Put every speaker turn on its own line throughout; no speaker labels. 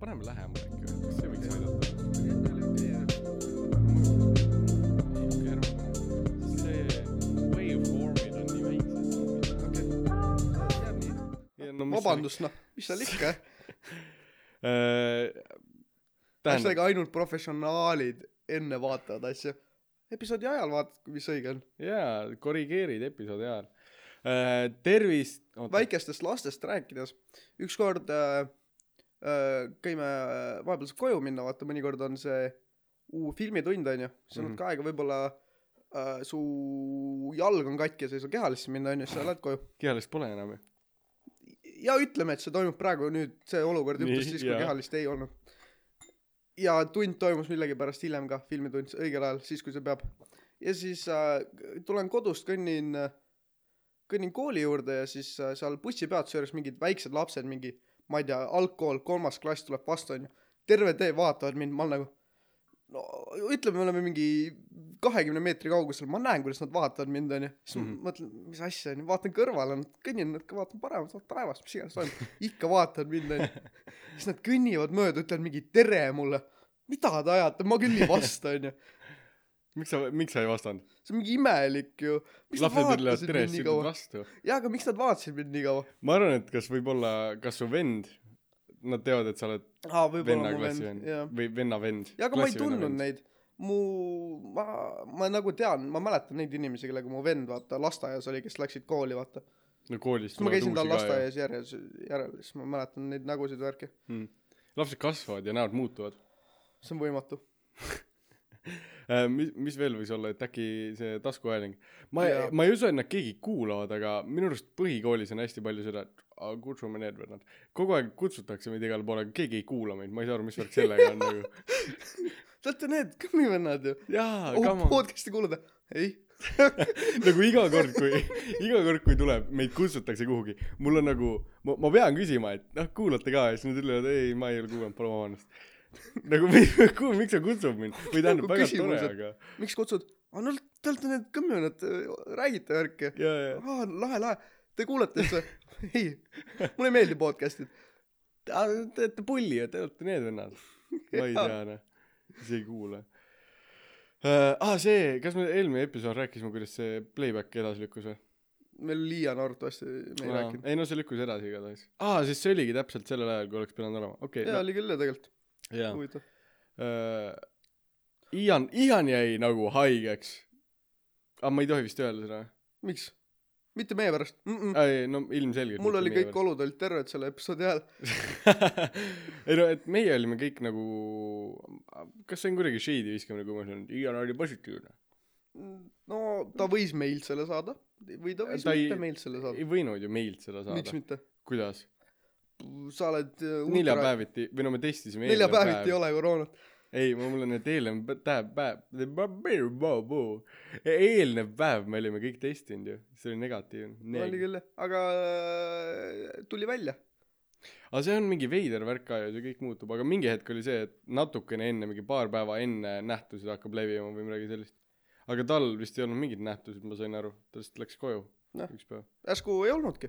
paneme lähemale äkki või , kas see võiks aidata ? see waveform'id on nii väiksed .
vabandust , noh , mis seal ikka ,
tähendab ,
asjaga ainult professionaalid enne vaatavad asju . episoodi ajal vaatad , mis õige on .
jaa , korrigeerid episoodi ajal . tervist , oota ,
väikestest lastest rääkides , ükskord äh, äh, käime äh, vahepeal saab koju minna , vaata mõnikord on see uu filmitund onju , sa oled
Mhm.
ka aega võib-olla äh, su jalg on katki ja sa ei saa kehalisse minna onju , sa lähed koju .
kehalist pole enam ju .
ja ütleme , et see toimub praegu nüüd , see olukord
Nii,
juhtus siis , kui
jaa.
kehalist ei olnud . ja tund toimus millegipärast hiljem ka , filmitund õigel ajal , siis kui see peab . ja siis äh, tulen kodust , kõnnin , kõnnin kooli juurde ja siis äh, seal bussipeatuse juures mingid väiksed lapsed , mingi , ma ei tea , algkool , kolmas klass tuleb vastu onju . terve tee vaatavad mind , ma olen nagu , no ütleme , me oleme mingi kahekümne meetri kaugusel , ma näen , kuidas nad vaatavad mind onju . siis mm -hmm.
Mhm.
ma mõtlen , mis asja onju , vaatan kõrvale , kõnnin natuke , vaatan paremalt , vaatan taevast , mis iganes toimub . ikka vaatavad mind onju . siis nad kõnnivad mööda , ütlevad mingi tere mulle . mida te ajate , ma küll ei vasta onju .
miks sa , miks sa ei vastanud ?
see on mingi imelik ju . miks nad
lapsed ütlevad
vaatasid
tere ,
mind
siis
nii
sa ütled
kaua ?
vastu .
jaa , aga miks nad vaatasid mind nii kaua ?
ma arvan , et kas võib-olla , kas su vend , nad teavad , et sa oled
aa , võib-olla
venna
mu
klassi
vend ,
vend
jah .
või venna vend .
jaa , aga ma ei tundnud . neid . mu , ma , ma nagu tean , ma mäletan neid inimesi , kellega mu vend , vaata , lasteaias oli , kes läksid kooli , vaata .
no koolis .
kui ma käisin tal lasteaias järel , järel , siis ma mäletan neid nägusid , värki .
mm. . lapsed kasvavad ja näod muutuvad .
see on võimatu .
Äh, mis , mis veel võis olla , et äkki see taskuhääling . ma
Jaa. ,
ma ei usu , et nad keegi kuulavad , aga minu arust põhikoolis on hästi palju seda , et "Aga kutsume need või nad . kogu aeg kutsutakse meid igale poole , aga keegi ei kuula meid , ma ei saa aru , mis värk sellega on nagu .
Te olete need kõmmivennad ju .
jaa , Ah,
oh ,
come on .
podcast'i kuulad ? ei .
nagu iga kord , kui , iga kord , kui tuleb , meid kutsutakse kuhugi , mul on nagu , ma , ma pean küsima , et noh , kuulate ka ja siis nad ütlevad , ei , ma ei ole kuulanud , palun vabandust . nagu , miks sa kutsud mind ? või tähendab , väga tore ,
Nagu Küsimused.
aga
miks kutsud ? aa , no te olete need kõmmivennad , räägite värki .
jaa , jaa .
aa , lahe , lahe . Te kuulate üldse ? ei , mulle ei meeldi podcast'id .
Ah, te olete pulli ja te olete need vennad ma ei
Jaa.
tea noh ise ei kuule uh, aa see kas me eelmine episood rääkisime kuidas see playback edasi lükkus või
meil oli Liian arvatavasti , me ei
Aa,
rääkinud .
ei no see lükkus edasi igatahes aa sest see oligi täpselt sellel ajal kui oleks pidanud olema okei
jaa , oli küll ju tegelikult .
no, jaa
huvitav .
uh, Ian Ian jäi nagu haigeks aa ma ei tohi vist öelda seda
miks ? mitte meie pärast mm . -mm.
või ei no ilmselgelt
mul
Äh, mitte
oli
meie
kõik
pärast.
olud olid terved selle episoodi ajal .
ei no et meie olime kõik nagu kas see on kuidagi shady viskamine kui ma ütlen et Ian oli positiivne
no ta võis meilt selle saada või ta võis
Äh, Ta
ta
ei-
mitte meilt selle saada
ei . võinud ju meilt seda saada
miks mitte ?
kuidas
sa oled . äh,
neljapäeviti või no me testisime
neljapäeviti ei ole koroonat .
ei ma mul on need eelnev pä- tähe- päev eelnev päev me olime kõik testinud ju see oli negatiivne
oli
Neg.
küll jah , aga äh, tuli välja .
aga see on mingi veider värk ajas ja kõik muutub aga mingi hetk oli see et natukene enne mingi paar päeva enne nähtusid hakkab levima või midagi sellist aga tal vist ei olnud mingeid nähtusid ma sain aru ta lihtsalt läks koju
Noh.
üks päev
järsku ei olnudki .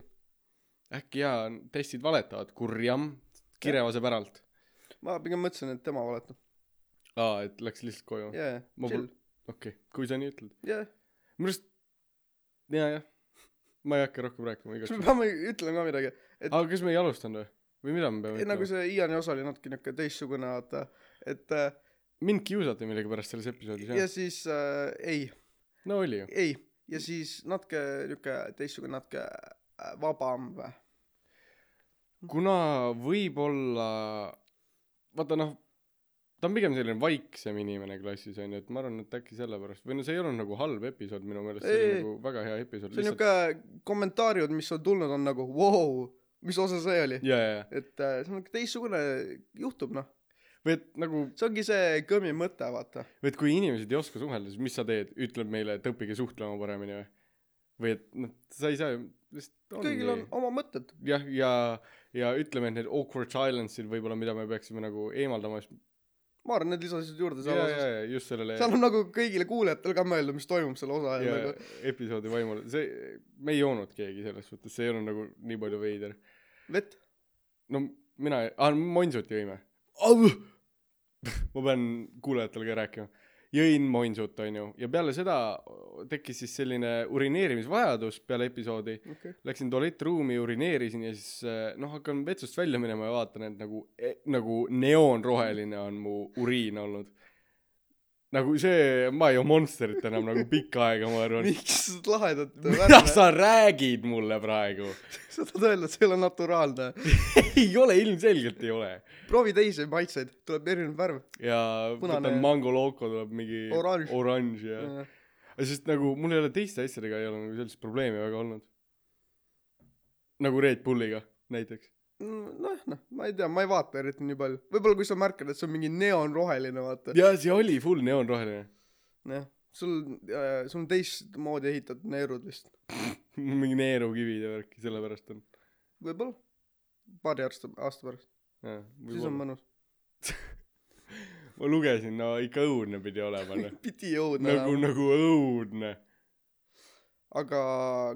äkki jaa testid valetavad kurjam kirevase päralt
ma pigem mõtlesin , et tema valetab .
aa et läks lihtsalt koju okei
jajah ,
Oh, Ma
chill
pol- . okay, kui sa nii ütled
jajah ,
minu arust jajah ma ei hakka rohkem rääkima
kas me
igaks
peame ütlema ka midagi ?
aga kas me ei alustanud või või mida me peame
ei nagu
ütlema see...
see Iani osa oli natuke niuke teistsugune , vaata . et äh,
mind kiusati millegipärast selles episoodis jah
ja
yes.
siis äh, ei
no oli ju
ei , ja siis natuke niuke teistsugune , natuke äh, vabam või ?
kuna võibolla vaata noh ta on pigem selline vaiksem inimene klassis onju et ma arvan et äkki sellepärast või no see ei olnud nagu halb episood minu meelest see
Ei,
oli
ei.
nagu väga hea episood
see on niuke kommentaariumid , mis on tulnud , on nagu vau , mis osa see oli ?
jaa jaa jaa
et äh, see on niuke teistsugune juhtub noh ,
või et nagu
see ongi see kõmi mõte , vaata .
või et kui inimesed ei oska suhelda siis mis sa teed ütleb meile et õppige suhtlema paremini või või et noh sa ei saa ju lihtsalt
kõigil on oma mõtted .
jah , ja , ja ütleme , et need awkward silence'id võib-olla , mida me peaksime nagu eemaldama , siis
ma arvan , need lisasid juurde
ja ,
selle
ja
osa .,
ja just sellele
seal on nagu kõigile kuulajatele ka mõelda , mis toimub selle osa ajal
ja,
nagu .
episoodi vaimul , see , me ei joonud keegi selles suhtes , see ei olnud nagu nii palju veider .
vett .
no mina , aa , Monsut ah, jõime . ma pean kuulajatele ka rääkima , jõin moinsut , onju , ja peale seda tekkis siis selline urineerimisvajadus peale episoodi .
okei okay. .
Läksin tualettruumi , urineerisin ja siis eh, noh , hakkan vetsust välja minema ja vaatan , et nagu eh, , nagu neoonroheline on mu uriin olnud . nagu see , ma ei ole monsterit enam nagu pikka aega , ma arvan .
miks sa lahedat
mida
värve ,
sa räägid mulle praegu ?
sa tahad öelda , et see ei ole naturaalne .
ei ole , ilmselgelt ei ole .
proovi teisi maitseid , tuleb erinev värv .
ja
Punane-
võtan Mango Loco tuleb mingi
Oranž.
oranž ja Aga sest nagu mul ei ole teiste asjadega ei ole nagu sellist probleemi väga olnud nagu Red Bulliga näiteks
noh , noh , ma ei tea , ma ei vaata eriti nii palju . võib-olla kui sa märkad , et see on mingi neoonroheline , vaata .
ja see oli full neoonroheline
jah , sul äh, , sul on teistmoodi ehitatud neerud vist .
mingi neerukivid ja värki sellepärast on
võib-olla . paari aasta , aasta pärast .
jah
siis on
ma...
mõnus .
ma lugesin no ikka õudne pidi olema noh
pidi jõudma
nagu
nagu... .
nagu õudne
aga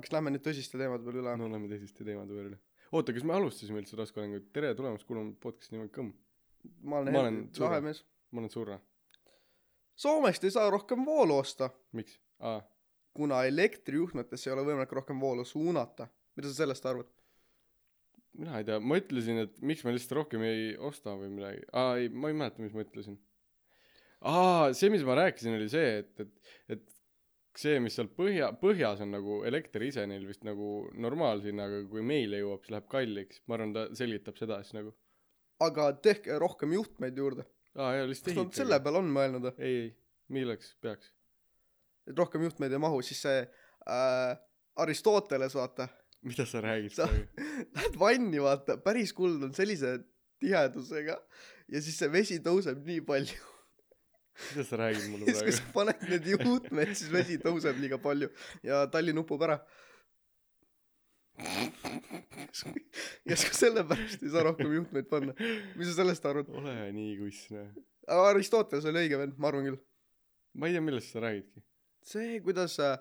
kas lähme nüüd tõsiste teemade peale üle ?
no oleme teisiste teemade peal üle oota kas me alustasime üldse raskolingut tere tulemast kuulama podcast'i nimega Kõmm
ma olen,
ma
olen
olen
lahe
Surra.
mees .
ma olen Surra
Soomest ei saa rohkem voolu osta ,
miks aa
kuna elektrijuhtmetesse ei ole võimalik rohkem voolu suunata . mida sa sellest arvad ?
mina ei tea ma ütlesin et miks me lihtsalt rohkem ei osta või midagi aa ei ma ei mäleta mis ma ütlesin aa see mis ma rääkisin oli see et et et see mis seal põhja põhjas on nagu elekter ise neil vist nagu normaalse hinnaga kui meile jõuab siis läheb kalliks ma arvan ta selgitab seda siis nagu
aga tehke rohkem juhtmeid juurde .
aa jaa lihtsalt
kas nad selle
ehitage
peale on mõelnud ,
ei ei milleks peaks
et rohkem juhtmeid ei mahu , siis see äh, Aristoteles , vaata ,
mida sa räägid
Sa-
praegu
lähed vanni , vaata , päris kuld on sellise tihedusega ja siis see vesi tõuseb nii palju .
mida sa räägid mulle
siis kui
praegu
sa paned need juhtmed , siis vesi tõuseb liiga palju ja Tallinn upub ära . ja siis sellepärast ei saa rohkem juhtmeid panna . mis sa sellest arvad ?
ole nii kuss noh
Aristoteles oli õige vend , ma arvan küll .
ma ei tea millest sa räägidki
see , kuidas äh,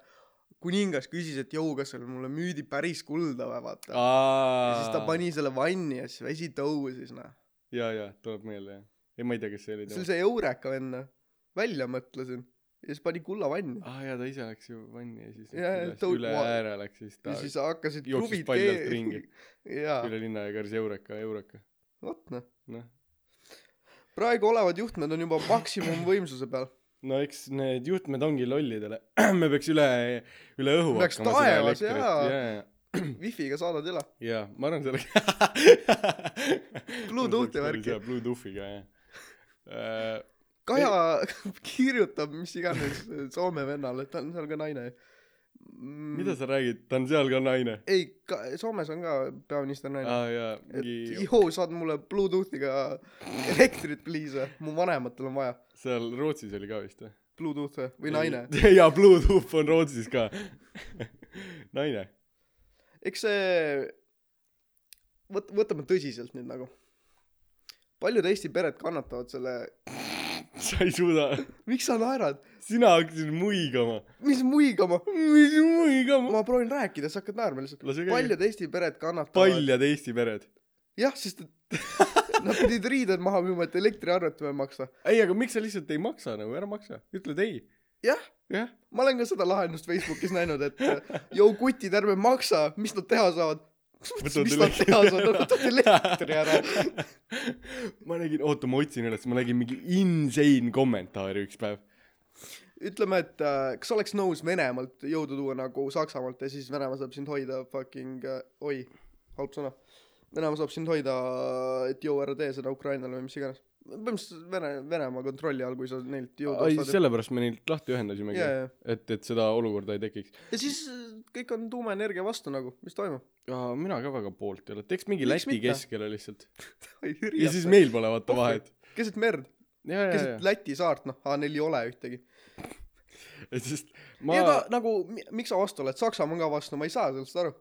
kuningas küsis , et jõu , kas seal mulle müüdi päris kulda või vaata . ja
aa
siis ta pani selle vanni ja siis vesi tõusis noh .
jaa jaa tuleb meelde jah ei ma ei tea kes see oli
see oli see Eureka vend noh . välja mõtlesin ja siis pani kulla vanni .
aa Ah, jaa , ta ise läks ju vanni ja siis läks
Jaa,
üles,
tõu-
üle
ma-
ääre läks ja siis ta
ja siis hakkasid
jooksis
kruvitee-
paljalt ringi.
jaa ,
üle linna ja karjus Eureka , Eureka ,
vot noh .
noh .
praegu olevad juhtmed on juba maksimumvõimsuse peal .
no eks need juhtmed ongi lollidele , me peaks üle , üle õhu
Peaks
hakkama seda
taevas,
elektrit
jaa.
ja , ja ,
Wi-Fi-ga saadad üle .
ja ma arvan , see oleks
Bluetoothi värki. .
Bluetoothiga Äh, jah .
Kaja kirjutab mis iganes äh, Soome vennale , ta on seal ka naine mm,
mida sa räägid , ta on seal ka naine .
ei , ka Soomes on ka peaminister naine ah, .
aa jaa ,
et
mingi
joo , saad mulle Bluetoothiga elektrit pliise , mu vanematel on vaja
seal Rootsis oli ka vist või ?
Bluetoothi või naine .
jaa , Bluetooth on Rootsis ka . naine ,
eks see , võt- , võtame tõsiselt nüüd nagu . paljud Eesti pered kannatavad selle ,
sa ei suuda
miks sa naerad ,
sina hakkasid muigama .
mis muigama ,
mis muigama ?
ma proovin rääkida , sa hakkad naerma lihtsalt .
lase käia .
paljud Eesti pered kannatavad
paljad Eesti pered .
jah , sest et nad pidid riided maha müüma , et elektriarvet peab maksta .
ei , aga miks sa lihtsalt ei maksa nagu , ära maksa , ütled ei .
Jah.
jah ,
ma olen ka seda lahendust Facebookis näinud , et jõu kutid , ärme maksa , mis nad teha saavad .
Võtavad
mis nad
elektri
teha
ära.
saavad , võtavad elektri ära .
ma nägin , oota , ma otsin üles , ma nägin mingi insane kommentaari üks päev .
ütleme , et äh, kas oleks nõus Venemaalt jõudu tuua nagu Saksamaalt ja siis Venemaa saab sind hoida fucking äh, , oi , halb sõna . Venemaa saab sind hoida , et jõu ära tee seda Ukrainale või mis iganes . põhimõtteliselt Vene , Venemaa kontrolli all , kui sa neilt jõudu
ei ,
ostad .
sellepärast me neilt lahti ühendasimegi
ja , ja ,
et , et seda olukorda ei tekiks .
ja siis äh, kõik on tuumaenergia vastu nagu , mis toimub ?
mina ka väga poolt ei ole , teeks mingi
Miks
Läti
mitte?
keskele lihtsalt . ja siis meil pole vaata vahet .
keset merd ,
ja , ja ,
keset
ja ,
Läti saart , noh , aa neil ei ole ühtegi .
sest
ma... .
ma
ei , aga nagu , miks sa vastu oled , Saksamaa on ka vastu , ma ei saa sellest aru .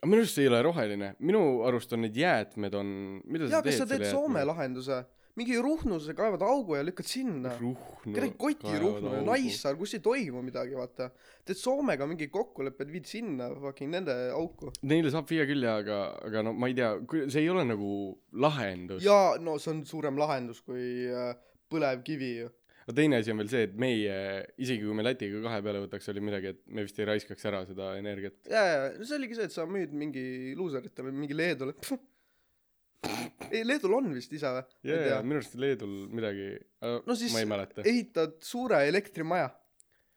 aga minu arust see ei ole roheline , minu arust on need jäätmed on , mida
jaa ,
sa
kas
teed
sa teed
selle
Soome
jäätmega?
lahenduse , mingi Ruhnu sa kaevad augu ja lükkad sinna
ruhnu .
kuradi kotiruhnu ja Naissaar kus ei toimu midagi vaata teed Soomega mingi kokkulepped viid sinna fucking nende auku
Neile saab viia küll jaa , aga , aga no ma ei tea , see ei ole nagu lahendus .
jaa no see on suurem lahendus kui äh, põlevkivi ju
aga teine asi on veel see , et meie , isegi kui me Lätiga kahe peale võtaks , oli midagi , et me vist ei raiskaks ära seda energiat .
jaa jaa no see oligi see et sa müüd mingi luuseritele mingi Leedule ei Leedul on vist isa vä Ma
ja
ei ,
ja
tea.
minu arust Leedul midagi ,
No siis-
ma ei mäleta ,
ehitad suure elektrimaja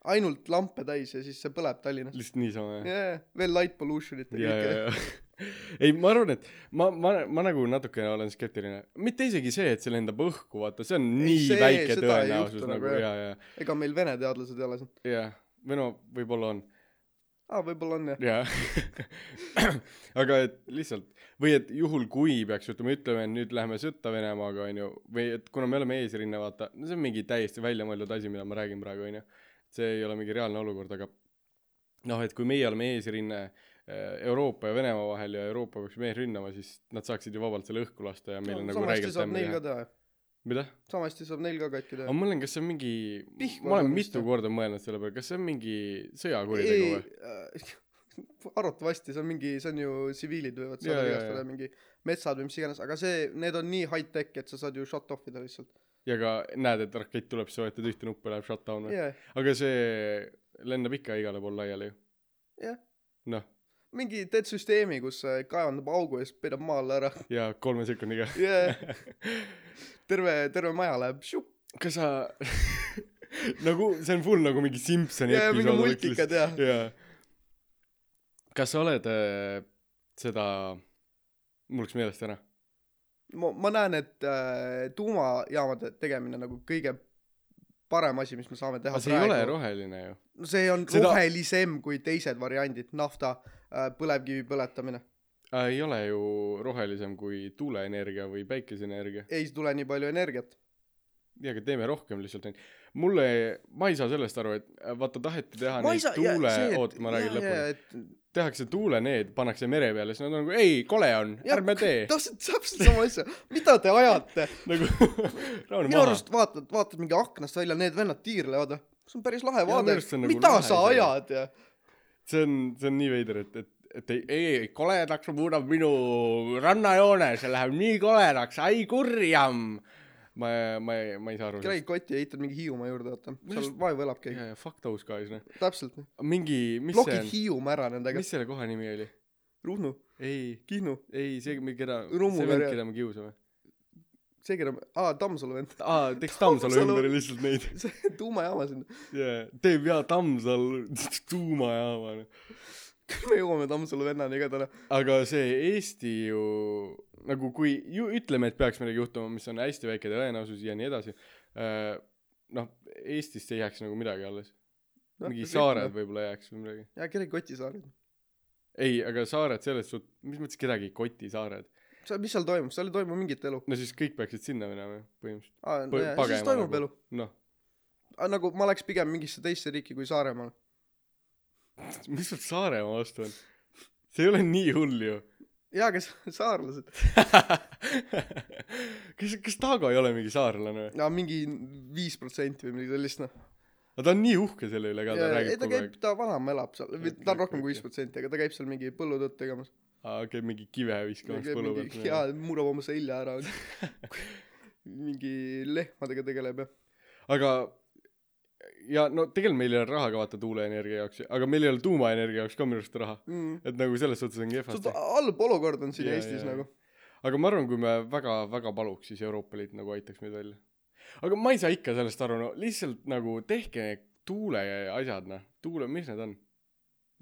ainult lampe täis ja siis see põleb Tallinnas
lihtsalt niisama jah .
jajah veel light pollution'it ja
ja , ja
kõike ,
ja ei , ma arvan , et ma , ma , ma nagu natukene olen skeptiline , mitte isegi see , et see lendab õhku , vaata , see on nii
see-
see, väike
seda ei
tõenäosus
juhtu
nagu
nagu,
ja
jah. ,
ja ,
ega meil vene teadlased ei ole siin
ja või no võib-olla on
aa võibolla on jah
jaa aga et lihtsalt või et juhul kui peaks juhtuma ütleme et nüüd läheme sõtta Venemaaga onju või et kuna me oleme eesrinne vaata no see on mingi täiesti väljamõeldud asi mida ma räägin praegu onju see ei ole mingi reaalne olukord aga noh et kui meie oleme eesrinne eh, Euroopa ja Venemaa vahel ja Euroopa peaks meid rünnama siis nad saaksid ju vabalt selle õhku lasta ja meile no, nagu
samasti
räigelt
saab
tämmi
neil ka
teha
teha ju
mida
samasti saab neil ka katki teha
aga ma mõtlen kas see on mingi
Pihkva
ma olen
arvamist,
mitu
jah.
korda mõelnud selle peale kas see on mingi sõjakuritegu
ei
või
äh, arvatavasti see on mingi see on ju tsiviilid võivad
Jaa,
saada
jaa,
vigastada
jaa.
mingi metsad või mis iganes aga see need on nii high tech et sa saad ju shut off ida lihtsalt
ja ka näed et rakett tuleb sa vajutad ühte nuppu ja läheb shutdown või
jah
aga see lendab ikka igale pool laiali ju
Jah.
noh
mingi teed süsteemi kus see kaevandab augu ja siis peidab maa alla ära
ja kolme sekundiga
jah terve terve maja läheb šiup
kas sa nagu see on full nagu mingi Simsoni
ja ja mingi
episood oleks
multikad ja
lihtsalt- jaa kas sa oled äh, seda mul läks meelest ära
ma ma näen et äh, tuumajaamade tegemine nagu kõige parem asi mis me saame teha
aga see ei ole roheline ju
no see on
Seda-
Seda... rohelisem kui teised variandid nafta äh, põlevkivi põletamine
äh, ei ole ju rohelisem kui tuuleenergia või päikeseenergia
ei tule nii palju energiat
jaa aga teeme rohkem lihtsalt neid mulle ma ei saa sellest aru et äh, vaata taheti teha
ma ei
neid
saa ja
tuule
see et
oot ma räägin
ja- ja-
lõpuni
et
tehakse tuule need , pannakse mere peale , siis nad on nagu ei , kole on ,
Jah,
ärme tee .
täpselt täpselt sama asja mida te ajate
nagu rahune
minu
maha .
arust vaatad vaatad mingi aknast välja need vennad tiirlevad ja see on päris lahe
minu
vaade
arust see on nagu
mida
lahe
sa
see.
ajad ja
see on , see on nii veider , et , et , et ei , ei , ei , koledaks muudab minu rannajoone , see läheb nii koledaks , ai kurjam . ma , ma , ma ei saa aru .
käid kotti ja ehitad mingi Hiiumaa juurde vaata seal
Just-
vaevu elab keegi
jaa , jaa , fuck those guys , noh .
täpselt nii
mingi , mis see
plokid
on ,
Hiiumaa ära nendega
mis selle koha nimi oli ?
Ruhnu
ei ,
Kihnu
ei , see , keda ,
Rummuga,
see vend ,
jah.
keda me kiusame .
see keda ma aa Tammsalu vend
aa , teeks Tammsalu
Tammsalu-
ümber lihtsalt neid .
see tuumajaama sinna
jaa , teeb jaa Tammsalu tuumajaama , noh .
me jõuame Tammsalu vennani ka täna
aga see Eesti ju nagu kui ju ütleme , et peaks midagi juhtuma , mis on hästi väike tõenäosus ja nii edasi äh, . noh , Eestist ei jääks nagu midagi alles ,
Noh,
mingi saared . võib-olla jääks või midagi .
jaa , kellegi kotisaared .
ei , aga saared selles suht- , mis mõttes kedagi ei koti saared ,
seal , mis seal toimub , seal ei toimu mingit elu .
no siis kõik peaksid sinna minema ju põhimõtteliselt ,
aa ,
Põ-
nojah , siis
pagema
toimub
nagu.
elu .
noh ,
nagu ma oleks pigem mingisse teisse riiki kui Saaremaale .
mis sul Saaremaa vastu on ? see ei ole nii hull ju .
jaa , aga sa- saarlased .
kas , kas Taago ei ole mingi saarlane või ?
no mingi viis protsenti või midagi sellist , noh .
aga ta on nii uhke selle üle ka , ta
ei ,
räägib
ta
kogu aeg
käib , ta vanaema elab seal , või
Okei,
ta on
okei,
rohkem kui viis
okei.
protsenti , aga ta käib seal mingi põllutööd tegemas .
aa , käib mingi kive viskamas
käib
põllu
mingi ,
pealt .
jaa , murrab oma selja ära . mingi lehmadega tegeleb ja .
aga ja no tegelikult meil ei ole raha ka vaata tuuleenergia jaoks , aga meil ei ole tuumaenergia jaoks ka minu arust raha . et nagu selles suhtes on kehvasti .
Mm. halb olukord on siin
Jaa,
Eestis
jaa.
nagu .
aga ma arvan , kui me väga-väga paluks , siis Euroopa Liit nagu aitaks meid välja . aga ma ei saa ikka sellest aru , no lihtsalt nagu tehke need tuule asjad , noh , tuule , mis need on ?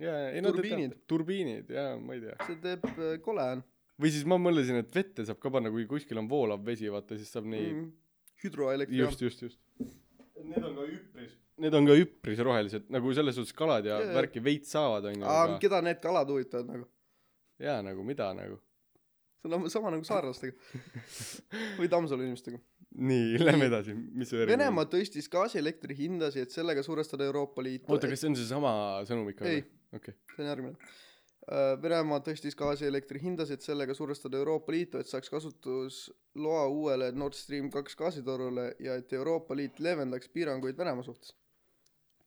jaa , ei no te
Turbiinid.
teate , turbiinid jaa , ma ei tea .
see teeb , kole on
või siis ma mõtlesin , et vette saab ka panna , kui kuskil on voolav vesi , vaata siis saab neid mm.
mm. . hüdroelektrijaam .
just , just , just . Need on ka üpris . Need on ka üpris rohelised , nagu selles suhtes kalad ja
Jaa, jaa.
värki veits saavad , onju ,
aga
aga
keda need kalad huvitavad nagu
jaa , nagu mida nagu .
see on oma- sama nagu saarlastega või Tammsalu inimestega
nii , lähme edasi , mis see järgmine
Venemaa tõstis gaasielektri hindasid et sellega survestada Euroopa
oota ,
Liitu
kas see on seesama sõnum ikka
ei
või ? okei okay. ,
see on järgmine Äh, Venemaa tõstis gaasielektri hindasid sellega survestada Euroopa Liitu, et saaks kasutusloa uuele Nord Stream kaks gaasitorule ja et Euroopa Liit leevendaks piiranguid Venemaa suhtes .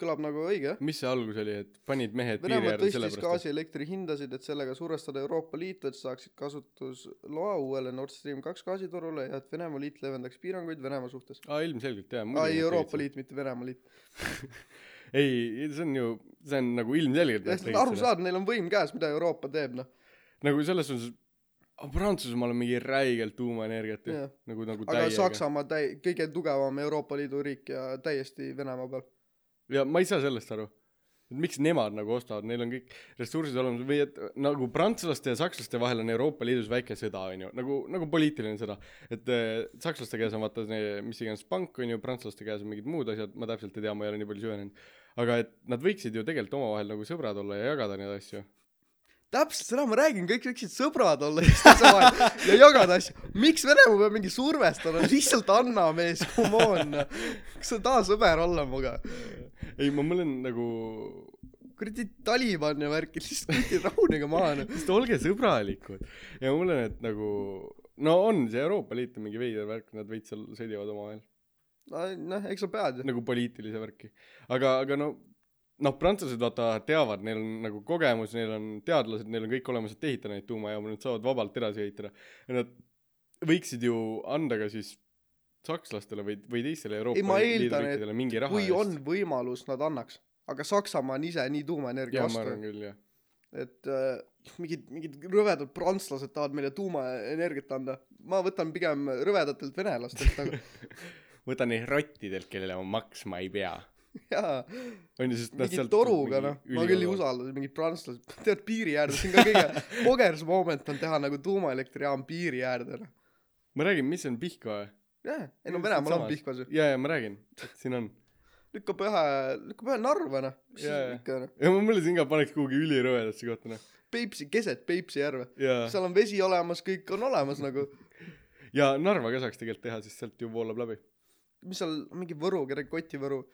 kõlab nagu õige , jah ?
mis see algus oli , et panid mehed piiri
Venemaa
äärde
tõstis
sellepärast ,
gaasielektri hindasid , et sellega survestada Euroopa Liitu , et saaksid kasutusloa uuele Nord Stream kaks gaasitorule ja et Venemaa Liit leevendaks piiranguid Venemaa suhtes .
et aa ilmselgelt jaa
aa , ei Euroopa . Liit , mitte Venemaa Liit .
ei , see on ju , see on nagu ilmselgelt .
täiesti arusaadav , neil on võim käes , mida Euroopa teeb , noh .
nagu selles suhtes , Prantsusmaal on mingi räigelt tuumaenergiat ju
Jah. ,
nagu , nagu
aga Saksamaa täi- , kõige tugevam Euroopa Liidu riik ja täiesti Venemaa peal .
ja ma ei saa sellest aru , et miks nemad nagu ostavad , neil on kõik ressursid olemas või et nagu prantslaste ja sakslaste vahel on Euroopa Liidus väike sõda , on ju , nagu , nagu poliitiline sõda . et eh, sakslaste käes on vaata see mis iganes pank on ju , prantslaste käes on mingid muud asjad , ma täpselt ei tea , ma ei ole nii palju süvenenud . aga et nad võiksid ju tegelikult omavahel nagu sõbrad olla ja jagada neid asju .
täpselt seda ma räägin , kõik võiksid sõbrad olla üksteise vahel ja jagada asju . miks Venemaa peab mingi survestama , lihtsalt anna mees , come on . kas sa ei taha sõber olla minuga ?
ei , ma mõtlen nagu ,
kuradi Taliban ja värki , lihtsalt kuradi rahunege maha noh .
lihtsalt olge sõbralikud ja ma mõtlen , et nagu no on see Euroopa Liit on mingi veider värk , nad veits seal sõdivad omavahel .
noh , eks sa pead ju .
nagu poliitilise värki , aga , aga no noh , prantslased vaata teavad , neil on nagu kogemus , neil on teadlased , neil on kõik olemas , et ehitada neid tuumajaamu , nad saavad vabalt edasi ehitada ja nad võiksid ju anda ka siis sakslastele või , või teistele Euroopa
Ei, ma
Liidu
eeldan, et
riikidele mingi raha
kui on võimalus , nad annaks . aga Saksamaa on ise nii tuumaenergia
ja ma
vastu
arvan . küll jah ,
et äh, mingid , mingid rõvedad prantslased tahavad meile tuumaenergiat anda . ma võtan pigem rõvedatelt venelastelt nagu
võta neid rottidelt , kellele ma maksma ei pea
jaa ,
on ju , sest nad
mingi
sealt
toruga noh , ma küll ei usalda , mingid prantslased , tead piiri äärde , see on ka kõige pogers moment on teha nagu tuumaelektrijaam piiri äärde noh .
ma räägin , mis on Pihkva eh?
jah , ei
Just
no Venemaal on
samas.
Pihkvas ju ,
ja , ja ma räägin , et siin on
lükkab ühe , lükkab ühe Narva noh , mis
Jaa,
siis
jaa.
ikka noh ,
ja ma mõtlesin ka paneks kuhugi ülirõvedasse kohta noh
Peipsi , keset Peipsi järve ,
ja
seal on vesi olemas , kõik on olemas nagu ,
ja Narva ka saaks tegelikult teha , sest sealt ju voolab läbi .
mis seal mingi Võru , kedagi Koti Võru ,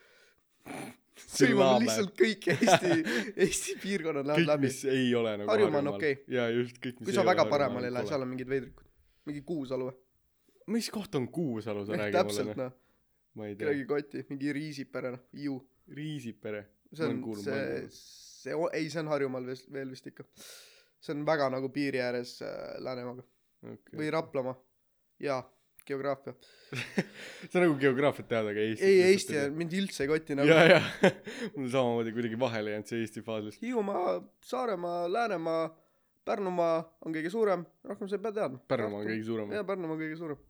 sõimame lihtsalt kõik Eesti , Eesti piirkonnad
kõik
lähevad , läbi .
mis ei ole nagu
Harjumaa on okei. .
ja just kõik , mis
kui sa väga paremal ei lähe , seal on mingid veidrikud , mingi Kuusalu või ?
mis koht on Kuusalu , sa räägid
täpselt
mulle ?
noh ,
ma ei tea .
kedagi kotti , mingi Riisipere noh , Hiiu .
Riisipere .
see on see , see , ei , see on Harjumaal vist veel vist ikka . see on väga nagu piiri ääres äh, Läänemaaga
okay.
või Raplamaa . jaa , geograafia .
sa nagu geograafiat tead , aga Eesti .
ei , Eesti on , mind üldse ei koti
ja
nagu .,
ja mul samamoodi kuidagi vahele jäänud see Eesti faasist .
Hiiumaa , Saaremaa , Läänemaa , Pärnumaa on kõige suurem , rohkem sa ei pea teadma .
Pärnumaa on kõige suurem .
jaa , Pärnumaa on kõige suurem .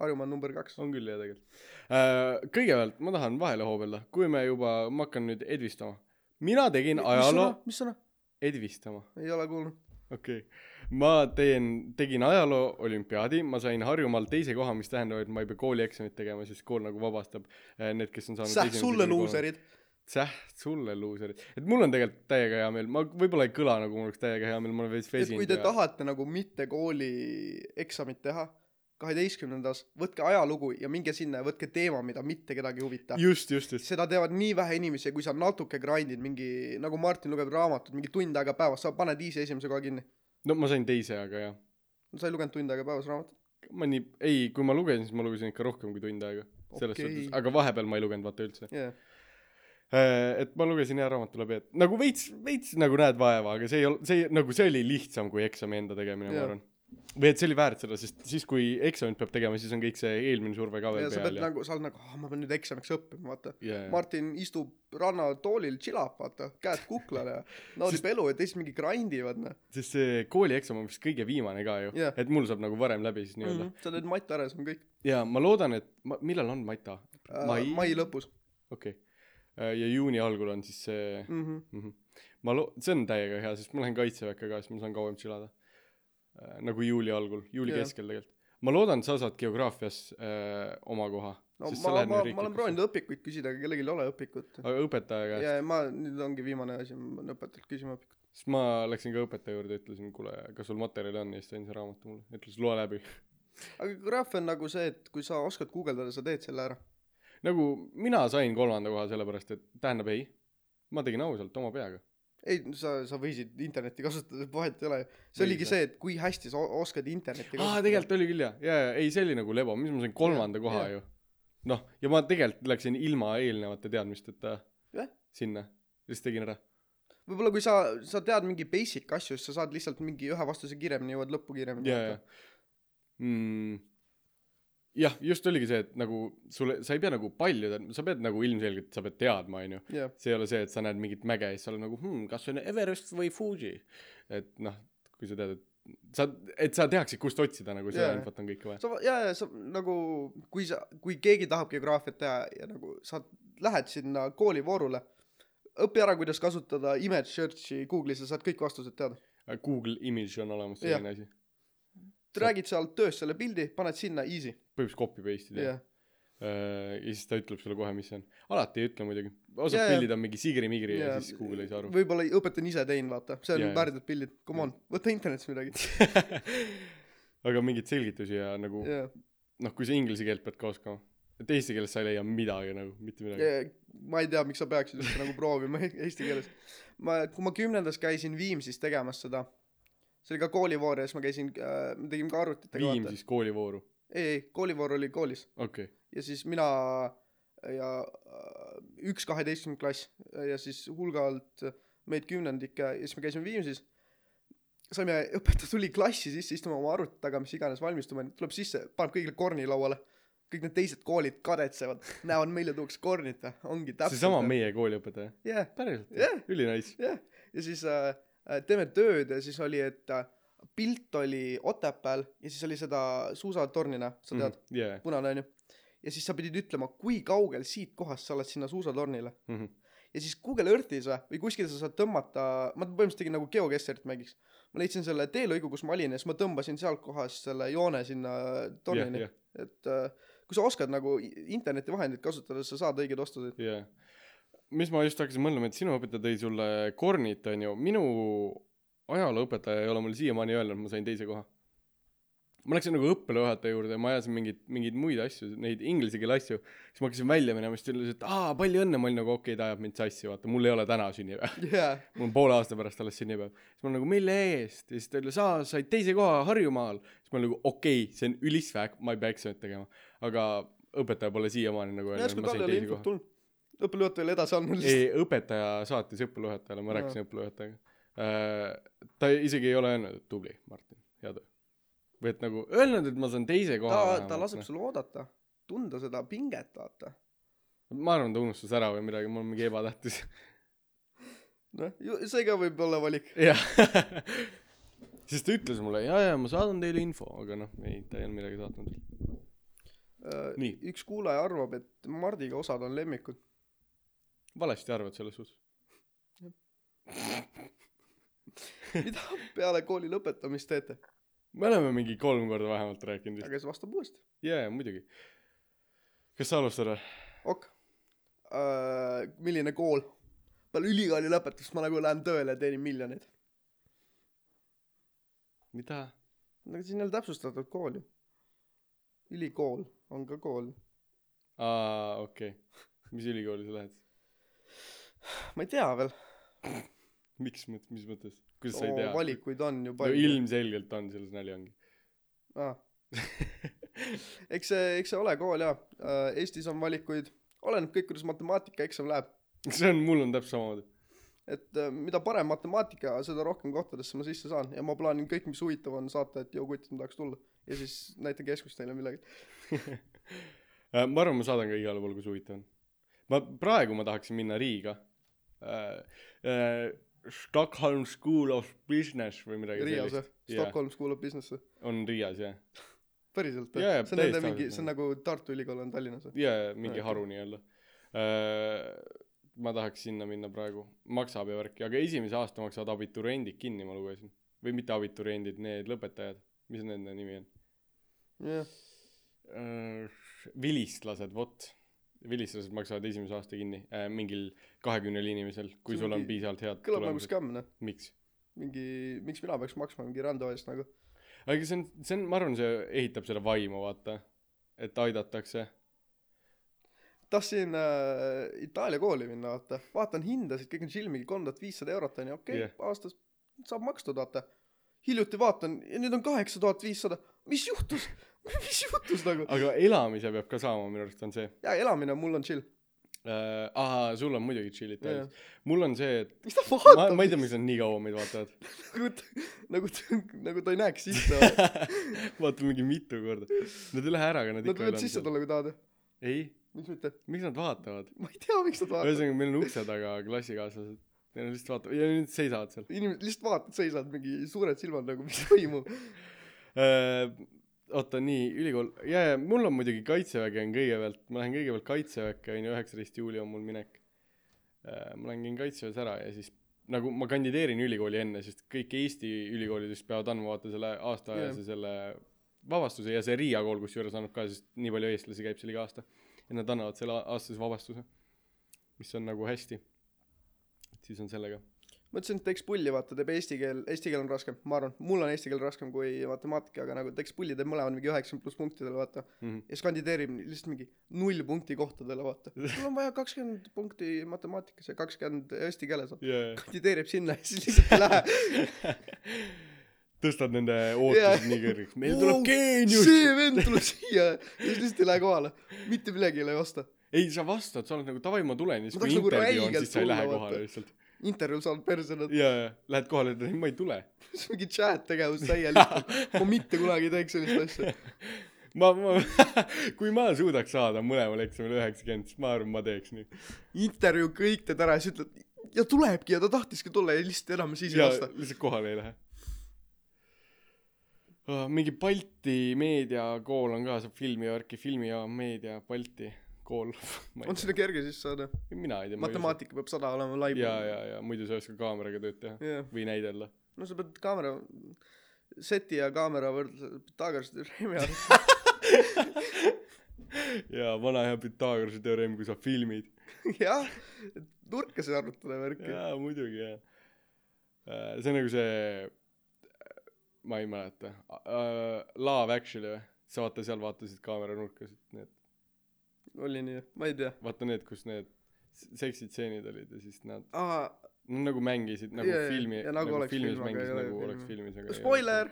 Harjumaa on number kaks .
on küll jah tegelikult . kõigepealt ma tahan vahele hoobelda , kui me juba , ma hakkan nüüd edvistama . mina tegin ajaloo ,
mis sõna ?
edvistama .
ei ole kuulnud .
okei okay. , ma teen , tegin ajaloo olümpiaadi , ma sain Harjumaal teise koha , mis tähendab , et ma ei pea koolieksamit tegema , sest kool nagu vabastab eh, need , kes on saanud
säh , sulle . luuserid .
säh , sulle luuserid , et mul on tegelikult täiega hea meel , ma võib-olla ei kõla nagu mul oleks täiega hea meel , ma olen veits
et kui te
vesinud ja
tahate nagu mitte kooli eksamit teha , kaheteistkümnendas , võtke ajalugu ja minge sinna ja võtke teema , mida mitte kedagi ei huvita .
just , just , just ,
seda teevad nii vähe inimesi ja kui sa natuke grind'id mingi , nagu Martin lugeb raamatut , mingi tund aega päevas , sa paned viisi esimese kohe kinni .
no ma sain teise , aga jah ,
sa ei lugenud tund aega päevas raamatut ?
ma nii , ei , kui ma lugesin , siis ma lugesin ikka rohkem kui tund aega , selles
Okei.
okay. suhtes , aga vahepeal ma ei lugenud vaata üldse .
jah .
et ma lugesin hea raamatu läbi , et nagu veits , veits nagu näed vaeva , aga see ei olnud , see ei- nagu see oli lihtsam kui eksami enda tegemine , ma
Jaa.
arvan . või et see oli väärt seda , sest siis , kui eksamit peab tegema , siis on kõik see eelmine surve ka veel
ja sa
peal
pead
ja .
nagu , sa oled nagu , ah ma pean nüüd eksamiks õppima , vaata .
jaa ,
Martin istub rannatoolil , chillab , vaata , käed kuklale ja naudib elu ja teised mingi grind ivad , noh .
sest see koolieksam on vist kõige viimane ka ju
Jaa. Mhm.
et mul saab nagu varem läbi siis nii-öelda .
sa teed matt ära ja see on kõik .
ja ma loodan , et ma , millal on Maita ? Mai-
Äh, mai lõpus
okei . ja juuni algul on siis see
mm . -hmm
mhmh. Mhm. ma loo- , see on täiega hea , sest ma lähen kaitseväkke ka , siis ma saan kauem chillada . nagu juuli algul , juuli
Jaa.
yeah. keskel tegelikult . ma loodan , sa saad geograafias äh, oma koha .
no ma , ma , ma olen proovinud . õpikuid küsida , aga kellelgi ei ole õpikut .
aga õpetajaga
ja
yeah. ,
ja ma , nüüd ongi viimane asi , ma pean õpetajalt küsima õpikut .
siis ma läksin ka õpetaja juurde , ütlesin , kuule , kas sul materjali on ja siis ta andis raamatu mulle , ütles loe läbi .
aga graaf on nagu see , et kui sa oskad guugeldada , sa teed selle ära .
nagu mina sain kolmanda koha sellepärast , et tähendab ei , ma tegin ausalt oma peaga .
ei , sa , sa võisid internetti kasutada , vahet ei ole . see oligi
Võid,
see , et kui hästi sa o- oskad internetti
aa , tegelikult oli küll jah , ja , ja ei , see oli nagu lebo , mis ma sain kolmanda
Jah,
koha
jah.
ju . noh , ja ma tegelikult läksin ilma eelnevate teadmisteta
Jah.
sinna , siis tegin ära .
võib-olla kui sa , sa tead mingi basic asju , siis sa saad lihtsalt mingi ühe vastuse kiiremini , jõuad lõppu kiiremini .
ja , ja . Mm. jah , just oligi see , et nagu sulle , sa ei pea nagu palju , sa pead nagu ilmselgelt , sa pead teadma , onju .
ja ,
see ei ole see , et sa näed mingit mäge ja siis sa oled nagu hmm, , kas see on Everest või Fuji . et noh , kui sa tead , et sa , et sa teaksid , kust otsida nagu seda
Jaa.
yeah. infot on kõike vaja .
sa , ja , ja sa nagu , kui sa , kui keegi tahab geograafiat teha ja nagu sa lähed sinna koolivoorule , õpi ära , kuidas kasutada image search'i Google'is ja saad kõik vastused teada .
Google Image on olemas
Jah.
selline asi . Sa-
räägid seal töös selle pildi , paned sinna easy .
põhimõtteliselt copy paste ida yeah. .
jah ,
Äh, ja siis ta ütleb sulle kohe , mis see on . alati ei ütle muidugi . osad yeah,
Jaa, jaa.
pildid on mingi sigri-migri yeah.
Jaa.
ja siis Google ei saa aru .
võib-olla õpetan ise tein , vaata , see on
Jaa, jaa.
värdjad pildid , come on , võta internetist midagi .
aga mingeid selgitusi ja nagu yeah.
jah ,
noh , kui sa inglise keelt pead ka oskama . et eesti keeles sa ei leia midagi nagu , mitte midagi yeah. .
ma ei tea , miks sa peaksid üldse nagu proovima eesti keeles . ma , kui ma kümnendas käisin Viimsis tegemas seda , see oli ka koolivoor ja siis ma käisin äh, , me tegime ka arvutitega .
Viimsis koolivooru ,
ei , ei , koolivoor oli koolis
okei okay. .
ja siis mina ja äh, üks kaheteistkümnenda klass äh, ja siis hulgalt meid kümnendikke ja siis me käisime Viimsis saime õpetaja tuli klassi sisse istuma oma arvuti taga mis iganes valmistuma tuleb sisse paneb kõigile korni lauale kõik need teised koolid kadetsevad näevad meile tuuakse kornid vä ongi täpselt
seesama meie kooliõpetaja .
jah
päriselt
Jah.
yeah. , ülinais .
jah , ja siis äh, äh, teeme tööd ja siis oli , et äh, pilt oli Otepääl ja siis oli seda suusatornina , sa
Mhm.
tead ,
jaa .
punane onju . ja siis sa pidid ütlema , kui kaugel siit kohast sa oled sinna suusatornile
Mhm.
ja siis Google Earth'is vä või kuskil sa saad tõmmata , ma põhimõtteliselt tegin nagu geokesserit mängiks . ma leidsin selle teelõigu , kus ma olin ja siis ma tõmbasin sealt kohast selle joone sinna tornini
jah ,
yeah, , yeah. et äh, kui sa oskad nagu i- internetivahendeid kasutada , sa saad õigeid vastuseid .
jah , jah . mis ma just hakkasin mõtlema , et sinu õpetaja tõi sulle kornit , onju , minu ajalooõpetaja ei ole mulle siiamaani öelnud , et ma sain teise koha . ma läksin nagu õppealajuhataja juurde ja ma ajasin mingeid , mingeid muid asju , neid inglise keele asju , siis ma hakkasin välja minema , siis ta ütles , et aa , palju õnne , ma olin nagu okei , ta ajab mind sassi , vaata , mul ei ole täna sünnipäev ,
jaa ,
mul on poole aasta pärast alles sünnipäev . siis ma olen nagu , mille eest ? ja siis ta ütles , aa , said teise koha Harjumaal . siis ma olen nagu , okei okay, , see on ülisväg , ma ei pea eksamit tegema , aga õpetaja pole siiamaani nagu öelnud ,
järsku
et ma
talle
sain
ei ole
teise koha
infot tulnud . õppejuhataja oli edasi andnud lihtsalt .
ei , E, õpetaja saatis õppejuhatajale , ma
Jaa.
rääkisin õppejuhatajaga . ta isegi ei ole öelnud , et tubli , Martin , hea töö . või et nagu öelnud , et ma saan teise koha
ta , ta
noh.
laseb . sul oodata , tunda seda pinget , vaata .
ma arvan , ta unustas ära või midagi , mul on mingi ebatähtis .
noh , see ka võib olla valik .
jah . siis ta ütles mulle , jaa , jaa , ma saadan teile info , aga noh , ei , ta ei olnud midagi saatnud . Nii.
Äh, üks kuulaja arvab , et Mardiga osad on lemmikud .
valesti arvad selles suhtes ?
mida peale kooli lõpetamist teete ?
me oleme mingi kolm korda vähemalt rääkinud vist .
aga siis vastab uuesti .
jaa , jaa , muidugi . kas sa alustad või ?
ok uh, . milline kool ? peale ülikooli lõpetust ma nagu lähen tööle ja teenin miljoneid .
mida ?
aga siin ei ole täpsustatud kool ju . ülikool on ka kool .
aa , okei okay. . mis ülikooli sa lähed ?
ma ei tea veel .
miks , mis mõttes ? kuidas sa ei tea ?
valikuid on ju
no
palju .
ilmselgelt on , selles nali ongi .
Ah. eks see , eks see ole kool jaa uh, . Eestis on valikuid , oleneb kõik , kuidas matemaatikaeksam läheb .
see on , mul on täpselt samamoodi .
et uh, mida parem matemaatika , seda rohkem kohtadesse ma sisse saan ja ma plaanin kõik , mis huvitav on , saata , et joo kutid , ma tahaks tulla . ja siis näitan keskust neile midagi .
Äh, ma arvan , ma saadan ka igale poole , kus huvitav on . ma , praegu ma tahaksin minna Riiga . Stockholm School of Business või midagi
Riias või
sellist ??
Stockholms kuulab business'i ?
on Riias jah .
päriselt
Jaa,
või
jaa, ?
see on nende
täiesti
mingi ,
ausalt,
see on nagu Tartu Ülikool on Tallinnas või ?
ja , ja mingi
Okei.
haru nii-öelda . ma tahaks sinna minna praegu , maksab ja värki , aga esimese aasta maksavad abituriendid kinni , ma lugesin . või mitte abituriendid , need lõpetajad , mis nende nimi on ?
jah ,
Äh, vilistlased , vot . vilistlased maksavad esimese aasta kinni äh, mingil kahekümnel inimesel , kui
See on
sul on
mingi-
piisavalt head
kõlab nagu
tulemused .
skämm noh ,
miks ?
mingi , miks mina peaks maksma mingi rände eest nagu ,
aga see on , see on , ma arvan , see ehitab selle vaimu , vaata . et aidatakse .
tahtsin äh, Itaalia kooli minna , vaata , vaatan hindasid , kõik on chill , mingi kolm tuhat viissada eurot on ju , okei
Jah.
okay, yeah. , aastas saab makstud , vaata . hiljuti vaatan ja nüüd on kaheksa tuhat viissada , mis juhtus , mis juhtus nagu ?
aga elamise peab ka saama , minu arust on see
ja elamine mul on chill .
äh, . ahaa , sul on muidugi chill'id täis . mul on see , et
mis ta
ma ,
vaatab
ma ei tea , miks nad nii kaua meid vaatavad .
nagu , nagu , nagu ta ei näeks sisse .
vaata mingi mitu korda . Nad ei lähe ära , aga nad
Nad
ikka
võivad sisse
elavad .
tulla , kui tahavad .
ei ,
miks mitte ?
miks nad vaatavad ?
ma ei tea , miks nad vaatavad .
ühesõnaga , meil on ukse taga klassikaaslased . ja nad lihtsalt vaatavad ja nad seisavad seal
inimesed lihtsalt vaatavad , seisavad mingi suured silmad nagu , mis toimub .
äh, . oota , nii , ülikool . ja , ja mul on muidugi kaitsevägi on kõigepealt , ma lähen kõigepealt kaitseväkke , on ju , üheksateist juuli on mul minek äh, . ma lähen käin kaitseväes ära ja siis nagu ma kandideerin ülikooli enne , sest kõik Eesti ülikoolidest peavad andma vaata selle aastaajase
Jah.
yeah. selle vabastuse ja see Riia kool kusjuures annab ka , sest nii palju eestlasi käib seal iga aasta . ja nad annavad selle a- aastase vabastuse , mis on nagu hästi . siis on sellega .
mõtlesin , et teeks pulli , vaata , teeb eesti keel , eesti keel on raskem , ma arvan , mul on eesti keel raskem kui matemaatika , aga nagu teeks pulli , teeb mõlemad mingi üheksakümmend pluss punktidele , vaata .
Mm -hmm.
ja siis kandideerib lihtsalt mingi null punkti kohtadele , vaata . mul on vaja kakskümmend punkti matemaatikas ja kakskümmend eesti keeles .
yeah.
kandideerib sinna ja siis lihtsalt ei lähe .
tõstad nende ootused
Jah.
yeah. nii kõrgeks . meil tuleb
Wow,
geenius .
see vend tuleb siia ja siis lihtsalt ei lähe kohale . mitte midagi ei osta .
ei , sa vastad , sa oled nagu davai , ma tulen ja siis
Ma
kui
tahaks nagu
intervjuu on ,
räigelt
siis sa ei lähe
tulla,
kohale
vaata.
lihtsalt .
intervjuul saanud persona ,
ja , ja lähed kohale , ütled ei , ma ei tule .
siis mingi chat tegevus täielikult . ma mitte kunagi ei teeks sellist asja .
ma , ma , kui ma suudaks saada mõlemal eksamil üheksakümmend , siis ma arvan , ma teeks nii .
intervjuu kõik teed ära ja siis ütled ja tulebki ja ta tahtiski tulla ja lihtsalt enam siis ei
ja
vasta .
lihtsalt kohale ei lähe . mingi Balti meediakool on ka , see filmi värki , filmi ja meedia Balti kool .
on sinna kerge sisse saada ?
mina ei tea .
matemaatika peab sada olema lai .
ja , ja , ja muidu sa ei oska kaameraga tööd teha
jah .
või näidelda .
no sa pead kaamera , seti ja kaamera võrdlus , Pythagoras teoreemi all .
ja vana hea Pythagorase teoreem , kui sa filmid .
jah , nurkasid arvutada ja värki .
jaa , muidugi jaa . see on nagu see , ma ei mäleta , Love Actually või ? sa vaata seal vaatasid kaamera nurkasid , need ,
oli nii , ma ei tea .
vaata need , kus need s- seksitseenid olid ja siis nad
aa ,
nad nagu mängisid nagu
Jaa, jaa,
filmi ,
ja nagu
nagu
oleks
filmis
film, aga
mängisid
ei ole
nagu
filmi.
oleks filmis , aga
spoiler !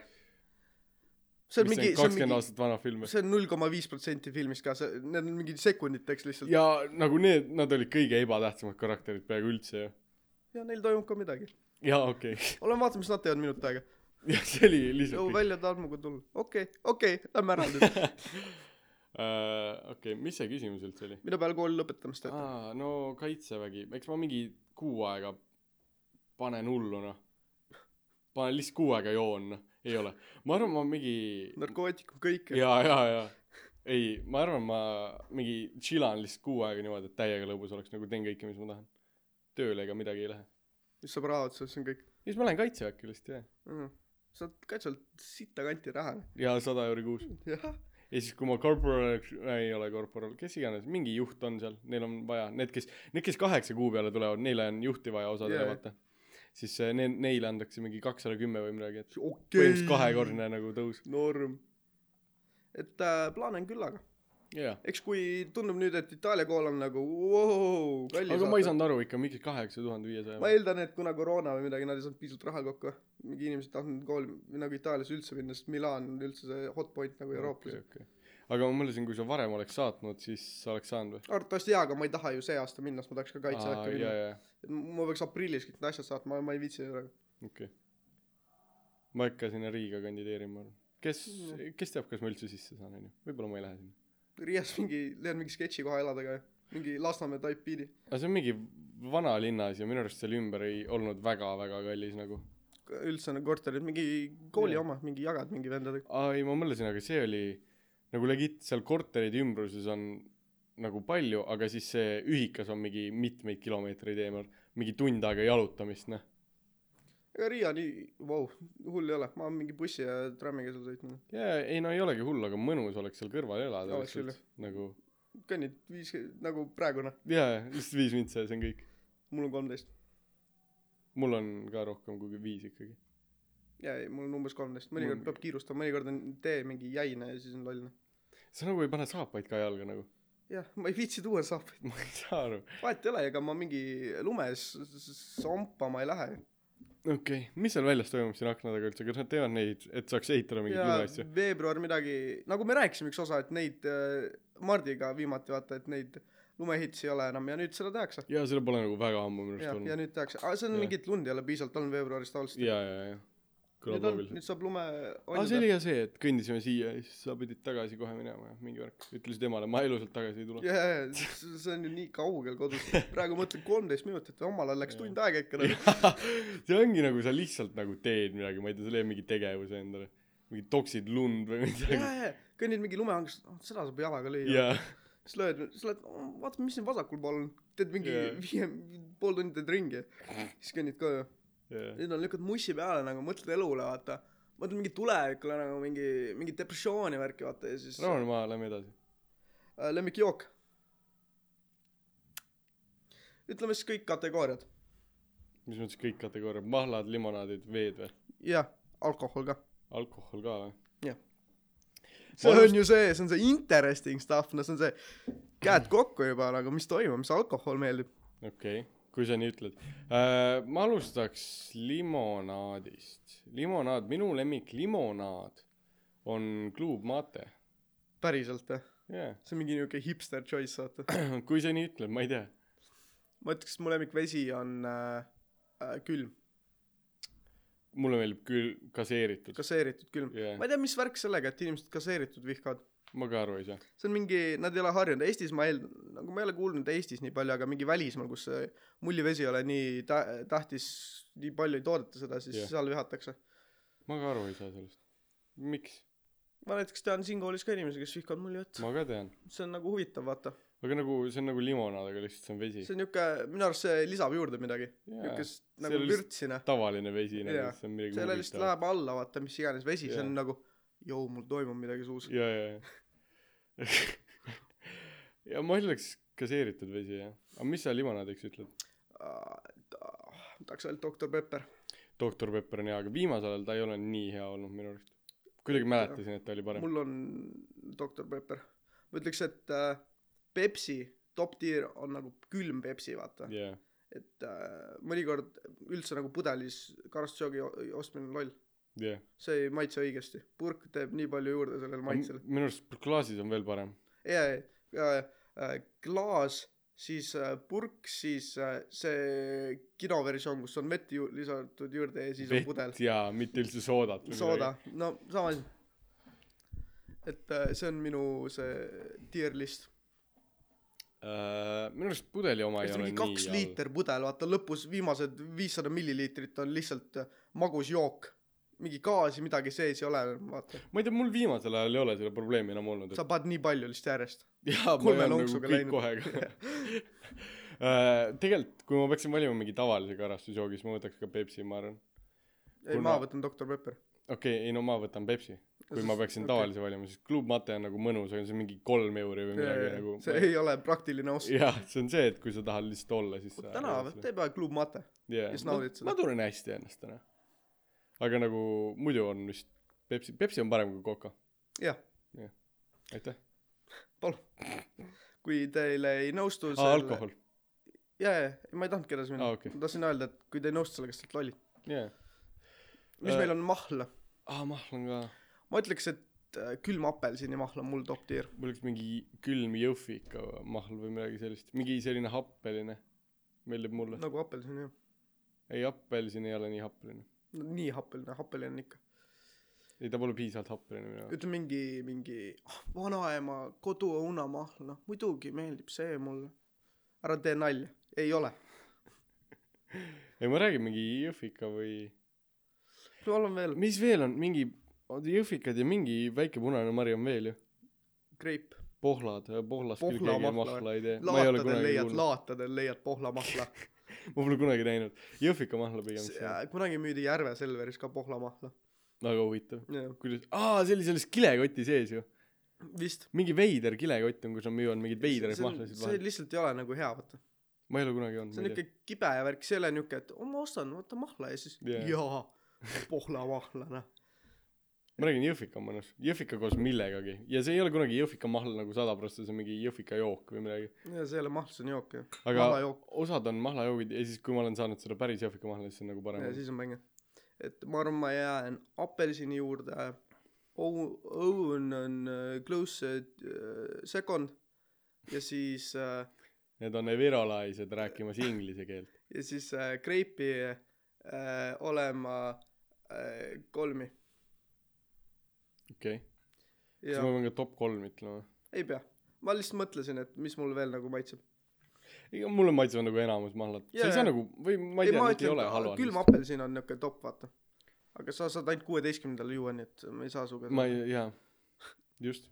see on mingi , see on
kakskümmend
mingi ,
aastat vana film .
see on null koma viis protsenti filmist ka , see , need on mingid sekunditeks lihtsalt .
ja nagu need , nad olid kõige ebatähtsamad karakterid peaaegu üldse ju .
ja neil toimub ka midagi .
jaa , okei .
olen vaatamas , nad teevad minut aega .
jah , see oli lihtsalt
joo ,
kõik.
välja Tarmoga tulla . okei okay, , okei okay, , lähme ära nüüd .
Äh, okei , mis see küsimus üldse oli ?
mille peale kooli lõpetamist teete ?
aa , no kaitsevägi , eks ma mingi kuu aega panen hullu noh . panen lihtsalt kuu aega joon noh , ei ole . ma arvan , ma mingi
narkootikum , kõik .
jaa , jaa , jaa . ei , ma arvan , ma mingi chillan lihtsalt kuu aega niimoodi , et täiega lõbus oleks , nagu teen kõike , mis ma tahan . tööle ega midagi ei lähe .
siis saab raha otsa , siis on kõik .
ja siis ma lähen kaitseväkke lihtsalt jah .
Mhm. sa oled kaitsjalt sita kanti raha .
ja sada euri kuus .
jah ,
ja siis , kui ma korporal , ei ole korporal , kes iganes , mingi juht on seal , neil on vaja , need , kes , need , kes kaheksa kuu peale tulevad , neile on juhti vaja osadele
Jaa.
yeah. , vaata . siis eh, ne- , neile antakse mingi kakssada kümme või midagi , et
okei
põhimõtteliselt . kahekordne nagu tõus .
norm . et äh, plaanen küll , aga
jaa .
eks kui tundub nüüd , et Itaalia kool on nagu wow, kallis .
aga ma ei . saanud aru ikka , miks kaheksa tuhande viiesaja
ma . eeldan , et kuna koroona või midagi , nad ei saanud piisavalt raha kokku . mingi inimesed ei tahtnud kooli nagu Itaalias üldse minna , sest Milan on üldse see hot point nagu Euroopas okay. .
aga ma mõtlesin , kui sa varem oleks saatnud , siis sa oleks saanud või ?
arvatavasti jaa , aga ma ei taha ju see aasta minna , sest ma tahaks ka kaitseväkke minna
jaa ,. jaa ,
ma peaks aprillis kõik need asjad saatma , ma ei viitsi praegu .
okei . ma ikka sinna Riiga kandideerin , ma arvan . kes , kes teab , kas ma üldse sisse saan , onju . võib-olla ma ei lähe sinna .
Riias mingi , leian mingi sketši koha eladega ja mingi Lasnamäe type beat'i .
aga see on mingi vanalinnas ja minu arust seal ümber ei olnud väga-väga kallis nagu .
üldse nagu korterid , mingi kooli
Jaa.
yeah. oma , mingi jagad mingi vendadega .
aa ei , ma mõtlesin , aga see oli nagu legit , seal korterite ümbruses on nagu palju , aga siis see ühikas on mingi mitmeid kilomeetreid eemal , mingi tund aega jalutamist , noh .
ega Riia nii , vau , hull ei ole , ma olen mingi bussi ja trammiga seal sõitnud .
jaa , ei no ei olegi hull , aga mõnus oleks seal kõrval elada
Oleks küll,
lihtsalt nagu
kõnnid viis , nagu praegune ,
jaa , lihtsalt viis vintsa ja see on kõik .
mul on kolmteist .
mul on ka rohkem kui viis ikkagi .
jaa , ei , mul on umbes kolmteist , mõnikord
Mul-
peab kiirustama , mõnikord on tee mingi jäine ja siis on loll .
sa nagu ei pane saapaid ka jalga nagu .
jah , ma ei viitsi tuua saapaid ,
ma ei saa aru .
vahet ei ole , ega ma mingi lumes s- s- sompama ei lähe .
okei okay. , mis seal väljas toimub siin akna taga üldse , kas nad teevad neid , et saaks ehitada mingeid
ja
lumeasju ?
veebruar midagi , nagu me rääkisime üks osa , et neid äh, Mardiga viimati vaata , et neid lumeehitusi ei ole enam ja nüüd seda tehakse .
jaa , seda pole nagu väga ammu minu
ja ,
arust
ja
olnud .
nüüd tehakse , aga see on
Jah.
mingit lund ei ole piisavalt olnud veebruaris tavaliselt .
jaa , jaa , jaa .
nüüd
kõlab
on ,
loogiselt .
nüüd saab lume
aa , see oli ka see , et kõndisime siia ja siis sa pidid tagasi kohe minema ja mingi värk . ütlesid emale , ma elusalt tagasi ei tule .
jaa , jaa , see on ju nii kaugel kodust , praegu mõtlen kolmteist minutit , omal ajal läks
Jaa.
tund aega ikka nagu .
see ongi nagu sa lihtsalt nagu teed midagi , ma ei tea , sa leiad mingi tegevuse endale , mingi toksid lund või midagi
jaa , jaa , kõnnid mingi lumehanges , seda saab jalaga lüüa .
ja
siis lööd , siis lähed , vaata , mis siin vasakul pool on , teed mingi
Jaa.
viie , pool tundi teed ringi , siis kõnnid koju .
ja
nüüd on lükkad mussi peale nagu , mõtled elule , vaata . mõtled mingi tulevikule nagu mingi , mingi depressiooni värki , vaata ja siis
rahune maha , lähme edasi
äh, lemmikjook . ütleme siis kõik kategooriad .
mis mõttes kõik kategooriad mahlad limonaadid veed või
jah , alkohol ka .
alkohol ka või
see
Ma
on ju see , see on see interesting stuff , no see on see käed kokku juba nagu , mis toimub , mis alkohol meeldib .
okei okay, kui sa nii ütled äh, ma alustaks limonaadist limonaad minu lemmik limonaad on Club Mate
päriselt jah ,
jah
see on mingi niuke hipster choice vaata .
yeah. kui sa nii ütled ma ei tea
ma ütleks , mu lemmikvesi on äh, äh, külm ,
mulle meeldib küll kaseeritud
gaseeritud külm
Jah.
yeah. . ma ei tea , mis värk sellega , et inimesed gaseeritud vihkavad .
ma ka aru ei saa
see on mingi , nad ei ole harjunud , Eestis ma eeldan , nagu ma ei ole kuulnud Eestis nii palju , aga mingi välismaal , kus see mullivesi ei ole nii tä- , tähtis , nii palju ei toodeta seda , siis
Jah.
yeah. seal vihatakse .
ma ka aru ei saa sellest miks
ma näiteks tean siin koolis ka inimesi , kes vihkavad mullivett .
ma ka tean
see on nagu huvitav , vaata .
aga nagu see on nagu limonaad aga lihtsalt see on vesi
see on niuke , minu arust see lisab juurde midagi .
Jaa,
niukest nagu
ei ole lihtsalt-
vürtsina .
tavaline vesi nagu
Jaa.
see on midagi
selle lihtsalt
huvitavat
läheb alla , vaata , mis iganes vesi , see on
Jaa.
nagu , jõu , mul toimub midagi suus .
ja ja ja ja ma ütleks gaseeritud vesi jah aga mis sa limonaadiks ütled
Ah, tahaks öelda Doktor Pepper .
doktor Pepper on hea aga viimasel ajal ta ei ole nii hea olnud minu arust kuidagi mäletasin et ta oli parem
mul on Doktor Pepper . ma ütleks , et äh, Pepsi top tier on nagu külm Pepsi , vaata yeah. .
jaa
et äh, mõnikord üldse nagu pudelis karastusjoogi o- ostmine on loll .
jah
see ei maitse õigesti . purk teeb nii palju juurde sellele maitsele .
minu arust klaasis on veel parem
ja , ja , ja äh, klaas , siis äh, purk , siis äh, see kinoversioon , kus on vett ju- lisatud juurde ja siis on pudel .
jaa mitte üldse soodat või
sooda , no sama asi . et äh, see on minu see tier list .
midagi. Äh, minu arust pudeli oma ei
see on
ole
mingi
nii
kaks
halb.
liiter pudel , vaata lõpus viimased viissada milliliitrit on lihtsalt äh, magus jook . mingi gaasi midagi sees ei ole , vaata .
ma ei tea mul viimasel ajal ei ole seda probleemi enam olnud et
sa paned nii palju lihtsalt järjest .
jaa , ma olen
kolme
nagu
lonksuga
kõik
läinud.
kohe ka . tegelikult , kui ma peaksin valima mingi tavalise karastusjoogi , siis ma võtaks ka Pepsi , ma arvan .
ei ,
Mul
ma
ma-
võtan Doktor Pepper .
okei okay, , ei no ma võtan Pepsi . kui ma peaksin
okei.
okay. tavalise valima , siis Club Mate on nagu mõnus , aga see on mingi kolm euri või midagi ja, nagu .
see ei ole praktiline osa .
jah , see on see , et kui sa tahad lihtsalt olla , siis sa
täna tee peale Club Mate .
yeah.
ja siis naudid seda.
ma tunnen hästi ennast täna . aga nagu muidu on vist Pepsi , Pepsi on parem kui Coca .
jah ,
aitäh .
kui teile ei nõustu
aa , Ah, alkohol .
jaa , jaa , ma ei tahtnudki edasi minna
Aa,
ah, .
okei.
Okay. ma tahtsin öelda , et kui te ei nõustu sellega , siis te olete lollid .
jaa .
mis
Äh,
meil on mahla ?
aa , mahlan ka .
ma ütleks , et äh, külm apelsinimahl on mul top tier .
mul oleks mingi külm jõhvi ikka mahl või midagi sellist mingi selline happeline meeldib mulle no.
nagu apelsin jah .
ei apelsin ei ole nii happeline
nii happeline , happeline on ikka .
ei ta pole piisavalt happeline minu jaoks
ütle mingi , mingi ah, vanaema koduõunamahl , noh muidugi meeldib see mulle . ära tee nalja , ei ole .
ei ma räägin mingi jõhvika või
palun veel ,
mis veel on mingi oota jõhvikad ja mingi väike punane mari on veel ju
greip .
pohlad pohlast küll
Pohlamahla
keegi
või?
mahla ei tee ma ei ole
laatadel
kunagi
leiad ,
kuulnud
laatadel leiad pohlamahla .
ma pole kunagi näinud jõhvika mahla pigem see on
äh, kunagi müüdi Järve Selveris ka pohlamahla .
väga huvitav kuidas aa see oli selles kilekoti sees ju
vist .
mingi veider kilekott on kus nad müüvad mingeid veidraid
see, on-
mahlasid
see
vahel
lihtsalt ei ole nagu hea , vaata .
ma ei ole kunagi olnud
see on
ma ei tea.
niuke kibe värk , see ei ole niuke , et oh, ma ostan , vaata mahla ja siis
Jaa.
yeah. jaa , pohlamahla noh .
ma räägin jõhvika on mõnus jõhvika koos millegagi ja see ei ole kunagi jõhvika mahl nagu sada prossa see on mingi jõhvika jook või midagi
ja see ei ole mahl see on jook ju
aga
Mahlajook.
osad on mahlajoogid ja siis kui ma olen saanud seda päris jõhvika mahla siis see on nagu parem
ja siis on mäng et ma arvan ma jään apelsini juurde Ow- Owen on äh, close äh, second ja siis äh,
need on virolaised rääkimas inglise keelt
ja siis äh, kreipi äh, olema äh, kolmi
okei okay. kas
ja
ma pean ka top kolm ütlema
ei pea ma lihtsalt mõtlesin et mis mul veel nagu maitseb
ega mulle maitsevad nagu enamus mahlad yeah. sa
Jaa,
ei saa
jaa.
nagu või ma ei tea need ei ole
ka-
halvad
külm apelsin on niuke top vaata aga sa saad ainult kuueteistkümnendal juua nii et me ei saa sinuga
ma ei jaa just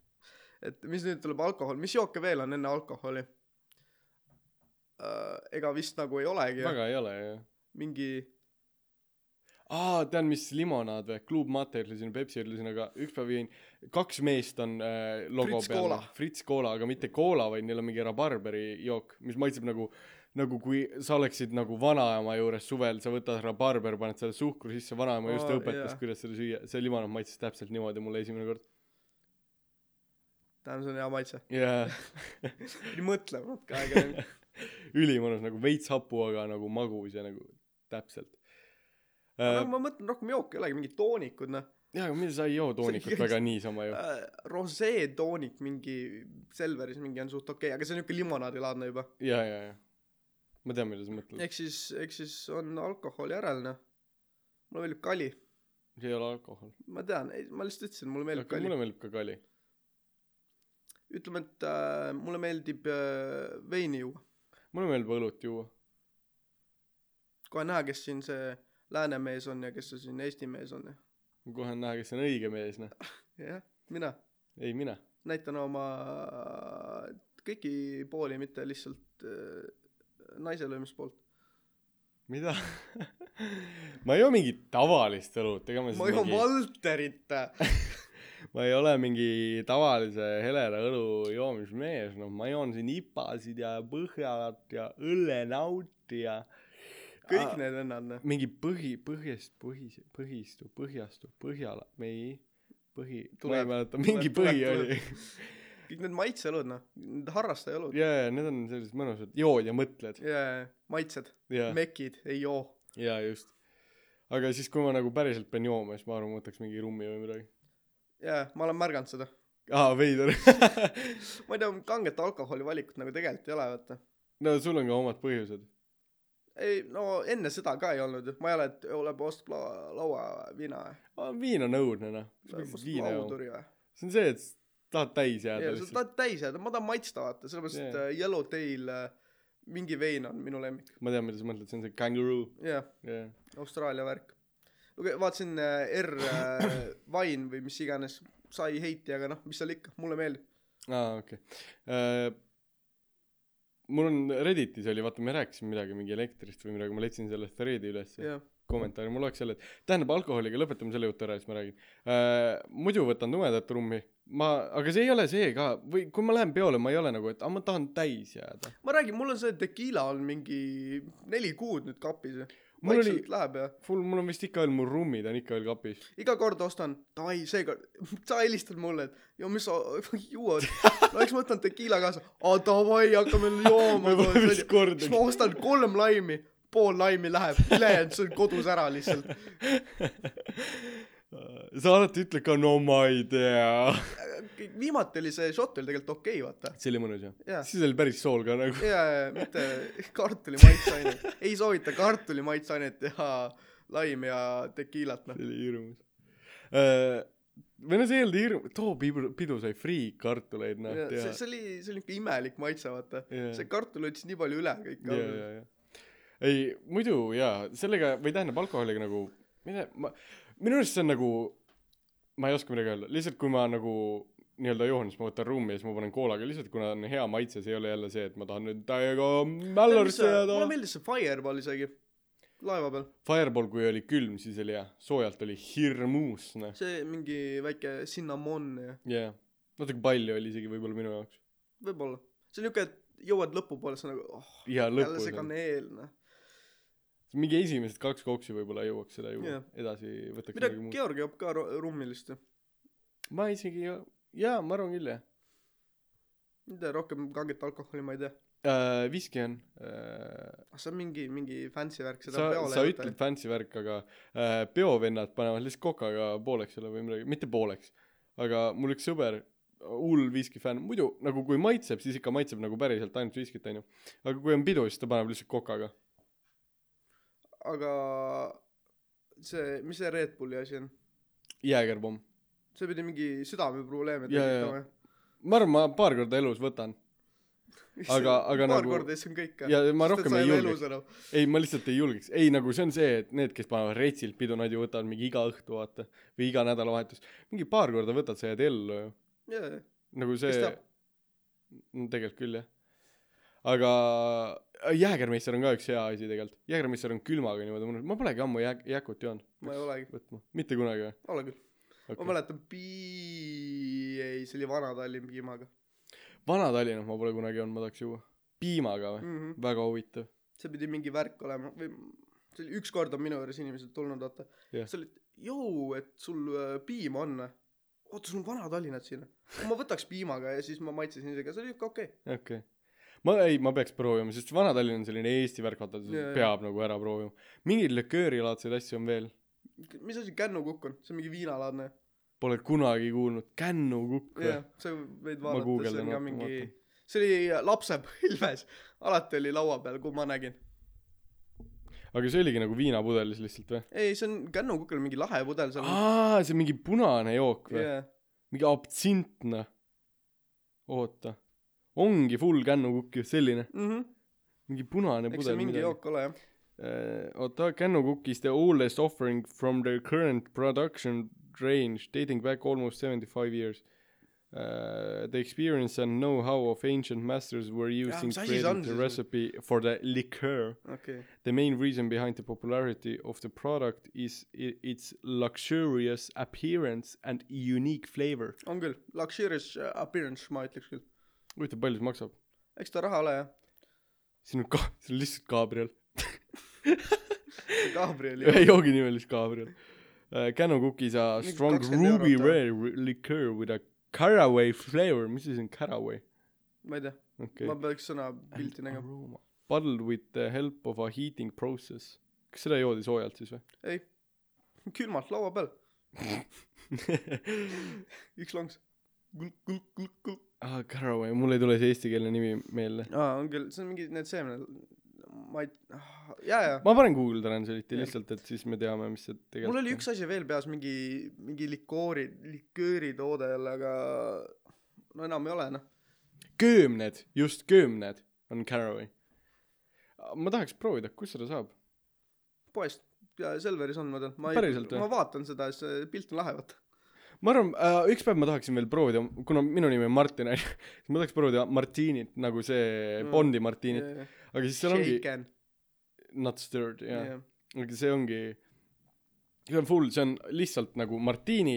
et mis nüüd tuleb alkohol mis jooke veel on enne alkoholi Äh, ega vist nagu ei olegi jah.
väga ei ole jah
mingi
aa tean mis limonaad või Club Mate ütlesin Pepsi ütlesin aga üks päev jõin kaks meest on äh, logo
Fritz
peal
Cola.
Fritz Cola aga mitte koola vaid neil on mingi rabarberi jook mis maitseb nagu nagu kui sa oleksid nagu vanaema juures suvel sa võtad rabarber paned selle suhkru sisse vanaema just
Aa,
õpetas
jaa.
kuidas seda süüa see limonaad maitses täpselt niimoodi mulle esimene kord
tähendab see on hea maitse
jaa
pidi mõtlema natuke aega enne.
ülimõnus nagu veits hapu aga nagu magus ja nagu täpselt
aga
äh,
ma mõtlen rohkem jooke ei olegi mingi toonikud noh
jaa aga mida sa ei joo toonikut väga niisama ju
Äh, rosé toonik mingi Selveris mingi on suht okei okay, aga see on niuke limonaadilaadne juba
jaa jaa jaa ma tean mida sa mõtled
ehk siis ehk siis on alkohol järel noh mulle meeldib kali
see ei ole alkohol
ma tean ei ma lihtsalt ütlesin mulle meeldib
aga
kali
mulle meeldib ka kali
ütleme et äh, mulle meeldib äh, veini juua
mulle meeldib õlut juua
kohe näha kes siin see lääne mees on ja kes see siin Eesti mees on ja
ma kohe on näha kes on õige mees noh
jah mina
ei mina
näitan oma äh, kõiki pooli mitte lihtsalt äh, naise löömispoolt
mida ma ei joo mingit tavalist õlut ega ma siis
ma joon
mingi
Valterit äh,
ma ei ole mingi tavalise heleda õlu joomismees noh ma joon siin IPA-sid ja Põhjalat ja õllenauti ja Ah.
kõik need vennad noh
mingi põhi põhjast põhis- põhistu põhjastu Põhjala me ei põhi ma
Tuleb,
ei mäleta
tuleb,
mingi
tuleb,
põhi
tuleb.
oli
kõik need maitseelud noh need harrastajaelud
jaa jaa need on sellised mõnusad jood ja mõtled
ja maitsed
jaa
mekid ei joo
jaa just aga siis kui ma nagu päriselt pean jooma siis ma arvan ma võtaks mingi rummi või midagi
jaa ma olen märganud seda
aa veider
ma ei tea kanget alkoholi valikut nagu tegelikult ei ole vaata
no sul on ka omad põhjused
ei no enne seda ka ei olnud ju ma ei ole et ole post laua lauaviina
aa viin on õudne noh sa peaksid viina jooma
lauduri või
see on see et sa tahad täis jääda
jaa sa
lihtsalt
tahad täis jääda ma tahan maitsta vaata sellepärast et
Jaa.
yeah. Yellowtail äh, mingi vein on minu lemmik
ma tean mida sa mõtled see on see kangaroo
jah
jaa
Austraalia värk okay, vaatasin äh, R äh, Vine või mis iganes sai heiti aga noh mis seal ikka mulle meeldib
aa okei okay. mul on Redditis oli vaata me rääkisime midagi mingi elektrist või midagi ma leidsin selle thread'i ülesse
jah
kommentaari mul oleks jälle et tähendab alkoholiga lõpetame selle jutu ära siis ma räägin Äh, muidu võtan tumedat rummi ma aga see ei ole see ka või kui ma lähen peole ma ei ole nagu et aa ma tahan täis jääda
ma räägin mul on see tekiila on mingi neli kuud nüüd kapis ju
Mul oli-
vaikselt oli... läheb ja
mul mul on vist ikka veel mu rummid on ikka veel kapis
iga kord ostan davai seekord sa helistad mulle et jo mis sa juuad no eks ma võtan tekiila kaasa aa davai hakkame jooma
Ma pole
koos,
vist
onju.
kordagi.
siis ma ostan kolm laimi pool laimi läheb ülejäänud see on kodus ära lihtsalt
sa alati ütled ka no ma ei tea
Kõik- viimati oli see šot oli tegelikult okei okay, vaata
see oli mõnus jah
Jaa.
siis oli päris sool ka nagu
ja ja mitte kartuli maitseainet ei soovita kartuli maitseainet teha laim ja tekiilat noh
see oli hirmus Äh, või no see ei olnud hirm- too pidu pidu sai free kartuleid noh
Ja
ja
see see oli see oli niuke imelik maitse vaata
Jaa.
see kartul võttis nii palju üle kõik
ja ja ja ei muidu jaa sellega või tähendab alkoholiga nagu mine ma minu arust see on nagu ma ei oska midagi öelda lihtsalt kui ma nagu nii-öelda joon siis ma võtan ruumi ja siis ma panen koolaga lihtsalt kuna on hea maitse see ei ole jälle see et ma tahan nüüd täiega mällarisse jääda
mulle meeldis see Fireball isegi laeva peal
Fireball kui oli külm siis oli jah soojalt oli hirmus noh
see mingi väike cinnamon ja
jah yeah. natuke palju oli isegi võibolla minu jaoks
võibolla see on niuke et jõuad lõpupoole sa nagu oh
ja
jälle
lõpus
see
on
kaneel noh
mingi esimesed kaks koksi võibolla jõuaks seda juua
Jah.
yeah. edasi võtaks
mida
midagi muud
Georg joob ka ru- rummi lihtsalt ju
ma isegi , jaa , ma arvan küll , jah
mida rohkem kanget alkoholi ma ei tea .
äh, . viski on äh, .
see on mingi , mingi fancy värk , seda
sa ,
peole
sa ütled . fancy värk , aga äh, peovennad panevad lihtsalt kokaga pooleks selle või midagi , mitte pooleks , aga mul üks sõber , hull viski fänn , muidu nagu kui maitseb , siis ikka maitseb nagu päriselt ainult viskit , onju . aga kui on pidu , siis ta paneb lihtsalt kokaga .
aga see , mis see Red Bulli asi on ?
jäägerpomm .
see pidi mingi südameprobleeme
Jaa, jaa.
tekitama .
ma arvan , ma paar korda elus võtan . Aga- aga
paar
nagu-
korda ja siis on kõik .
ja ma rohkem ei julgeks .
enam .
ei , ma lihtsalt ei julgeks . ei , nagu see on see , et need , kes panevad retsilt pidu , nad ju võtavad mingi iga õhtu , vaata . või iga nädalavahetus . mingi paar korda võtad , sa jääd ellu ju .
jaa , jaa .
nagu
Kes
see
teab?
no tegelikult küll jah aga äh, jäägermeister on ka üks hea asi tegelikult jäägermeister on külmaga niimoodi mõnus ma polegi ammu jääk- jääkut joonud
ma ei olegi ,
võtma mitte kunagi või
ole küll . ma
okay.
mäletan pii- , ei see oli Vana-Tallinn piimaga
Vana-Tallinnas ma pole kunagi joonud ma tahaks juua piimaga või
mm . -hmm.
väga huvitav
see pidi mingi värk olema või see oli ükskord on minu juures inimesed tulnud , vaata
Jah.
yeah. . sa olid , jõu , et sul äh, piima on . oota , sul on Vana-Tallinnat siin . ma võtaks piimaga ja siis ma maitsesin isegi , see oli ikka okei okay. .
okei okay. ma ei ma peaks proovima sest Vana-Tallinn on selline Eesti värk vaata
Jaa,
yeah,
jaa.
peab yeah. nagu ära proovima mingeid liköörilaadseid asju on veel
mis asi kännukukk on , see on mingi viinalaadne .
pole kunagi kuulnud kännukukk või
jah , sa võid
Ma
vaadata , see
guugeldan,
on ka
vaatan,
mingi
vaatan. , see
see oli äh, lapsepõlves , alati oli laua peal , kui ma nägin .
aga see oligi nagu viinapudelis lihtsalt või
ei , see on kännukukil mingi lahe pudel seal .
aa see on mingi punane jook või
Yeah.
mingi abtsint noh oota ongi full kännukukk ju selline
Mm -hmm.
mingi punane
eks see
pudel
mingi
midagi
jook ole jah .
Eh, oota kännukukk is the oldest offering from the current production range dating back almost seventy five years Uh, the experience and know-how of ancient masters were used
Ah,
in
mis asi see on
creating the
siis?
recipe for the liqueur.
okei okay. ,
The main reason behind the popularity of the product is i- its luxurious appearance and unique flavor.
on küll , luxurious äh, appearance ma ütleks küll .
huvitav , palju see maksab ?
eks ta raha ole jah ,
siin on ka- , see on lihtsalt Gabriel .
Gabrieli .
ühe joogi nimi on lihtsalt Gabriel uh, . Cano Cookies a
Mingi
strong
20
ruby
eurot,
rare liqueur with a caraway flavor , mis asi on caraway ?
ma ei tea ,
okei
ma . peaks sõna pilti nägema .
aroma . Bottled with the help of a heating process . kas seda joodi soojalt siis või
ei , külmalt laua peal , üks lonks .
ah, ? Caraway , mul ei tule see eestikeelne nimi meelde .
aa , on küll , see on mingi need seemned , ma ei , jaa , jaa .
ma panen guugeldan selle
Jah.
lihtsalt , et siis me teame , mis see tegelikult
mul oli üks asi veel peas , mingi , mingi likoori , likööritoode jälle , aga no enam ei ole noh .
köömned , just köömned on Caraway . ma tahaks proovida , kus seda saab ?
poest , Selveris on ma tean , ma ei
Päriselt , või?
ma vaatan seda , see pilt on lahe , vaata .
ma arvan äh, , üks päev ma tahaksin veel proovida , kuna minu nimi on Martin , onju , siis ma tahaks proovida Martinit nagu see
Mm.
Bondi Martinit ,
Shaken ,
aga siis seal ongi not stirred , jaa .
jah .
aga see ongi , see on full , see on lihtsalt nagu Martini ,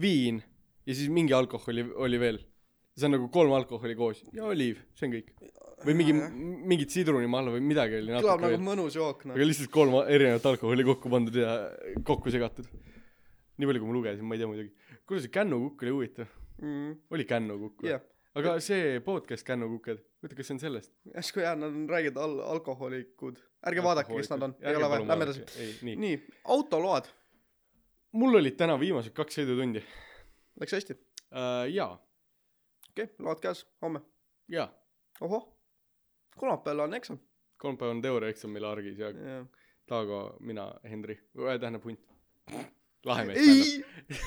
viin ja siis mingi alkoholi oli veel . see on nagu kolm alkoholi koos ja oliiv , see on kõik . või mingi , mingit sidrunimahla või midagi oli
kõlab
natuke
nagu
veel .
mõnus jook noh
aga . lihtsalt kolm erinevat alkoholi kokku pandud ja kokku segatud . nii palju , kui ma lugesin , ma ei tea muidugi . kuule , see kännukukk oli huvitav ,
Mm,
oli kännukukk või
jah ,
aga see podcast Kännukuked , oota , kas see on sellest ?
järsku jah , nad on räägitud al- , alkohoolikud . ärge vaadake , kes nad on , ei ole vaja , lähme edasi ..
ei , nii .
nii , autoload ,
mul olid täna viimased kaks sõidutundi uh, .
läks hästi ,
jaa ,
okei okay, , load käes , homme ,
jaa ,
ohoh . kolmapäeval on eksam ,
kolmapäev on teooriaeksam meil argis ja
ei ,
Taago , mina , Henri , tähendab Hunt . lahe mees .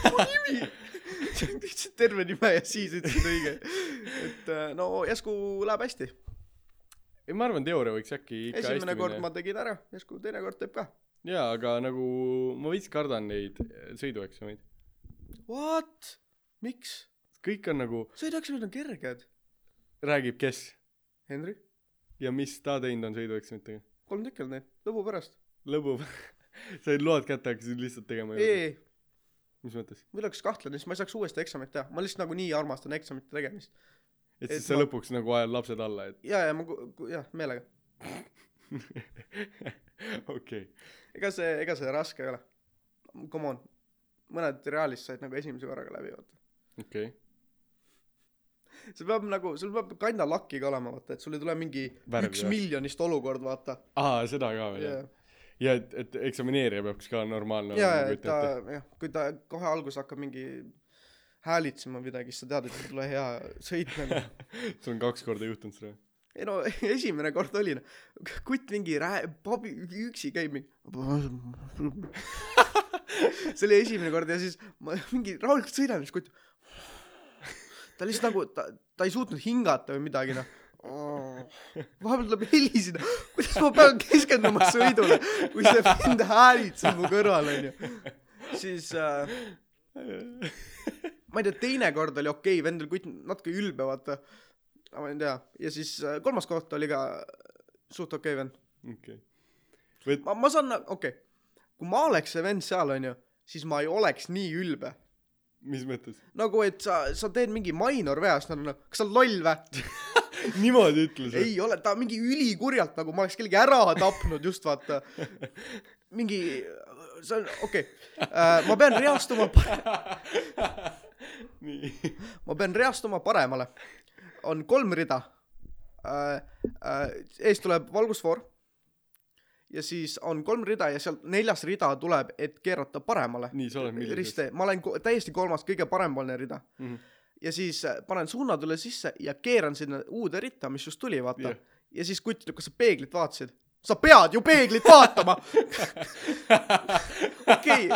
mu nimi , sa ütlesid terve nime ja siis ütlesid õige , et äh, no järsku läheb hästi ,
ei , ma arvan , teooria võiks äkki ikka
esimene
hästi
kord
minna .
ma tegin ära , järsku teine kord teeb ka .
jaa , aga nagu ma veits kardan neid äh, sõidueksameid .
What , miks ,
kõik on nagu ,
sõidueksamid on kerged ,
räägib kes
Henri ,
ja mis ta teinud on sõidueksamitega .
kolm tükki on neid , lõbu pärast ,
lõbu , said load kätte , hakkasid lihtsalt tegema .
ei , ei , ei
mis mõttes ?
mul oleks kahtlane , siis ma ei saaks uuesti eksamit teha , ma lihtsalt nagunii armastan eksamite tegemist .
et
Et
siis sa
ma-
lõpuks nagu ajad lapsed alla ,
ja , ja ma , jah , meelega .
et okei .
ega see , ega see raske ei ole . Come on , mõned realis said nagu esimese korraga läbi , vaata .
okei okay. .
see peab nagu , sul peab kanna lakkiga olema , vaata , et sul ei tule mingi
Värv,
Värv, üks
jah.
miljonist olukord , vaata .
aa , seda ka veel
ja
yeah. ,, ja et , et eksamineerija peaks ka normaalne
ja ,
nagu
et ta
ütlete. ,
jah , kui ta kohe alguses hakkab mingi häälitsema midagi , siis sa tead , et ei tule hea sõit nagu .
sul on kaks korda juhtunud seda .
ei no esimene kord oli noh , kutt mingi rää- , pabi , üksi käib mingi . see oli esimene kord ja siis ma mingi rahulikult sõidan , siis kutt . ta lihtsalt nagu , ta , ta ei suutnud hingata või midagi noh . vahepeal tuleb heli sinna , kuidas ma pean keskenduma sõidule , kui see vend häälitseb mu kõrval onju . siis äh, ma ei tea , teine kord oli okei okay, , vend oli kutt natuke ülbe , vaata . aga ma ei tea , ja siis äh, kolmas koht oli ka suht okei okay, vend .
okei . või ,
ma , ma saan , okei okay. , kui ma oleks see vend seal , onju , siis ma ei oleks nii ülbe .
mis mõttes ?
nagu , et sa , sa teed mingi minor vea , siis nad on , kas sa oled loll või ?
niimoodi ütles või ?
ei ole , ta mingi ülikurjalt nagu ma oleks kellegi ära tapnud just vaata . mingi , see on , okei okay. , ma pean reastuma ,
nii .
ma pean reastuma paremale . on kolm rida . ees tuleb valgusfoor . ja siis on kolm rida ja sealt neljas rida tuleb , et keerata paremale .
nii , sa oled millises ?
riste , ma olen ko- täiesti kolmas , kõige parempoolne rida .
Mhm.
ja siis äh, panen suunad üle sisse ja keeran sinna uude ritta , mis just tuli , vaata
Jah.
yeah. . ja siis kutt ütleb , kas sa peeglit vaatasid ? sa pead ju peeglit vaatama . okei .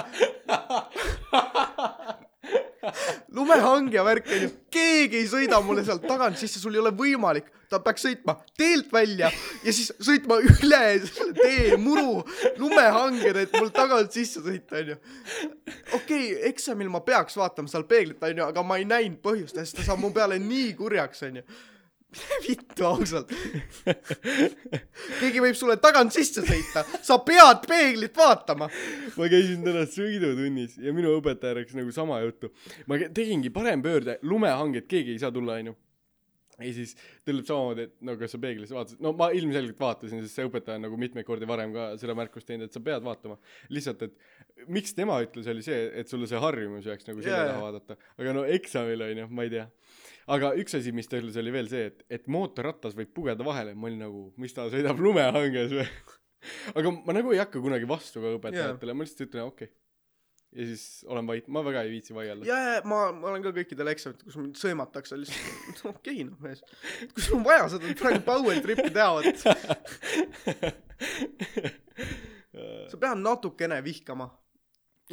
lumehangja värk on ju , keegi ei sõida mulle sealt tagant sisse , sul ei ole võimalik , ta peaks sõitma teelt välja ja siis sõitma üle selle tee muru lumehangena , et mul tagant sisse sõita onju . okei okay, , eksamil ma peaks vaatama seal peeglit onju , aga ma ei näinud põhjust , sest ta saab mu peale nii kurjaks onju . vittu ausalt , keegi võib sulle tagant sisse sõita , sa pead peeglit vaatama .
ma käisin täna sõidutunnis ja minu õpetaja rääkis nagu sama juttu . ma ke- tegingi parempöörde , lumehanget , keegi ei saa tulla , onju . ja siis ta ütleb samamoodi , et no kas sa peeglisse vaatasid , no ma ilmselgelt vaatasin , sest see õpetaja on nagu mitmeid kordi varem ka seda märkust teinud , et sa pead vaatama . lihtsalt , et miks tema ütles , oli see , et sulle see harjumus jääks nagu selle
Jaa,
taha
jaa.
vaadata . aga no eksamil onju , ma ei tea . aga üks asi , mis ta ütles , oli veel see , et , et mootorrattas võib pugeda vahele , ma olin nagu , mis ta sõidab lumehanges või ? aga ma nagu ei hakka kunagi vastu ka õpetajatele , ma lihtsalt ütlen okei okay. . ja siis olen vait , ma väga ei viitsi vaielda .
ja , ja ma , ma olen ka kõikidel eksamitel , kus mind sõimatakse lihtsalt , okei okay, noh mees , kui sul on vaja seda praegu power trip'i teha , vot sa pead natukene vihkama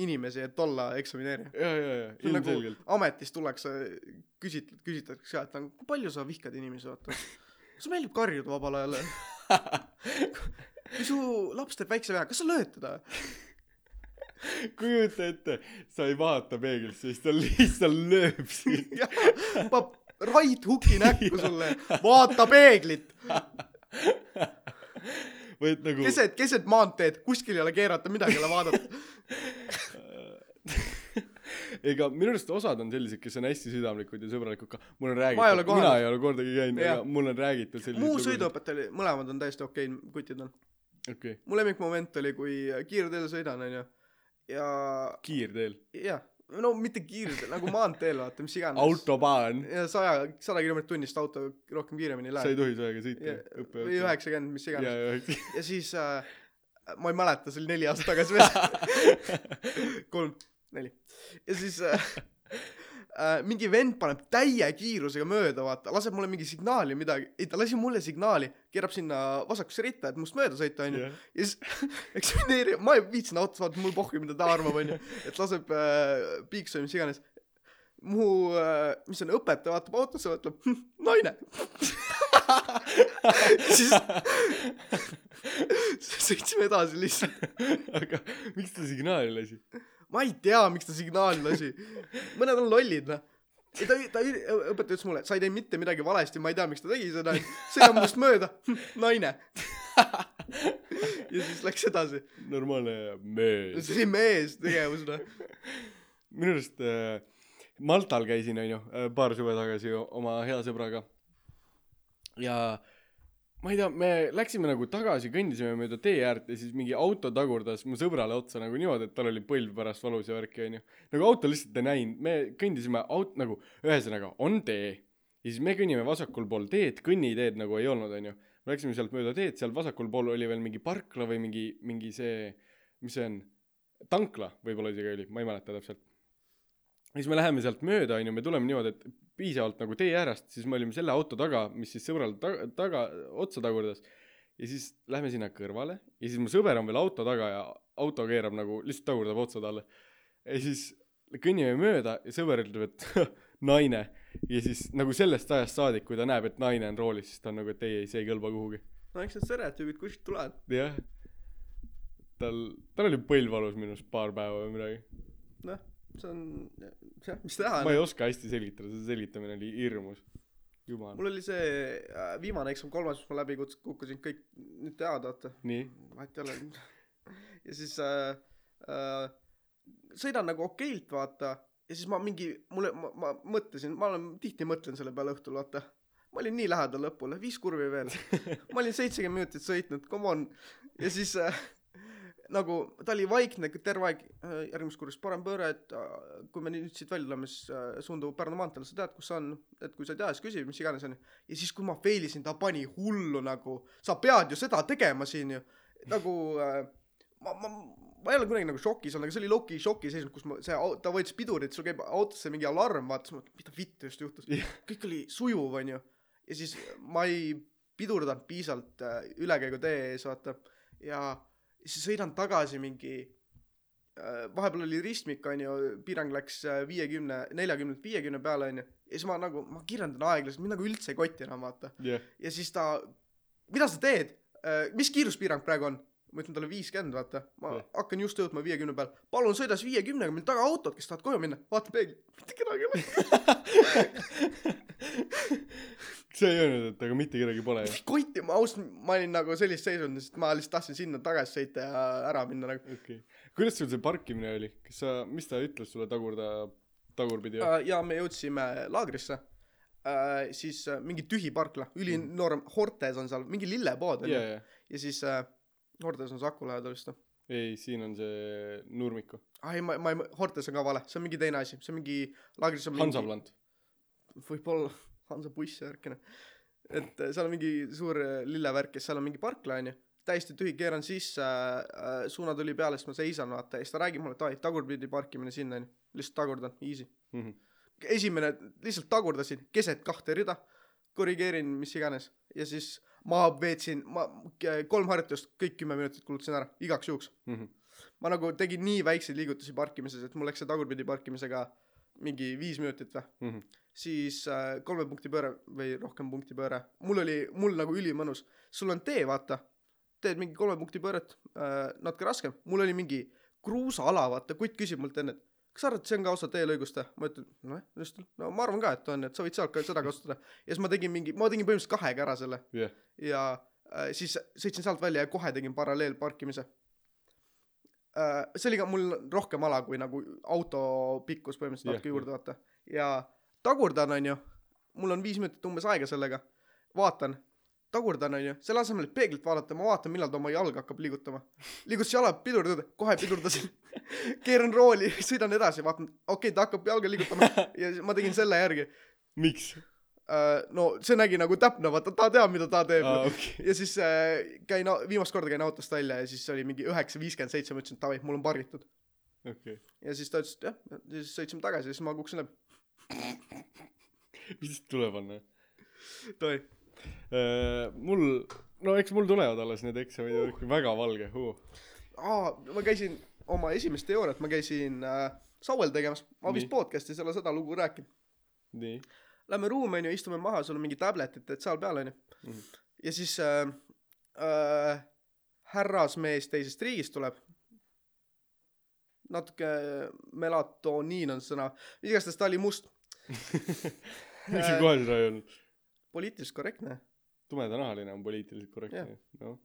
inimesi , et olla eksamineerija .
ja , ja , ja
nagu
ilmselgelt .
ametis tullakse , küsit- , küsitakse ka , et nagu, kui palju sa vihkad inimesi , vaata . sulle meeldib karjuda vabal ajal . kui su laps teeb väikse vea , kas sa lööd teda ?
kujuta ette , sa ei vaata peeglisse , siis ta lihtsalt lööb sind .
jah , paneb right hook'i näkku sulle , vaata peeglit .
või et nagu .
keset , keset maanteed , kuskil ei ole keerata , midagi ei ole vaadata .
Äh, ega minu arust osad on sellised , kes on hästi südamlikud ja sõbralikud ka . mul on räägitud .
Ma ei ole kohanud.
mina ei ole kordagi käinud ,
Jah.
aga mul on räägitud sellised .
muu . sõiduõpetaja oli , mõlemad on täiesti okei okay, kutid on .
okei okay. ,
mu lemmikmoment oli , kui kiirteel sõidan , onju . ja ,
kiirteel ,
jah , no mitte kiirteel , nagu maanteel , vaata , mis iganes .
autobaan .
ja saja , sada kilomeetrit tunnist auto rohkem kiiremini ei
sa ei
lähe .
tohi sajaga sõita .
või . üheksakümmend , mis
ja
iganes .
üheksa .
ja siis äh, , ma ei mäleta , see oli neli aastat tagasi veel . kolm , neli . ja siis äh, äh, mingi vend paneb täie kiirusega mööda , vaata , laseb mulle mingi signaali või midagi . ei , ta lasi mulle signaali , keerab sinna vasakusse ritta , et must mööda sõita , onju .
jah ,
ja siis eksamineerija , ma ei viitsinud autos vaadata , mul pohhu , mida ta arvab , onju . et laseb äh, piiksu või mis iganes . mu äh, , mis see on , õpetaja vaatab autosse , mõtleb , naine . siis sõitsime edasi lihtsalt .
aga miks ta signaali lasi ?
ma ei tea , miks ta signaali lasi . mõned on lollid , noh . ja ta , ta , õpetaja ütles mulle , sa ei teinud mitte midagi valesti , ma ei tea , miks ta tegi seda . sõidab minust mööda , naine . ja siis läks edasi .
normaalne mees .
see oli mees tegevus , noh .
minu arust äh, Maltal käisin onju äh, paar suve tagasi o- oma hea sõbraga ja ma ei tea , me läksime nagu tagasi , kõndisime mööda tee äärt ja siis mingi auto tagurdas mu sõbrale otsa nagu niimoodi , et tal oli põlv pärast valus ja värki onju . nagu auto lihtsalt ei näinud , me kõndisime aut- , nagu ühesõnaga on tee ja siis me kõnnime vasakul pool teed , kõnniteed nagu ei olnud onju . me läksime sealt mööda teed , seal vasakul pool oli veel mingi parkla või mingi , mingi see , mis see on , tankla võib-olla isegi oli , ma ei mäleta täpselt . ja siis me läheme sealt mööda onju , me tuleme niimoodi , et piisavalt nagu tee äärest , siis me olime selle auto taga , mis siis sõbral taga , taga , otsa tagurdas . ja siis lähme sinna kõrvale ja siis mu sõber on veel auto taga ja auto keerab nagu lihtsalt tagurdab otsa talle . ja siis kõnnime mööda ja sõber ütleb , et naine ja siis nagu sellest ajast saadik , kui ta näeb , et naine on roolis , siis ta on nagu , et ei , ei , see ei kõlba kuhugi .
no eks need stereotüübid kuskilt tulevad .
jah . tal , tal oli põlv valus minu arust paar päeva või midagi .
noh , see on , jah , mis teha . noh.
ma ei oska hästi selgitada , see selgitamine oli hirmus . jumal .
mul oli see äh, viimane eksam , kolmas , mis ma läbi kuts- , kukkusin kõik nüüd teada , vaata ,
nii ,
vahet ei ole . ja siis äh, äh, sõidan nagu okeilt , vaata , ja siis ma mingi , mulle , ma, ma mõtlesin , ma olen , tihti mõtlen selle peale õhtul , vaata . ma olin nii lähedal lõpule , viis kurvi veel . ma olin seitsekümmend minutit sõitnud , come on . ja siis äh, nagu ta oli vaikne kõik terve aeg , järgmises kursus parem pööre , et äh, kui me nüüd siit välja tuleme , siis äh, suundume Pärnu maanteele , sa tead , kus see on , et kui sa ei tea , siis küsi , mis iganes on ju . ja siis , kui ma fail isin , ta pani hullu nagu , sa pead ju seda tegema siin ju , nagu äh, ma , ma , ma ei ole kuidagi nagu šokis olnud , aga see oli low-key šoki seisund , kus ma , see , ta võttis pidurit , sul käib autosse mingi alarm , vaatasin , mida vittu just juhtus
Jah. .
kõik oli sujuv , onju . ja siis ma ei pidurdanud piisavalt äh, ülekäigutee ees , vaata . ja siis sõidan tagasi mingi , vahepeal oli ristmik , onju , piirang läks äh, viiekümne , neljakümnelt viiekümne peale , onju . ja siis ma nagu , ma kiirendan aeglaselt , mind nagu üldse ei kotti enam , vaata .
jah ,
ja siis ta , mida sa teed , mis kiiruspiirang praegu on ? ma ütlen talle viiskümmend , vaata , ma
Jah.
hakkan just jõudma viiekümne peal , palun sõida siis viiekümnega , meil taga autod , kes tahavad koju minna , vaatan peegli , mitte kedagi ei ole .
see ei öelnud , et aga mitte kedagi pole ju .
kotti , ma ausalt , ma olin nagu sellises seisundis , et ma lihtsalt tahtsin sinna tagasi sõita ja ära minna nagu .
okei okay. . kuidas sul see parkimine oli , kas sa , mis ta ütles sulle tagurda , tagurpidi või ?
ja, Äh, ja me jõudsime laagrisse äh, , siis äh, mingi tühi parkla , ülinoorem , Hortes on seal mingi lillepood on
jaa ,
ju ,
jaa .
ja siis äh, Hortes on Saku lähedal vist noh .
ei , siin on see Nurmiku .
ah ei , ma , ma ei , Hortes on ka vale , see on mingi teine asi , see on mingi laagris on mingi ,
Hansaplant .
võib-olla Hansabuss ja värkine . et äh, seal on mingi suur äh, lillevärk ja seal on mingi parkla onju , täiesti tühi , keeran sisse äh, , äh, suuna tuli peale , siis ma seisan vaata ja siis ta räägib mulle , et ai , tagurpidi parkimine sinna onju , lihtsalt tagurdan , easy .
Mhm,
esimene , lihtsalt tagurdasin keset kahte rida , korrigeerin mis iganes ja siis ma veetsin , ma k- kolm harjutust , kõik kümme minutit kulutasin ära igaks juhuks .
mhm,
ma nagu tegin nii väikseid liigutusi parkimises , et mul läks see tagurpidi parkimisega mingi viis minutit või ,
mhm.
siis äh, kolme punkti pööre või rohkem punkti pööre , mul oli , mul nagu ülimõnus , sul on tee , vaata , teed mingi kolme punkti pööret äh, , natuke raskem , mul oli mingi kruusaala , vaata , kutt küsib mult enne , et kas sa arvad , et see on ka osa teelõigust või ? ma ütlen , nojah , just , no ma arvan ka , et on , et sa võid sealt ka seda kasutada . ja siis ma tegin mingi , ma tegin põhimõtteliselt kahega ära selle
jah ,
ja äh, siis sõitsin sealt välja ja kohe tegin paralleelparkimise äh, . see oli ka mul rohkem ala kui nagu auto pikkus põhimõtteliselt
Jah,
natuke
jah.
juurde vaata ja tagurdan onju , mul on viis minutit umbes aega sellega , vaatan , tagurdan onju , selle asemel , et peeglit vaadata , ma vaatan , millal ta oma jalga hakkab liigutama . liigutas jala , pidurdad , kohe pidurdasin , keeran rooli , sõidan edasi , vaatan , okei okay, , ta hakkab jalga liigutama ja siis ma tegin selle järgi .
miks ?
no see nägi nagu täpne , vaata ta teab , mida ta teeb
aa , okei .
ja siis äh, käin , viimast korda käin autost välja ja siis oli mingi üheksa viiskümmend seitse , ma ütlesin , et davai , mul on pargitud .
okei .
ja siis ta ütles , et jah , ja siis sõitsime tagasi ja siis ma kukkusin läbi .
mis tuleb on ?
davai .
mul , no eks mul tulevad alles need eksamid ja kõik väga valge uh. .
aa , ma käisin oma esimest teooriat , ma käisin äh, Sauel tegemas , ma vist
Nii.
podcast'is ei ole seda lugu rääkinud .
nii ,
Lähme ruumi onju , istume maha , sul on mingi tabletid , et seal peal onju
Mhm. .
ja siis äh, äh, härrasmees teisest riigist tuleb . natuke melatoniin on sõna , igastahes ta oli must ,
miks
Äh,
sa kohe seda ei öelnud ?
poliitiliselt korrektne
tumedanahaline on poliitiliselt korrektne
Jah. ,
noh .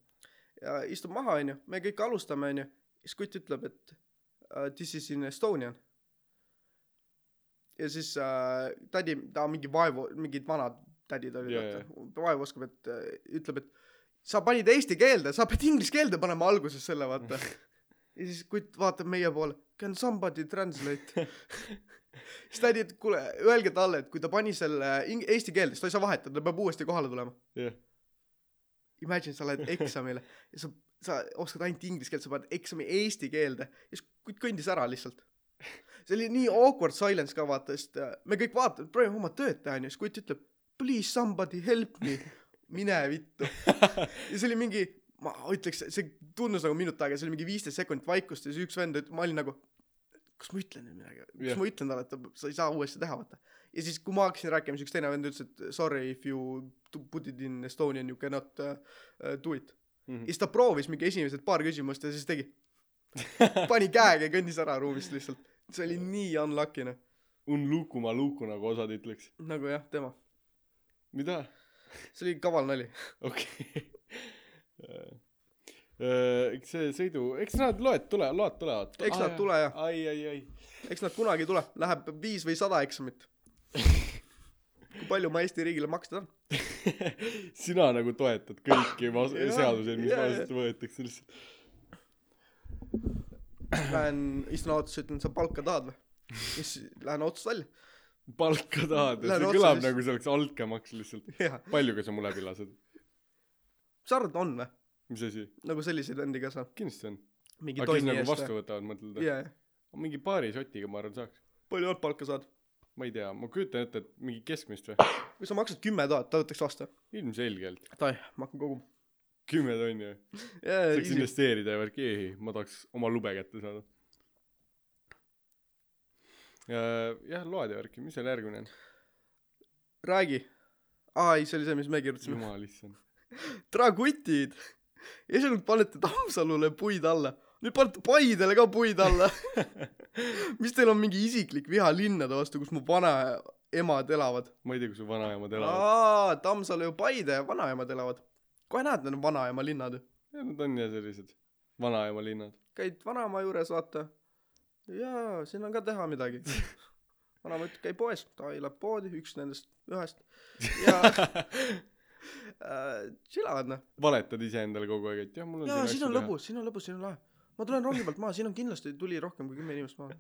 ja istub maha , onju , me kõik alustame , onju , siis kutt ütleb , et uh, this is in Estonian . äh, ja siis uh, tädi , ta mingi vaevu , mingid vanad tädid olid
Jaa,
yeah. , vaata , vaev oskab , et äh, ütleb , et sa panid eesti keelde , sa pead inglise keelde panema alguses selle , vaata . ja siis kutt vaatab meie poole , can somebody translate ? siis tädi , et kuule , öelge talle , et kui ta pani selle ing- eesti keelde , siis ta ei saa vahetada , ta peab uuesti kohale tulema .
jah ,
Imagine , sa lähed eksamile ja sa , sa oskad ainult inglise keelt , sa paned eksami eesti keelde ja siis kutt kõndis ära lihtsalt . see oli nii awkward silence ka vaata , sest äh, me kõik vaatame , proovime oma tööd teha onju , siis kutt ütleb please somebody help me , mine vittu . ja see oli mingi , ma ütleks , see tundus nagu minut aega , see oli mingi viisteist sekundit vaikust ja siis üks vend , ma olin nagu , kas ma ütlen nüüd midagi , kas
Jah.
yeah. ma ütlen talle , et ta- sa ei saa uuesti teha vaata . ja siis , kui ma hakkasin rääkima , siis üks teine vend ütles , et sorry if you to put it in Estonian you cannot uh, uh, do it .
Mhm.
ja siis ta proovis mingi esimesed paar küsimust ja siis tegi , pani käega ja kõndis ära ruumist lihtsalt . see oli nii unlucky noh ,
un lukuma luku nagu osad ütleks ,
nagu jah , tema .
mida ?
see oli kaval nali .
okei . eks see sõidu , eks nad loed , tule , loed tulevad .
Eks nad tule, jah.
ai , ai , ai .
eks nad kunagi ei tule , läheb viis või sada eksamit . kui palju ma Eesti riigile maksta saan ?
sina nagu toetad kõiki vas-
Jah,
seaduseid , mis
jah, jah.
vastu võetakse lihtsalt .
Lähen istun autosse , ütlen , sa palka tahad või ? ja siis lähen autost välja .
palka tahad ,
Lähen
see
otse
kõlab
siis-
nagu see oleks altkäemaks lihtsalt .
jaa ,
paljuga sa mu läbi lased ?
sa arvad , on või ?
mis asi ?
nagu selliseid vendi ka saab .
kindlasti on .
mingi
aga kes
tonni
nagu
eest
vastu
või ?
võtavad , mõtled või ?
jaa , jaa .
mingi paari sotiga ma arvan saaks .
palju alt palka saad ?
ma ei tea , ma kujutan ette , et mingi keskmist või ?
kui sa maksad kümme tuhat , ta võtaks vastu .
ilmselgelt .
tai , ma hakkan koguma .
kümme tonni
Äh,
või ?
jaa ,
saaks
jaa ,
investeerida ja värki , ei , ma tahaks oma lube kätte saada . jah , loed ja värki , mis seal järgmine on ?
räägi . aa , ei , see oli see , mis me kirjutasime .
jumal issand .
tragutid . esialgu panete Tammsalule puid alla , nüüd panete Paidele ka puid alla . mis teil on mingi isiklik viha linnade vastu , kus mu vanaemad elavad ?
ma ei tea , kus su vanaemad elavad .
aa , Tammsalu ja Paide vanaemad elavad . kohe näed , need on vanaema linnad ju .
Nad on jah sellised vanaema linnad .
käid vanaema juures , vaata . jaa , siin on ka teha midagi . vanaema ütleb , käi poes , ai läheb poodi , üks nendest ühest . ja äh, chillavad noh .
valetad iseendale kogu aeg , et jah , mul on
jaa ,
siin
siin
asju
on
teha.
lõbus , siin on lõbus , siin on lahe . ma tulen rongi pealt maha , siin on kindlasti tuli rohkem kui kümme inimest maha .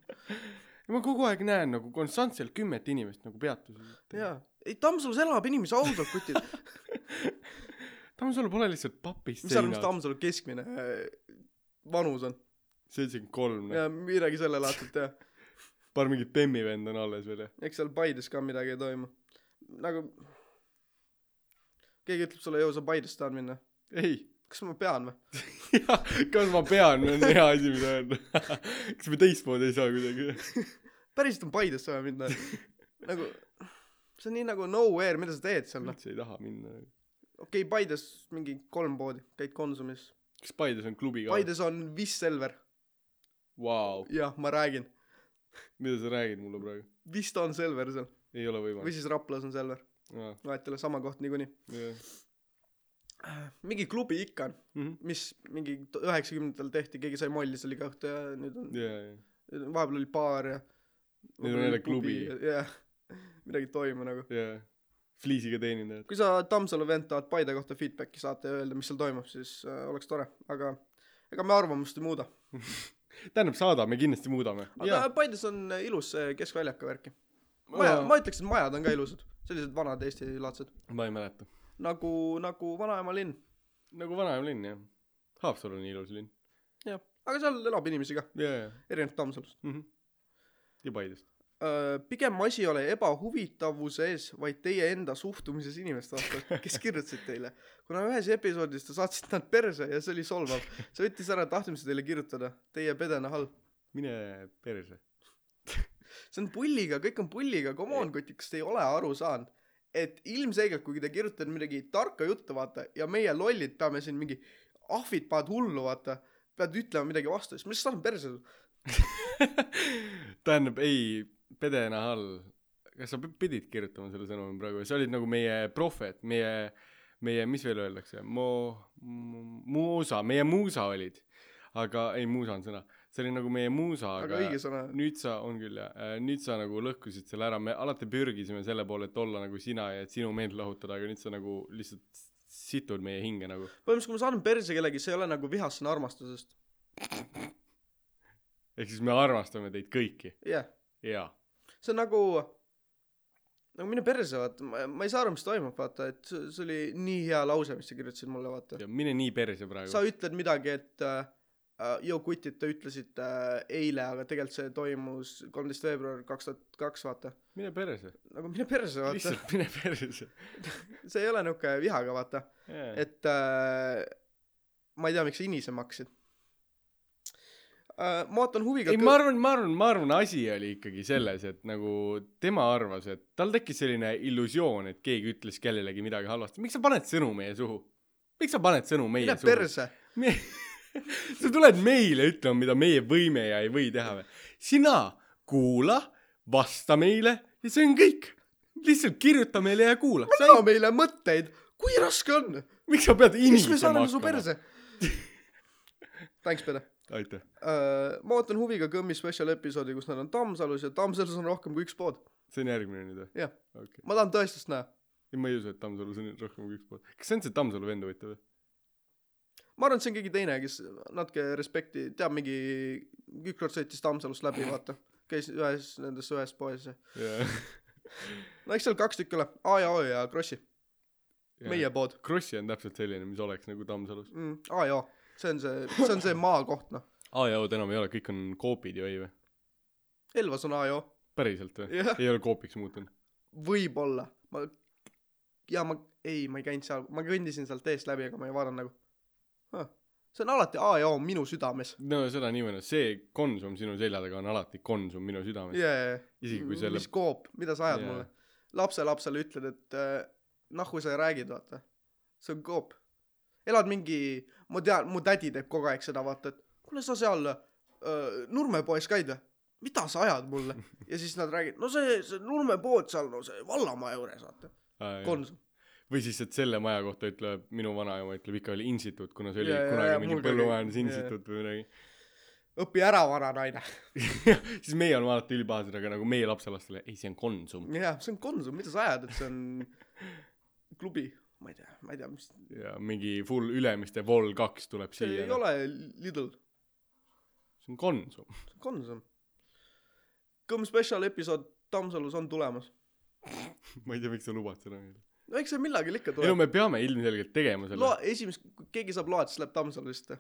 Ja ma kogu aeg näen nagu konstantselt kümmet inimest nagu peatuses .
jaa , ei Tammsalus elab inimesi ausalt , kutid .
Tammsalu pole lihtsalt papist
mis sa arvad , mis
seinad .
Tammsalu keskmine äh, vanus on ?
seitsekümmend kolm ,
jaa , midagi sellelaadset jah .
paar mingit bemmi vend on alles veel ja .
eks seal Paides ka midagi ei toimu . nagu keegi ütleb sulle , joo , sa Paidesse tahad minna .
ei ,
kas ma pean või ?
kas ma pean , on hea asi , mida öelda . kas me teistmoodi ei saa kuidagi ?
päriselt on Paidesse vaja minna . nagu , see on nii nagu nowhere , mida sa teed seal noh .
üldse ei taha minna
okei okay, , Paides mingi kolm poodi , käid Konsumis .
kas Paides on klubi ka ?
Paides on Wis Selver ,
Vau ,
jah , ma räägin
mida sa räägid mulle praegu ?
vist on Selver seal
ei ole
või
võimalik .
siis Raplas on Selver vahet ei ole sama koht niikuinii Äh, mingi klubi ikka on
Mhm.
mis mingi t- üheksakümnendatel tehti keegi sai molli seal iga õhtu ja nüüd on vahepeal oli baar ja
Nüüd on
vahepeal oli
jälle
pubi
klubi.
ja- jah midagi ei toimu nagu
Fliisiga teenindajad .
kui sa Tammsalu vend tahad Paide kohta feedbacki saata ja öelda mis seal toimub siis äh, oleks tore aga ega me arvamust ei muuda
tähendab , saadame , kindlasti muudame .
aga yeah. Paides on äh, ilus see keskväljaka värki maja ma ütleks et majad on ka ilusad sellised vanad eestilaadsed
ma ei mäleta .
nagu nagu vanaema linn
nagu vanaema linn jah . Haapsalu on ilus linn .
jah aga seal elab inimesi ka
ja , ja ,
erinevalt Tammsalust
Mhm. ja Paidest .
Öö, pigem asi ei ole ebahuvitavuses , vaid teie enda suhtumises inimeste vastu , kes kirjutasid teile . kuna ühes episoodis te saatsite nad perse ja see oli solvav , see võttis ära tahtmise teile kirjutada , teie pedena halb .
mine perse .
see on pulliga , kõik on pulliga , come on , kutid , kas te ei ole aru saanud ? et ilmselgelt , kui te kirjutate midagi tarka juttu , vaata , ja meie lollid peame siin mingi ahvid paned hullu , vaata , pead ütlema midagi vastu , siis ma lihtsalt saan perse .
tähendab , ei , pedena all . kas sa p- pidid kirjutama selle sõnumi praegu , sa olid nagu meie prohvet , meie , meie , mis veel öeldakse , mo- , muusa , meie muusa olid . aga ei , muusa on sõna , see oli nagu meie muusa ,
aga
aga
õige sõna .
nüüd sa , on küll jah , nüüd sa nagu lõhkusid selle ära , me alati pürgisime selle poole , et olla nagu sina ja et sinu meelt lahutada , aga nüüd sa nagu lihtsalt situd meie hinge nagu .
põhimõtteliselt , kui ma saan perse kellegi , see ei ole nagu vihast , see on armastusest .
ehk siis me armastame teid kõiki
jah yeah. ,
jaa .
see on nagu , nagu mine perse , vaata , ma ma ei saa aru , mis toimub , vaata , et see see oli nii hea lause , mis sa kirjutasid mulle , vaata .
ja mine nii perse praegu
sa . ütled midagi , et joo kutid , te ütlesite äh, eile , aga tegelikult see toimus kolmteist veebruar kaks tuhat kaks , vaata .
mine perse ,
nagu mine perse , vaata .
lihtsalt mine perse .
see ei ole niuke vihaga , vaata .
et
et äh, ma ei tea , miks sa inisema hakkasid äh, . ma ootan huviga .
ei , ma arvan , ma arvan , ma arvan , asi oli ikkagi selles , et nagu tema arvas , et tal tekkis selline illusioon , et keegi ütles kellelegi midagi halvasti . miks sa paned sõnu meie suhu ? miks sa paned sõnu meie
mine
suhu ?
perse .
Me... sa tuled meile ütlema , mida meie võime ja ei või teha või ? sina kuula , vasta meile ja see on kõik . lihtsalt kirjuta meile ja kuula .
anna meile mõtteid , kui raske on .
miks sa pead
miks me
inisema
saame su ? perse ? Thanks , Pede .
aitäh .
ma ootan huviga Kõmmi spetsial episoodi , kus nad on Tammsalus ja Tammsalus on rohkem kui üks pood .
see on järgmine nüüd või ?
Jah.
okei okay. ,
ma tahan tõestust näha .
ma ei usu , et Tammsalus on rohkem kui üks pool . kas see on see Tammsalu vend huvitav või ?
ma arvan , et see on keegi teine , kes natuke respekti , teab mingi , ükskord sõitis Tammsalust läbi , vaata . käis ühes nendes ühes poes ja .
jaa .
no eks seal kaks tükki ole , A ja O ja Krossi , meie pood
Krossi on täpselt selline , mis oleks nagu Tammsalus .
mm, . A ja O , see on see , see on see maakoht , noh .
A ja O-d enam ei ole , kõik on koopid ju ei või ?
Elvas on A ja O ,
päriselt või ?
jah ,
ei ole koopiks muutunud ?
võib-olla . ma , ja ma , ei , ma ei käinud seal , ma kõndisin sealt eest läbi , aga ma ei vaadanud nagu huh. . see on alati A ja O minu südames .
no seda nii või naa , see Konsum sinu selja taga on alati Konsum minu südames .
jajah .
isegi kui selle
mis koop , mida sa ajad
Jaa.
yeah. mulle ? lapselapsele ütled , et äh, nahku sa räägid , vaata . see on koop . elad mingi , ma tean , mu tädi teeb kogu aeg seda , vaata , et kuule , sa seal äh, Nurme poes käid või ? mida sa ajad mulle ? ja siis nad räägivad , no see , see Nurme pood seal , no see vallamaja juures , vaata .
Aa, jah.
Konsum .
või siis , et selle maja kohta ütleb , minu vanaema ütleb ikka veel instituut , kuna see oli
Jaa, jaa, jaa,
kunagi mingi
mul ka oli-
põllumajandusinstituut või midagi .
õpi ära , vana naine .
siis meie oleme alati ülipahased , aga nagu meie lapselastele , ei , see on Konsum .
jah , see on Konsum , mida sa ajad , et see on klubi , ma ei tea , ma ei tea , mis .
ja mingi full Ülemiste Vol kaks tuleb
see
siia
ei . ole Lidl .
see on Konsum .
Konsum . Kõmm spetsial episood Tammsalus on tulemas .
ma ei tea , miks sa lubad seda meile .
no eks see millalgi
ei
ikka
no
tuleb .
me peame ilmselgelt tegema selle
loa , esimest , kui keegi saab load , siis läheb Tammsalu vist .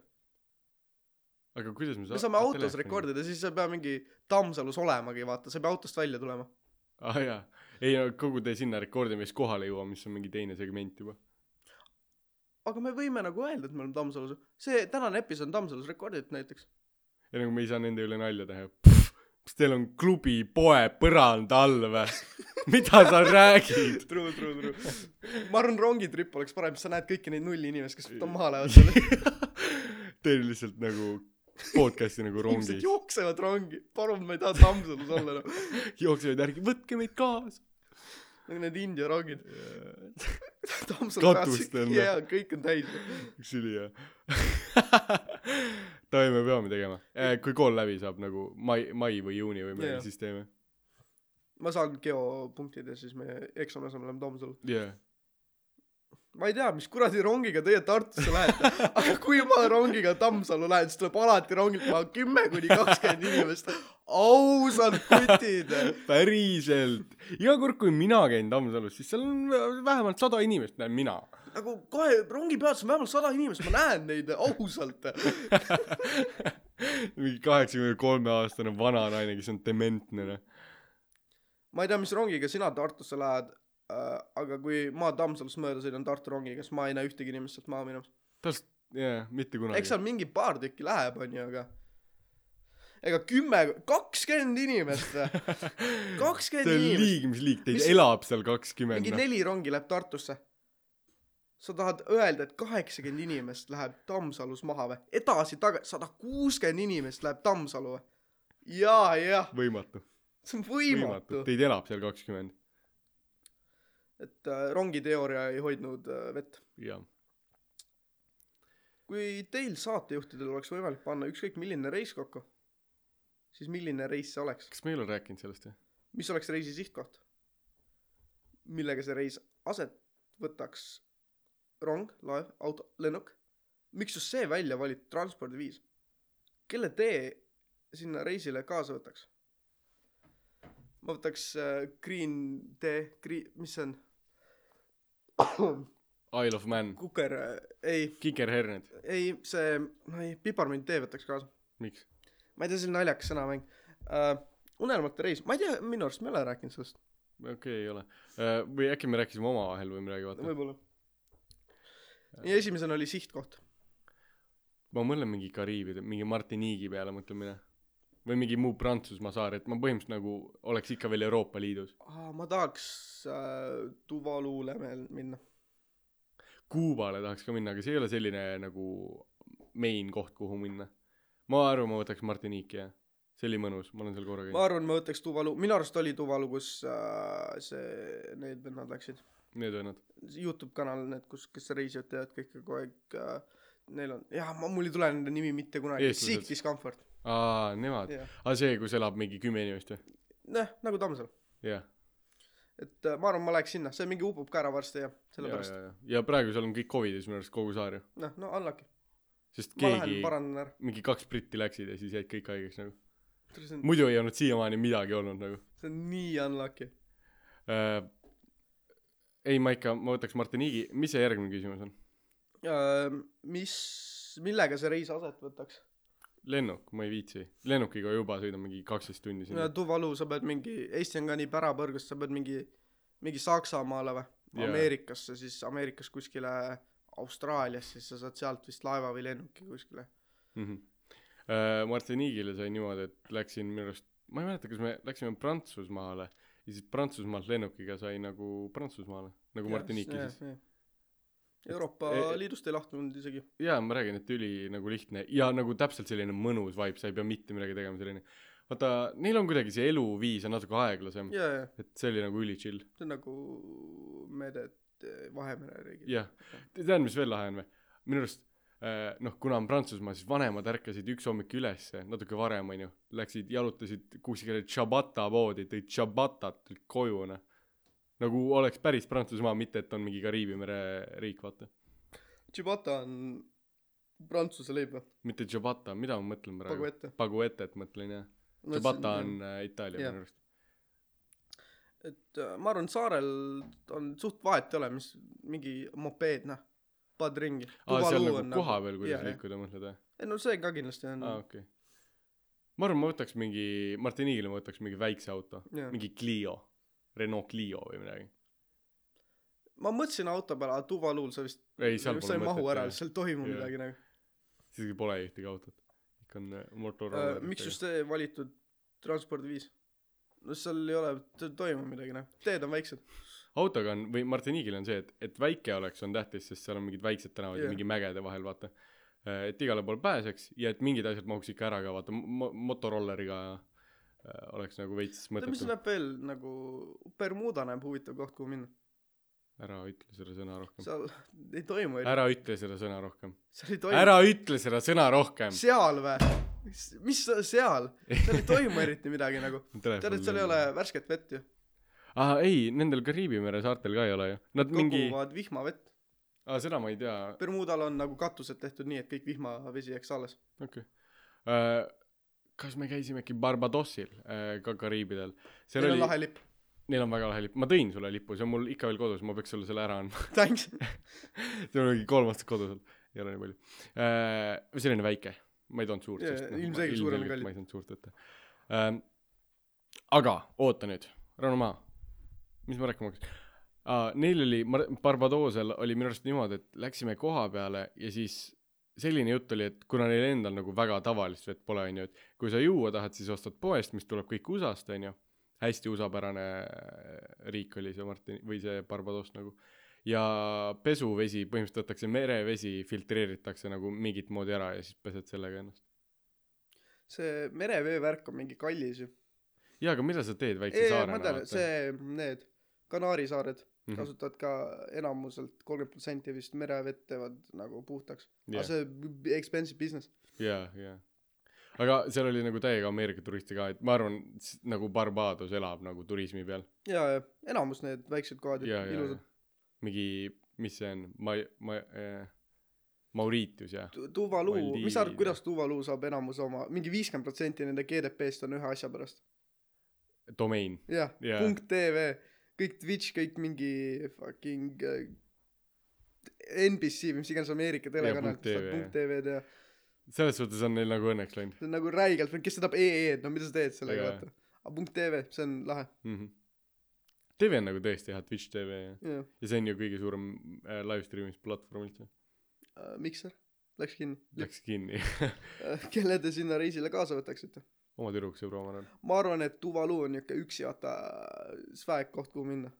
aga kuidas me Ah,
me saame autos rekordida , siis sa ei pea mingi Tammsalus olemagi , vaata , sa ei pea autost välja tulema .
aa ah, jaa ei no kogu tee sinna rekordime siis kohale jõuame mis on mingi teine segment juba
aga me võime nagu öelda , et me oleme Tammsalus . see tänane episood on Tammsalus rekorditud näiteks .
ja nagu me ei saa nende üle nalja teha Pff, kas teil on klubi poe põrand all vä mida sa räägid
True , true , true . ma arvan , rongitripp oleks parem , sest sa näed kõiki neid nulli inimesi , kes ta maha lähevad selle .
teil lihtsalt nagu podcast'i nagu
inimesed
rongis
jooksevad rongi , palun , ma ei taha Tammsalus olla noh. enam .
jooksevad järgi võtke meid kaasa
nagu need India rongid . Tammsalu
Katustel, noh.
jaa , kõik on täis .
üks ülihea Davai , me peame tegema Eh, kui kool läbi saab nagu mai mai või juuni või midagi
Jaa.
siis teeme
ma saan geopunktid ja siis me eksame asemel oleme Tomsul .
jaa
ma ei tea , mis kuradi rongiga teie Tartusse lähete , aga kui ma rongiga Tammsalu lähen , siis tuleb alati rongilt maha kümme kuni kakskümmend inimest . ausad kutid .
päriselt , iga kord , kui mina käin Tammsalus , siis seal on vä- vähemalt sada inimest näen mina .
nagu kohe rongipeatus on vähemalt sada inimest , ma näen neid ausalt .
mingi kaheksakümne kolme aastane vana naine , kes on dementne noh .
ma ei tea , mis rongiga sina Tartusse lähed , aga kui ma Tammsalust mööda sõidan Tartu rongiga , siis ma ei näe ühtegi inimest sealt maha minemas .
tast- , jaa , mitte kunagi .
eks seal mingi paar tükki läheb , onju , aga ega kümme , kakskümmend inimest , kakskümmend
see on
inimest.
liig , mis liig , teid
Mis-
elab seal
mingi
kakskümmend noh .
neli rongi läheb Tartusse . sa tahad öelda , et kaheksakümmend inimest läheb Tammsalus maha või ? edasi-tagasi , sada kuuskümmend inimest läheb Tammsalu või ? jaa , jah ,
võimatu ,
see on
võimatu
võimatu ,
teid elab seal kakskümmend ,
et äh, rongiteooria ei hoidnud äh, vett .
jah .
kui teil saatejuhtidel oleks võimalik panna ükskõik milline reis kokku , siis milline reis see oleks ?
kas me ei ole rääkinud sellest või ?
mis oleks reisi sihtkoht ? millega see reis aset võtaks ? rong , laev , auto , lennuk ? miks just see välja valiti transpordiviis ? kelle tee sinna reisile kaasa võtaks ? ma võtaks äh, Green tee , Green , mis see on ?
Isle of Man ,
kuker , ei ,
kikerherned ,
ei see , ei , piparmünd tee võtaks kaasa .
miks ?
ma ei tea , see on naljakas sõnamäng uh, . unelmate reis , ma ei tea , minu arust me ei ole rääkinud sellest .
okei okay, , ei ole . või äkki me rääkisime omavahel või midagi , vaata .
võib-olla . ja esimesena oli sihtkoht .
ma mõtlen mingi Kariibide , mingi Martiniigi peale mõtlen mina . või mingi muu Prantsusmaa saar , et ma põhimõtteliselt nagu oleks ikka veel Euroopa Liidus .
Ah, ma tahaks äh, Tuvaluule veel minna .
Kuubale tahaks ka minna , aga see ei ole selline nagu main koht , kuhu minna . ma arvan , ma võtaks Martiniiki , jah . see oli mõnus , ma olen seal korra
ma
käinud .
arvan , ma võtaks Tuvalu , minu arust oli Tuvalu , kus äh, see , need vennad läksid .
Need vennad .
Youtube kanal , need , kus , kes reisivad , teevad kõike kogu aeg äh, . Neil on , jah , ma , mul ei tule nende nimi mitte kunagi .
Eestlased.
Seek Discomfort .
aa , nemad .
jah ,
aa , see , kus elab mingi kümme inimest või ?
noh , nagu Tammsalu .
jah .
et äh, ma arvan , ma läheks sinna , see mingi upub ka ära varsti ja sellepärast ,
ja praegu seal on kõik Covidis minu arust kogu saar ju .
noh , no allaki .
sest
ma lähen
keegi ,
parandan ära .
mingi kaks britti läksid ja siis jäid kõik haigeks nagu .
see on ,
muidu ei olnud siiamaani midagi olnud nagu
see on nii unlucky .
äh, . ei , ma ikka , ma võtaks Martiniigi , mis see järgmine küsimus on ?
Äh, mis , millega see reis aset võtaks ?
lennuk , ma ei viitsi , lennukiga juba sõidan mingi kaksteist tundi sinna .
Tuvalu , sa pead mingi , Eesti on ka nii pärapõrgus , sa pead mingi , mingi Saksamaale või
Jaa.
Ameerikasse , siis Ameerikas kuskile Austraaliasse , siis sa saad sealt vist laeva või lennuki kuskile .
Mm -hmm. äh, Martiniigile sai niimoodi , et läksin minu arust , ma ei mäleta , kas me läksime Prantsusmaale ja siis Prantsusmaalt lennukiga sai nagu Prantsusmaale , nagu Martiniiki siis ..
Euroopa
E- e-
Liidust ei lahtunud isegi .
jaa , ma räägin , et üli nagu lihtne ja nagu täpselt selline mõnus vibe , sa ei pea mitte midagi tegema , selline vaata , neil on kuidagi see eluviis on natuke aeglasem ,
jaa , jaa ,
et see oli nagu üli chill ,
see on nagu meede , et Vahemere riigid .
jah . tead , mis veel lahe on või ? minu arust äh, noh , kuna on Prantsusmaa , siis vanemad ärkasid üks hommik ülesse , natuke varem , onju , läksid , jalutasid kuskile Tšabata poodi , tõid Tšabatat koju , noh . nagu oleks päris Prantsusmaa , mitte et on mingi Kariibi mere riik , vaata .
Chibata on prantsuse leib või ?
mitte Tšabata , mida ma mõtlen praegu ?
Paguette .
Paguetet mõtlen , jah . Tšabata on äh, Itaalia
Jah.
minu arust .
et äh, ma arvan , saarel on suht vahet ei ole , mis mingi mopeed , noh , paned ringi .
aa , seal nagu koha peal , kuidas
jah, Mm. jah.
liikuda mõtled , jah ?
ei no see ka kindlasti on
aa , okei . ma arvan , ma võtaks mingi , Martiniigile ma võtaks mingi väikse auto ,
jah.
mingi Clio , Renault Clio või midagi .
ma mõtlesin auto peale , aga Tuvaluul sa vist
Ei, seal pole
sa ei mahu
mõtet,
ära
jah. ,
seal ei toimu
Jah.
midagi nagu
siis pole ühtegi autot . ikka on äh, Motorola
uh, . miks just see valitud transpordiviis ? no seal ei ole , toimu midagi nagu , teed on väiksed .
autoga on või Martiniigil on see , et , et väike oleks , on tähtis , sest seal on mingid väiksed tänavad yeah.
Jah.
ja mingi mägede vahel , vaata . et igale poole pääseks ja et mingid asjad mahuks ikka ära ka , vaata , motorolleriga äh, oleks nagu veits
mis
mõttetu .
näeb veel nagu , Bermuda näeb huvitav koht , kuhu minna .
ära ütle seda sõna rohkem .
seal ei toimu ,
ära ütle seda sõna rohkem .
seal ei toimu .
ära ütle seda sõna rohkem .
seal või ? mis sa- seal , seal ei toimu eriti midagi nagu . tead , et seal ei ole värsket vett ju ,
aa , ei , nendel Kariibi mere saartel ka ei ole ju . Nad mingi ,
koguvad vihmavett .
aa , seda ma ei tea ,
Bermudal on nagu katused tehtud nii , et kõik vihmavesi jääks alles .
okei okay. . kas me käisime äkki Barbadossil äh, ka Kariibidel ? seal
Neil
Neil
on
oli ,
lahe lipp ,
neil on väga lahe lipp , ma tõin sulle lipu , see on mul ikka veel kodus , ma peaks sulle selle ära andma ,
thanks .
see on mingi kolm aastat kodus olnud , ei ole nii palju äh, . selline väike , ma ei toonud suurt
Jaa,
sest noh,
ilmselgelt
ma-
suurem on
ilmselgelt
kallim.
ma ei saanud suurt võtta ähm, . aga oota nüüd , Rauno Maa , mis ma rääkima hakkasin ? Aa, neil oli , Barbadosel oli minu arust niimoodi , et läksime koha peale ja siis selline jutt oli , et kuna neil endal nagu väga tavalist vett pole , onju , et kui sa juua tahad , siis ostad poest , mis tuleb kõik USA-st , onju . hästi USA-pärane äh, riik oli see Martin või see Barbados nagu . ja pesuvesi , põhimõtteliselt võetakse merevesi , filtreeritakse nagu mingit moodi ära ja siis pesed sellega ennast .
see mereveevärk on mingi kallis ju .
jaa , aga mida sa teed väikse
ei , ma
saarena
tean ,? see , need Kanaari saared
Mhm.
kasutavad ka enamuselt kolmkümmend protsenti vist merevett teevad nagu puhtaks . aga
Jah.
see b- expensive business .
jaa , jaa . aga seal oli nagu täiega Ameerika turiste ka , et ma arvan , nagu Barbados elab nagu turismi peal .
ja , ja enamus need väiksed kohad
ja ,
on
ja
ilusad .,
mingi , mis see on , ma , ma äh, , Mauritius jah .
Tu- Tuvalu , mis sa arvad ,
Maldiivid.
kuidas Tuvalu saab enamus oma , mingi viiskümmend protsenti nende GDP-st on ühe asja pärast .
domeen .
jah
Jaa.
yeah. , punkt tv , kõik Twitch , kõik mingi fucking äh, NBC või mis iganes Ameerika telekanal ,
punkt
kes saab
TV,
punkt tv-d ja
selles suhtes on neil nagu õnneks läinud
see on nagu räigelt , kes tõdab EE-d , no mida sa teed sellega
Jaa.
yeah. , vaata . aga punkt tv , see on lahe ,
mm . -hmm. TV on nagu tõesti hea , Twitch TV ja ,
jah .
ja see on ju kõige suurem äh, live streaming platvorm üldse .
Mikser Äh, läks kinni .
Läks kinni
kelle te sinna reisile kaasa võtaksite ?
oma tüdruksõbra , ma arvan .
ma arvan , et Tuvalu on niisugune üksi vaata sväeg koht , kuhu minna .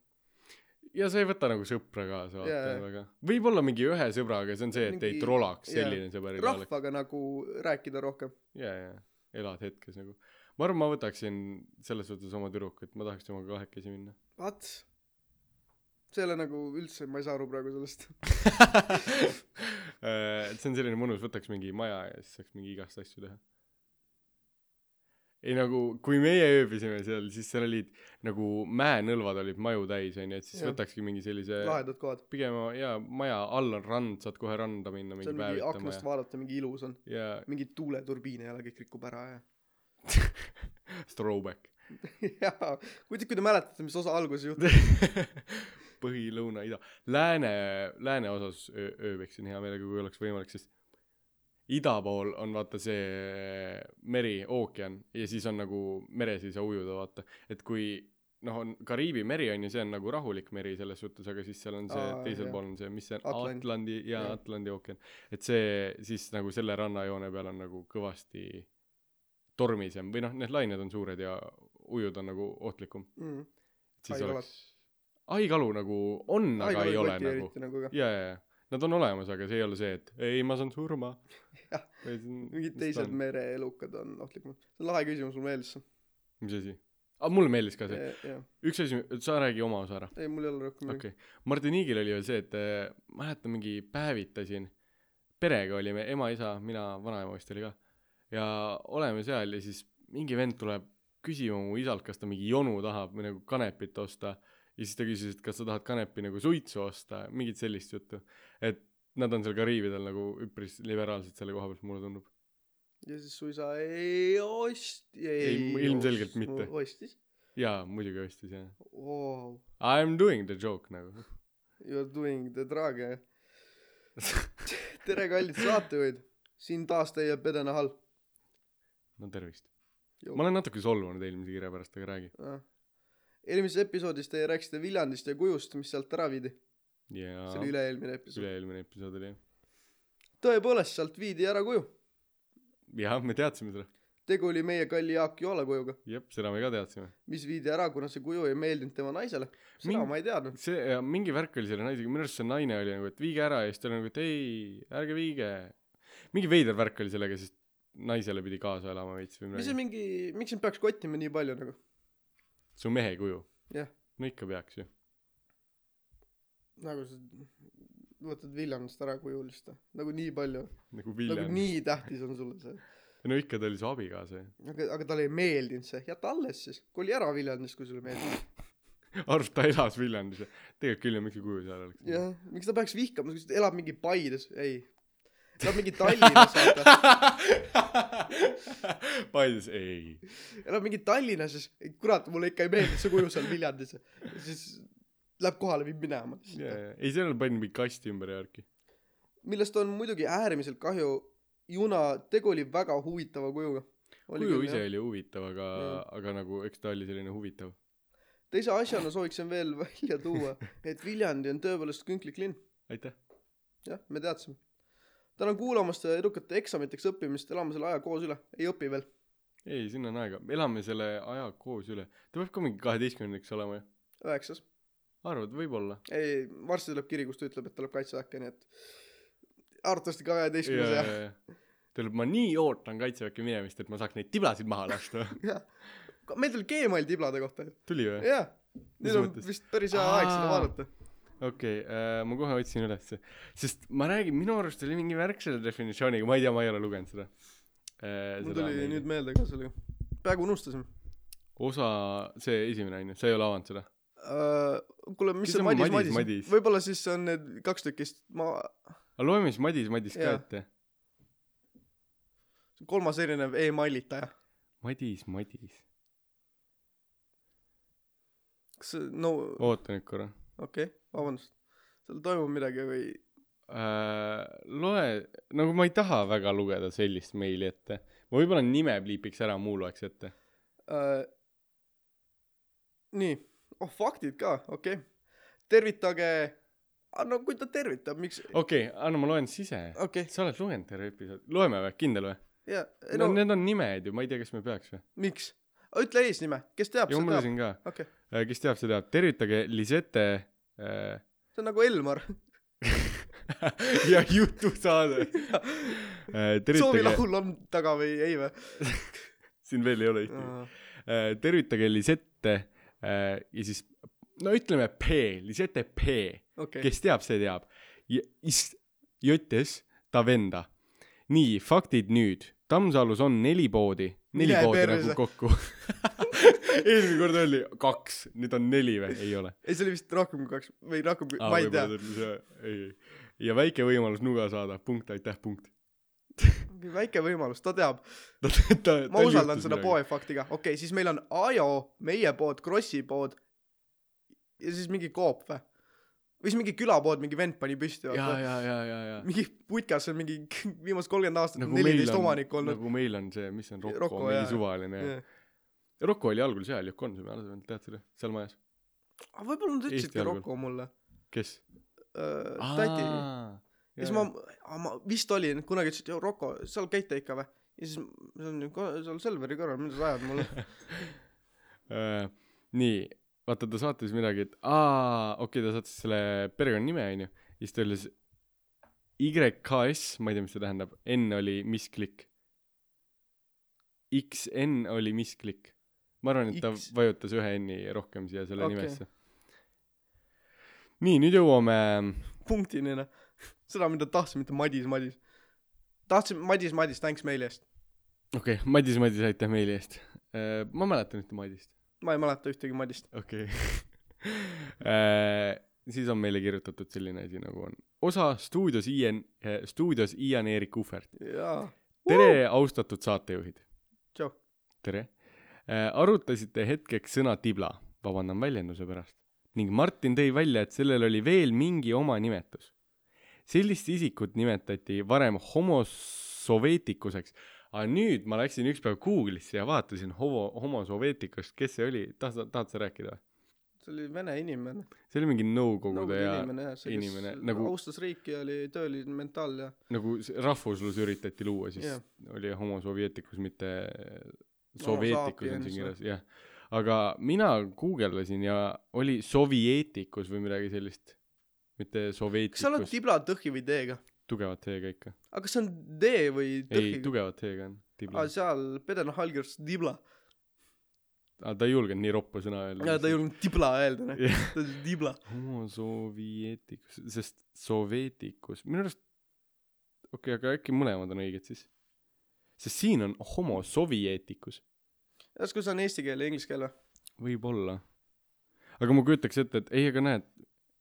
ja sa ei võta nagu sõpra kaasa , vaata
Jaa,
yeah.
jaa.
väga . võib-olla mingi ühe sõbraga , see on see , et mingi... ei
Mingi-
trolaks ,
jaa.
selline sõber ei trolaks .
rahvaga nagu rääkida rohkem .
jaa , jaa , elad hetkes nagu . ma arvan , ma võtaksin selles suhtes oma tüdrukut , ma tahaks temaga kahekesi minna .
What ? see ei ole nagu üldse , ma ei saa aru praegu sellest .
Äh, et see on selline mõnus , võtaks mingi maja ja siis saaks mingi igast asju teha . ei nagu , kui meie ööbisime seal , siis seal olid nagu mäenõlvad olid maju täis onju , et siis
Jah.
võtakski mingi sellise
lahedad kohad .
pigem jaa , maja all on rand , saad kohe randa minna
see
mingi
on mingi
päevitama
aknast
ja
vaadata , mingi ilus on .
ja
mingi tuuleturbiin ei ole , kõik rikub ära ja .
throwback
jaa , kui te , kui te mäletate , mis osa alguses juhtus .
põhi , lõuna , ida , lääne , lääne osas öö- ööbiksin hea meelega , kui oleks võimalik , sest ida pool on vaata see meri , ookean ja siis on nagu mere sees ja ujuda vaata , et kui noh , on Kariibi meri on ju , see on nagu rahulik meri selles suhtes , aga siis seal on see
Aa,
teisel
jah.
pool on see , mis see on ,
Atlandi.
Atlandi ja
Jah.
Atlandi ookean , et see siis nagu selle rannajoone peal on nagu kõvasti tormisem või noh , need lained on suured ja ujuda on nagu ohtlikum .
mm. .
siis
Haigalad.
oleks haikalu nagu on , aga ei ole nagu
eriti nagu ka .
ja , ja , ja nad on olemas , aga see ei ole see , et ei , ma saan surma
Jah. . mingid teised mereelukad on ohtlikumad . see on lahe küsimus , mulle meeldis see .
mis asi ? aa , mulle meeldis ka see ,
jah ,
üks asi , sa räägi oma osa ära .
ei mul ei ole rohkem midagi .
okei okay. , Martiniigil oli veel see , et äh, mäletan mingi päevitasin , perega olime , ema , isa , mina , vanaema vist oli ka . ja oleme seal ja siis mingi vend tuleb küsima mu isalt , kas ta mingi jonu tahab või nagu kanepit osta . ja siis ta küsis , et kas sa tahad kanepi nagu suitsu osta , mingit sellist juttu . et nad on seal Kariibidel nagu üpris liberaalsed selle koha pealt , mulle tundub .
ja siis su isa ei ost- , ei,
Ei, ilmselgelt
ost-
mitte.
ostis ?
jaa , muidugi ostis jah .
Wow.
I am doing the joke nagu .
You are doing the drug , jah . tere , kallid saatejuhid . siin taas teie Pedena Hall .
no tervist . ma olen natuke solvunud eelmise kirja pärast , aga räägi .
Ah. eelmises episoodis te rääkisite Viljandist ja kujust , mis sealt ära viidi .
jaa
see oli . üle-eelmine episood .
üle-eelmine episood oli jah .
tõepoolest , sealt viidi ära kuju .
jah , me teadsime seda ,
tegu oli meie kalli Jaak Joala kujuga ,
jep , seda me ka teadsime .
mis viidi ära , kuna see kuju ei meeldinud tema naisele . seda
Min-
ma ei teadnud .
see ja mingi värk oli selle naisega , minu arust see naine oli nagu , et viige ära ja siis ta oli nagu , et ei , ärge viige . mingi veider värk oli sellega , sest naisele pidi kaasa elama veits või
mis see
midagi .
mingi , miks sind peaks kottima nii palju nagu ?
su mehe kuju .
Jah.
no ikka peaks ju .
nagu sa võtad Viljandist ära kujulist , nagu nii palju ,
nagu
nagu
Villem .
nii tähtis on sulle see .
no ikka ta oli su abikaasa ju .
aga , aga talle ei meeldinud see , jäta alles siis , koli ära Viljandist , kui sulle meeldib .
arv , ta elas Viljandis ja tegelikult küll ja miks see kuju seal oleks .
jah , miks ta peaks vihkama , kui ta elab mingi Paides , ei . elab mingi Tallinnas , vaata ,
Paides ei .
elab mingi Tallinnas ja siis , kurat , mulle ikka ei meeldi see kuju seal Viljandis . siis läheb kohale , viib minema .
ei , seal pandi mingi kast ümber ja värki .
millest on muidugi äärmiselt kahju , Juna , tegu oli väga huvitava kujuga .
kuju ise oli huvitav , aga
Jah. ,
aga nagu eks ta oli selline huvitav .
teise asjana sooviksin veel välja tuua , et Viljandi on tõepoolest künklik linn ,
aitäh .
jah , me teadsime . tänan kuulamast ja edukate eksamiteks õppimist , elame selle aja koos üle , ei õpi veel .
ei , sinna on aega , elame selle aja koos üle . ta peab ka mingi kaheteistkümnendaks olema ju .
üheksas ,
arvad , võib-olla ?
ei , varsti tuleb kiri , kus ta ütleb , et ta läheb kaitseväkke , nii et arvatavasti kaheteistkümnes jah .
ta ütleb , ma nii ootan kaitseväkke minemist , et ma saaks neid tiblasid maha lasta .
meil tuli Gmail tiblade kohta ju ,
tuli või ?
jaa .
Mis
nüüd on
mõttes?
vist päris hea aeg seda
Aa.
vaadata .
okei , ma kohe otsin ülesse . sest ma räägin , minu arust oli mingi värk selle definitsiooniga , ma ei tea , ma ei ole lugenud seda .
mul tuli nüüd
nüüd...
meelde ka sellega peaaegu unustasime
osa , see esimene on ju , sa ei ole avanud seda ?
uh, kuule mis
Kes
see
on
Madis
Madis,
Madis, Madis.
Madis?
võibolla siis on need kaks tükist ma
aga loeme siis Madis Madis ka
Jaa.
ette .
kolmas erinev emailitaja
Madis Madis .
kas see- no okei
oota nüüd korra
okay, vabandust seal toimub midagi või
äh, . loe , nagu ma ei taha väga lugeda sellist meili ette . ma võib-olla nime pliipiks ära , muu loeks ette .
uh, nii oh faktid ka okei okay. tervitage ah, no kui ta tervitab miks okei
okei okay, , anna ma loen siis ise .
okay.
sa oled lugenud terve episood , loeme või , kindel või ?
ja ei
no
no, no
need on nimed ju , ma ei tea , kas me peaks või .
miks Ah, ütle eesnime kes teab
ja
see
ma
teab
mõtlesin ka ,
okei okay.
kes teab , see teab , tervitage Lisette äh,
see on nagu Elmar
ja jutusaade .
soovi
tervitage ,
laul on taga või ei või
siin veel ei ole ühtegi . tervitage Lisette äh, ja siis no ütleme P , Lisette P ,
okei
kes teab , see teab . Jöttes Tavenda . nii , faktid nüüd . Tammsalus on neli poodi , neli
Mine
poodi
perse.
nagu kokku . eelmine kord oli kaks , nüüd on neli või ? ei ole .
ei see oli vist rohkem kui kaks või rohkem kui
Aa,
ma ei tea
võib-olla tõtles jah. ei , ei . ja väike võimalus nuga saada , punkt , aitäh , punkt .
Mingi väike võimalus ta teab
ta , ta , ta .
ma usaldan seda . poe faktiga okei okay, siis meil on Ajo meie pood Krossi pood ja siis mingi Coop vä või siis mingi külapood mingi vend pani
ja ,
püsti vaata
ja , ja , ja , ja .
mingi putkas on mingi viimased kolmkümmend aastat on neliteist omanikku olnud
nagu meil on see , mis on Rocco,
Rocco,
Rocco , mingi
jaa.
suvaline
Jaa.
yeah. . Rocco oli algul seal , Jokonsumi all , tead seda , seal majas .
aga Ah, võibolla nad
Eesti
ütlesidki
algul.
Rocco mulle
kes ?
Öö, tädi ja siis ma aa, ma vist olin kunagi ütlesid joo Rocco seal käite ikka vä ja siis ma seal nii ko- seal Selveri kõrval mida sa ajad mulle
Äh, nii , vaata ta saatis midagi , et aa , okei okay, , ta saatis selle perekonnanime onju , siis ta ütles YKS , ma ei tea , mis see tähendab , N oli misklik . XN oli misklik . ma arvan , et ta
X.
vajutas ühe N-i rohkem siia selle
Okei.
okay. nimesse . nii , nüüd jõuame ,
punktini noh seda mida tahtsin mitte Madis Madis tahtsin Madis Madis thanks meili eest
okei okay, , Madis , Madis , aitäh meili eest . ma mäletan ühte Madist .
ma ei mäleta ühtegi Madist
okei okay. . siis on meile kirjutatud selline asi , nagu on osa stuudios Ian , stuudios Ian-Erik Uhvert .
jaa
tere , austatud saatejuhid .
tšau
tere . arutasite hetkeks sõna tibla , vabandan väljenduse pärast , ning Martin tõi välja , et sellel oli veel mingi oma nimetus . sellist isikut nimetati varem homo soveetikuseks , aga nüüd ma läksin ükspäev Google'isse ja vaatasin homo , homo soveetikust , kes see oli , tahad , tahad sa rääkida või ?
see oli vene inimene
see oli mingi Nõukogude
nõukogude
ja
inimene jah see
inimene,
kes
nagu-
austas riiki ja oli tööline mentaal ja
nagu s- rahvuslus üritati luua , siis
Jah.
yeah. oli homo sovietikus , mitte
Homo
soveetikus on
sapiens,
siin
või?
kirjas , jah . aga mina guugeldasin ja oli sovjeetikus või midagi sellist , mitte
kas sa oled
soveetikus ,
tibla tõhi või d-ga
tugevat T-ga ikka .
aga kas see on d või
ei ,
tõhi
tugevat T-ga on tibla
aa . seal Peden Halgers tibla
aga ta ei julgenud nii roppu sõna öelda .
ja ta ei julgenud tibla öelda noh
Jah.
ta ütles tibla
homo sovietikus , sest soveetikus , minu arust , okei okay, , aga äkki mõlemad on õiged siis ? sest siin on homo sovjeetikus .
kas kui see on eesti keel ja inglise keel või
võib-olla . aga ma kujutaks ette , et ei , aga näed ,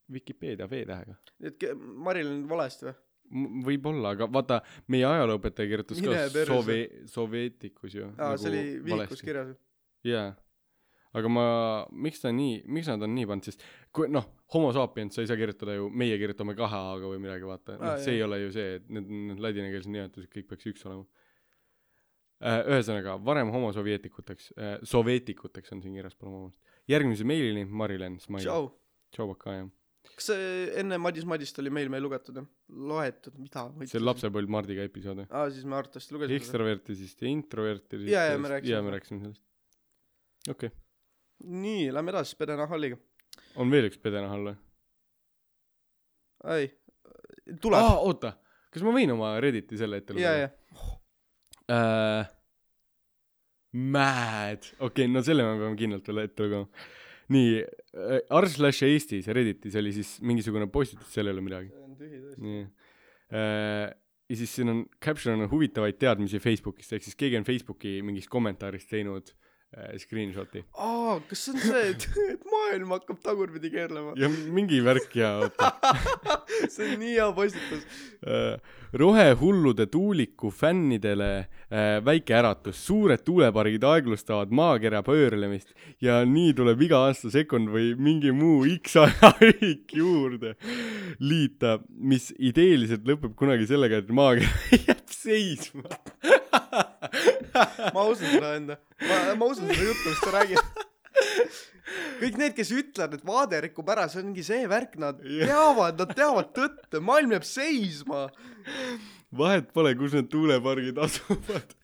Vikipeedia V-tähega .
nii et ke- Marilyn valesti või
võib-olla , aga vaata , meie ajalooõpetaja kirjutas
Mine
ka
perse.
sove- , soveetikus ju .
aa see oli vihikus . kirjas või
jaa . aga ma , miks ta nii , miks nad on nii pannud , sest kui noh , homo sapiens sa ei saa kirjutada ju , meie kirjutame kahe A-ga või midagi , vaata ,
Aa,
noh , see
jah.
ei ole ju see , et need , need ladinakeelsed nimetused kõik peaks üks olema . ühesõnaga , varem homo sovjeetikuteks , soveetikuteks on siin kirjas , palun vabandust . järgmise meilini , Mari-Len Smile .
tšau
Tšaubaka jah ,
kas see enne Madis Madist oli meil meil lugetud jah loetud mida ma
see
ütlesin?
lapsepõlv Mardiga episood jah ,
aa siis me arvatavasti lugesime seda
ekstravertisist ja introvertisist
Jaa, jaa, me rääkisime
jaa , me
sellest.
rääkisime sellest . okei okay. ,
nii lähme edasi siis Peden Halliga
on veel üks pedenahall või ?
ei tuleb
aa , oota , kas ma võin oma Redditi selle ette
ja ja
Äh, Mad , okei okay, , no selle me peame kindlalt veel ette lugema . nii , R slash Eestis Redditis oli siis mingisugune postitus , seal ei ole midagi .
see on tühi tõesti
nii . Äh, ja siis siin on , caption on huvitavaid teadmisi Facebookist , ehk siis keegi on Facebooki mingist kommentaarist teinud äh, screenshot'i .
aa , kas see on see , et , et maailm hakkab tagurpidi keerlema ?
ja mingi värk ja oota
see on nii hea postitus .
äh, rohehullude tuuliku fännidele äh, väike äratus , suured tuulepargid aeglustavad maakera pöörlemist ja nii tuleb iga aasta sekund või mingi muu X ajaühik juurde liita , mis ideeliselt lõpeb kunagi sellega , et maakera jääb seisma .
ma usun seda enda , ma , ma usun seda juttu , mis sa räägid . kõik need , kes ütlevad , et vaade rikub ära , see ongi see värk , nad
Jah.
teavad , nad teavad tõtt , maailm jääb seisma .
vahet pole , kus need tuulepargid asuvad .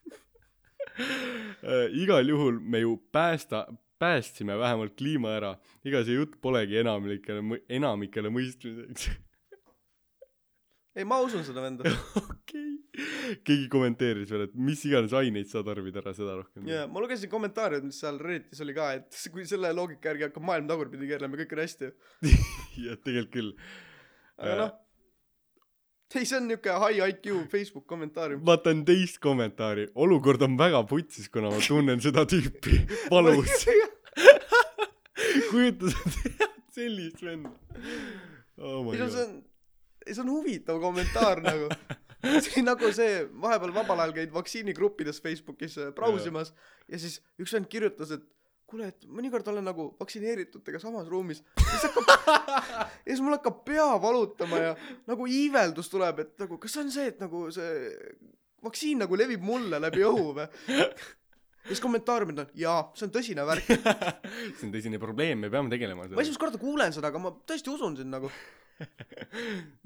igal juhul me ju päästa , päästsime vähemalt kliima ära , ega see jutt polegi enamikele , enamikele mõistmiseks .
ei , ma usun seda venda .
okei , keegi kommenteeris veel , et mis iganes aineid sa tarbid ära , seda rohkem .
jaa , ma lugesin kommentaare , mis seal Redditis oli ka , et s- kui selle loogika järgi hakkab maailm tagurpidi keerlema , kõik on hästi .
jah , tegelikult küll . Äh,
aga noh , ei , see on niuke high IQ Facebook kommentaarium .
vaatan teist kommentaari , olukord on väga putsis , kuna ma tunnen seda tüüpi valus . kujuta sa tead sellist venda oh my
ei , see
god .
on , ei see on huvitav kommentaar nagu . see on nagu see , vahepeal vabal ajal käid vaktsiinigruppides Facebookis äh, brausimas ja siis üks vend kirjutas , et kuule , et mõnikord olen nagu vaktsineeritutega samas ruumis . ja siis hakkab , ja siis mul hakkab pea valutama ja nagu iiveldus tuleb , et nagu kas see on see , et nagu see vaktsiin nagu levib mulle läbi õhu või ? ja siis kommentaariumid on jaa , see on tõsine värk .
see on tõsine probleem , me peame tegelema
ma
sellega .
esimest korda kuulen seda , aga ma tõesti usun sind nagu .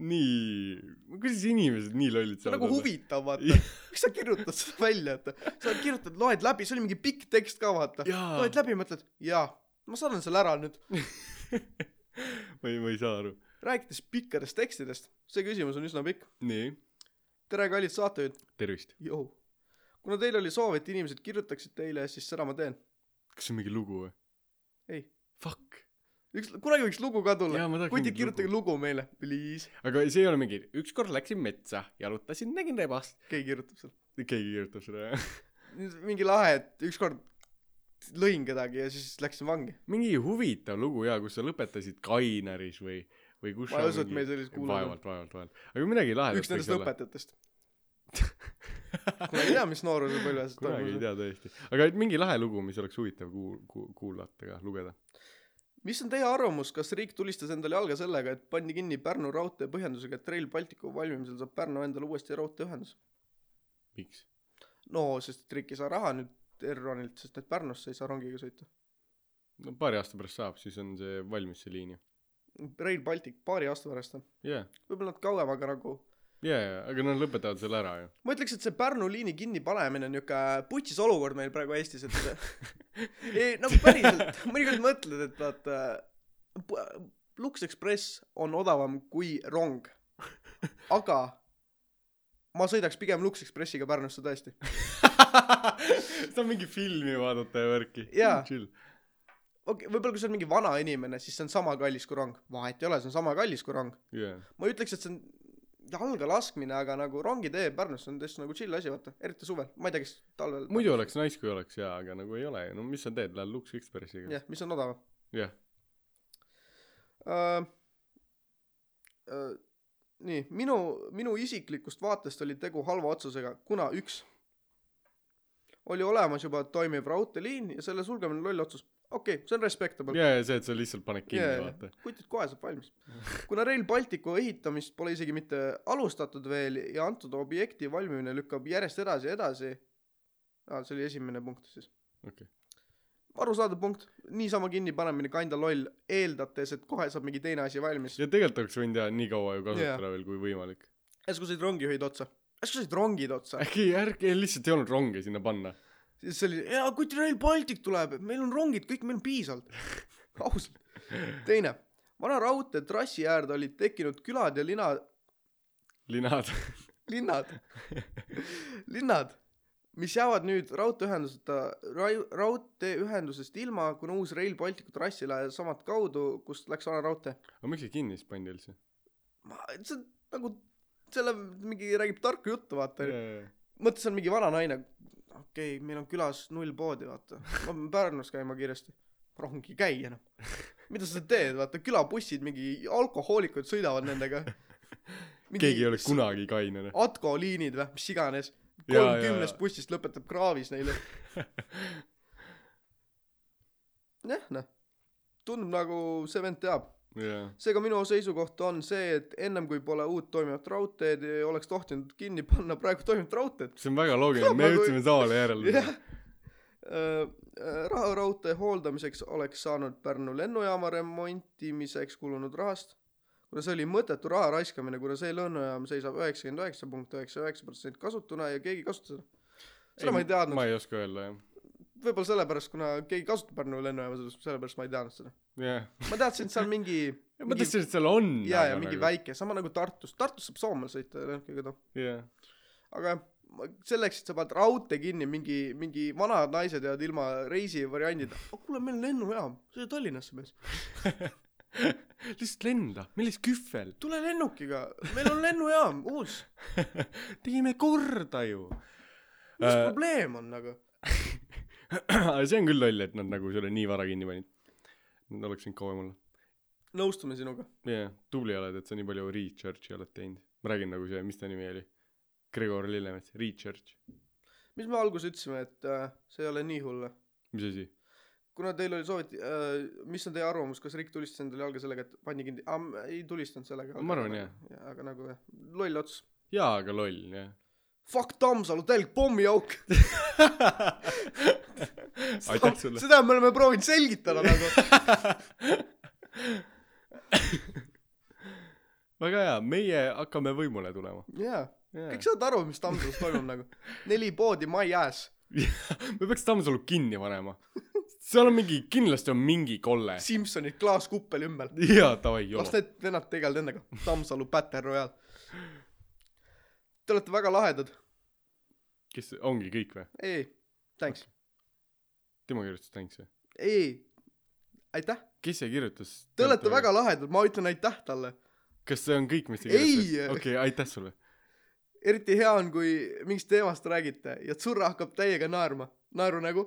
nii , kuidas inimesed nii lollid
see on nagu . huvitav vaata
Jah.
miks sa kirjutad seda välja et sa kirjutad loed läbi see oli mingi pikk tekst ka vaata
Jaa.
loed läbi mõtled jaa ma saadan selle ära nüüd
ma ei , ma ei saa aru .
rääkides pikkadest tekstidest see küsimus on üsna pikk
nii ,
tere kallid saatejuhid
tervist .
jõu kuna teil oli soov et inimesed kirjutaksid teile siis seda ma teen
kas see on mingi lugu või ?
Ei. .
Fuck .
üks kunagi võiks lugu ka tulla
Jaa, ma tahaks
kuid
mingit
kirjutage lugu. meile please
aga see ei ole mingi , ükskord läksin metsa , jalutasin , nägin rebast .
keegi kirjutab selle
keegi kirjutab seda , jah ?
Nüüd mingi lahe et ükskord lõin kedagi ja siis läksin vangi
mingi huvitav lugu jaa , kus sa lõpetasid Kainaris või , või kus
ma ei
sa
usu et
mingi-
me sellist kuulame
vaevalt , vaevalt , vaevalt . aga midagi lahedat
üks nendest . õpetajatest ma ei tea mis nooruse põlves
kunagi ei tea tõesti . aga et mingi lahe lugu , mis oleks huvitav kuul- , ku- , kuulata ka , lugeda .
mis on teie arvamus , kas riik tulistas endale jalga sellega , et pandi kinni Pärnu raudtee põhjendusega , et Rail Balticu valmimisel saab Pärnu endale uuesti raudteeühendus ?
miks ?
no sest et riik ei saa raha nüüd Elronilt , sest et Pärnusse ei saa rongiga sõita .
no paari aasta pärast saab , siis on see valmis , see liin ju .
Rail Baltic paari aasta pärast on ,
jaa ,
võib-olla nad kauem , aga nagu
jaa , jaa , aga nad lõpetavad selle ära ju .
ma ütleks , et see Pärnu liini kinnipanemine on niuke putsis olukord meil praegu Eestis , et ei, nagu päriselt , mõnikord mõtled , et vaata , Lux Express on odavam kui rong , aga ma sõidaks pigem Lux Expressiga Pärnusse tõesti .
seda on mingi filmi vaadata ja värki .
Jaa.
chill .
okei okay, , võib-olla kui sa oled mingi vana inimene , siis see on sama kallis kui rong , vahet ei ole , see on sama kallis kui rong .
jaa ,
ma ütleks , et see on jalga laskmine , aga nagu rongitee Pärnusse on täitsa nagu chill asi , vaata , eriti suvel , ma ei tea , kas talvel .
muidu oleks nice , kui oleks jaa , aga nagu ei ole ju , no mis sa teed , lähed Lux Expressiga .
jah , mis on odavam .
jah ,
Äh, äh, nii , minu , minu isiklikust vaatest oli tegu halva otsusega , kuna üks oli olemas juba toimiv raudteeliin ja selle sulgemine on loll otsus . okei okay, , see on respectable .
jaa , ja see , et sa lihtsalt paned kinni yeah. , vaata .
kutid kohe saab valmis . kuna Rail Balticu ehitamist pole isegi mitte alustatud veel ja antud objekti valmimine lükkab järjest edasi ja edasi . aa , see oli esimene punkt siis .
okei okay. ,
arusaadav punkt , niisama kinnipanemine , kinda loll , eeldates , et kohe saab mingi teine asi valmis .
ja tegelikult oleks võinud jaa nii kaua ju kasutada
Jaa.
yeah. veel kui võimalik .
järsku said rongijuhid otsa , järsku said rongid otsa ,
äkki ärge , lihtsalt ei olnud ronge sinna panna .
siis oli , jaa , kui Rail Baltic tuleb , meil on rongid kõik , meil on piisavalt . ausalt . teine , vana raudtee trassi äärde olid tekkinud külad ja lina ,
linad .
linnad , linnad , mis jäävad nüüd raudteeühenduseta , raudteeühendusest ilma , kuna uus Rail Balticu trass ei lähe samat kaudu , kust läks vana raudtee .
aga miks see kinni siis pandi üldse ?
ma , see on nagu selle mingi räägib tarku juttu vaata yeah. mõtlesin mingi vana naine okei okay, meil on külas null poodi vaata ma pean Pärnus käima kiiresti rongi ei käi enam mida sa teed vaata külabussid mingi alkohoolikud sõidavad nendega Mingi
keegi ei ole kunagi kaine noh
Atko liinid või mis iganes
Jaa, jaa,
kolmkümnest
jaa.
bussist lõpetab kraavis neile jah noh tundub nagu see vend teab
jah
seega minu seisukoht on see et ennem kui pole uut toimivat raudteed ei oleks tohtinud kinni panna praegu toimivat raudteed
see on väga loogiline
Saab
me
nagu-
jõudsime samale järeldusele
jah Öö, raha raudtee hooldamiseks oleks saanud Pärnu lennujaama remontimiseks kulunud rahast kuna see oli mõttetu raha raiskamine kuna see lennujaam seisab üheksakümmend üheksa punkt üheksa üheksa protsenti kasutuna ja keegi ei kasuta seda seda ma ei teadnud
ma ei oska öelda jah
võibolla sellepärast kuna keegi kasutab Pärnu lennujaama sellest sellepärast ma ei teadnud seda
jah
ma teadsin et seal mingi
ma mõtlesin et seal on
jaa jaa
aga
mingi
nagu-
väike sama nagu Tartus Tartus saab Soomel sõita lennukiga too
jah
aga jah ma- selleks et sa paned raudtee kinni mingi mingi vanad naised jäävad ilma reisivariandita aga kuule meil on lennujaam sõida Tallinnasse mees
lihtsalt lenda millest kühvel
tule lennukiga meil on lennujaam uus
tegime korda ju
mis
Äh.
äh... probleem on nagu
see on küll loll et nad nagu selle nii vara kinni panid nad oleks võinud kauem olla
nõustume sinuga
jah tubli oled et sa nii palju research'i oled teinud ma räägin nagu see mis ta nimi oli Gregor Lillemets research
mis me alguses ütlesime et äh, see ei ole nii hull
mis asi
kuna teil oli soovit- äh, mis on teie arvamus kas Rick tulistas endale jalga sellega et pandi kinni aa m- ei tulistanud sellega
Ma arvan, jah.
jah aga nagu jah loll ots
jaa aga loll jah
fuck Tammsalu telg pommiauk
aitäh sulle
seda me oleme proovinud selgitada nagu
väga hea meie hakkame võimule tulema
jaa
Jaa.
kõik saavad aru mis Tammsalus toimub nagu neli poodi my ass
me peaks Tammsalu kinni panema seal on mingi kindlasti on mingi kolle
Simsonid klaaskuppel ümber
jaa davai jolo
las need vennad tegelevad endaga Tammsalu Battle Royale te olete väga lahedad
kes see- ongi kõik või
ei thanks
tema kirjutas tänks või
ei aitäh
kes see kirjutas
te olete väga lahedad ma ütlen aitäh talle
kas see on kõik mis ta
Ei!
kirjutas okei okay, aitäh sulle
eriti hea on kui mingist teemast räägite ja Tsurra hakkab täiega naerma naerunägu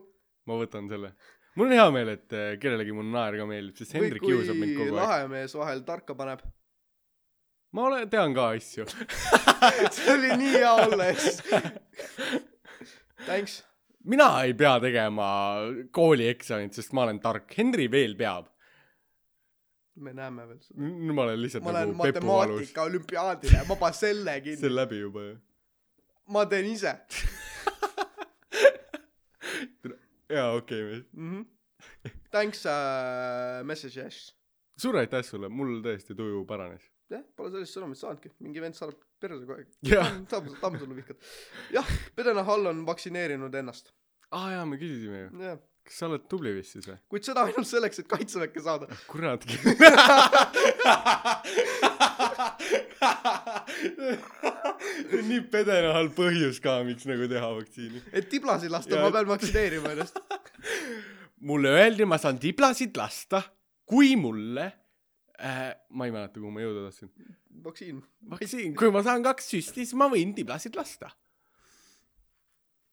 ma võtan selle mul on hea meel et äh, kellelegi mu naer ka meeldib sest
või
Hendrik
kui
kiusab mind kogu aeg
lahe mees vahel tarka paneb
ma olen tean ka asju
see oli nii hea olla ja siis thanks
mina ei pea tegema koolieksamit sest ma olen tark Henri veel peab
me näeme veel seda
nüüd ma olen lihtsalt
ma lähen
nagu pepuvalus
matemaatika olümpiaadile ma panen selle
see
kinni
on läbi juba ju
ma teen ise
jaa okei okay,
mhmh Mhm. thanks uh, message yes
suur aitäh sulle mul tõesti tuju paranes
jah pole sellist sõnumit saanudki mingi vend saab perse kogu aeg
jah
saab tamm sulle vihkad jah Pedenahal on vaktsineerinud ennast
aa ah, jaa me küsisime ju
jah
kas sa oled tubli vist siis või
kuid seda ainult selleks et kaitseväkke saada
kurat see on nii pedenahal põhjus ka miks nagu teha vaktsiini
et tiblasid lasta
Jaa.
ma pean vaktsineerima ennast
mulle öeldi ma saan tiblasid lasta kui mulle äh, ma ei mäleta kuhu ma jõuda tahtsin
vaktsiin
vaktsiin kui ma saan kaks süsti siis ma võin tiblasid lasta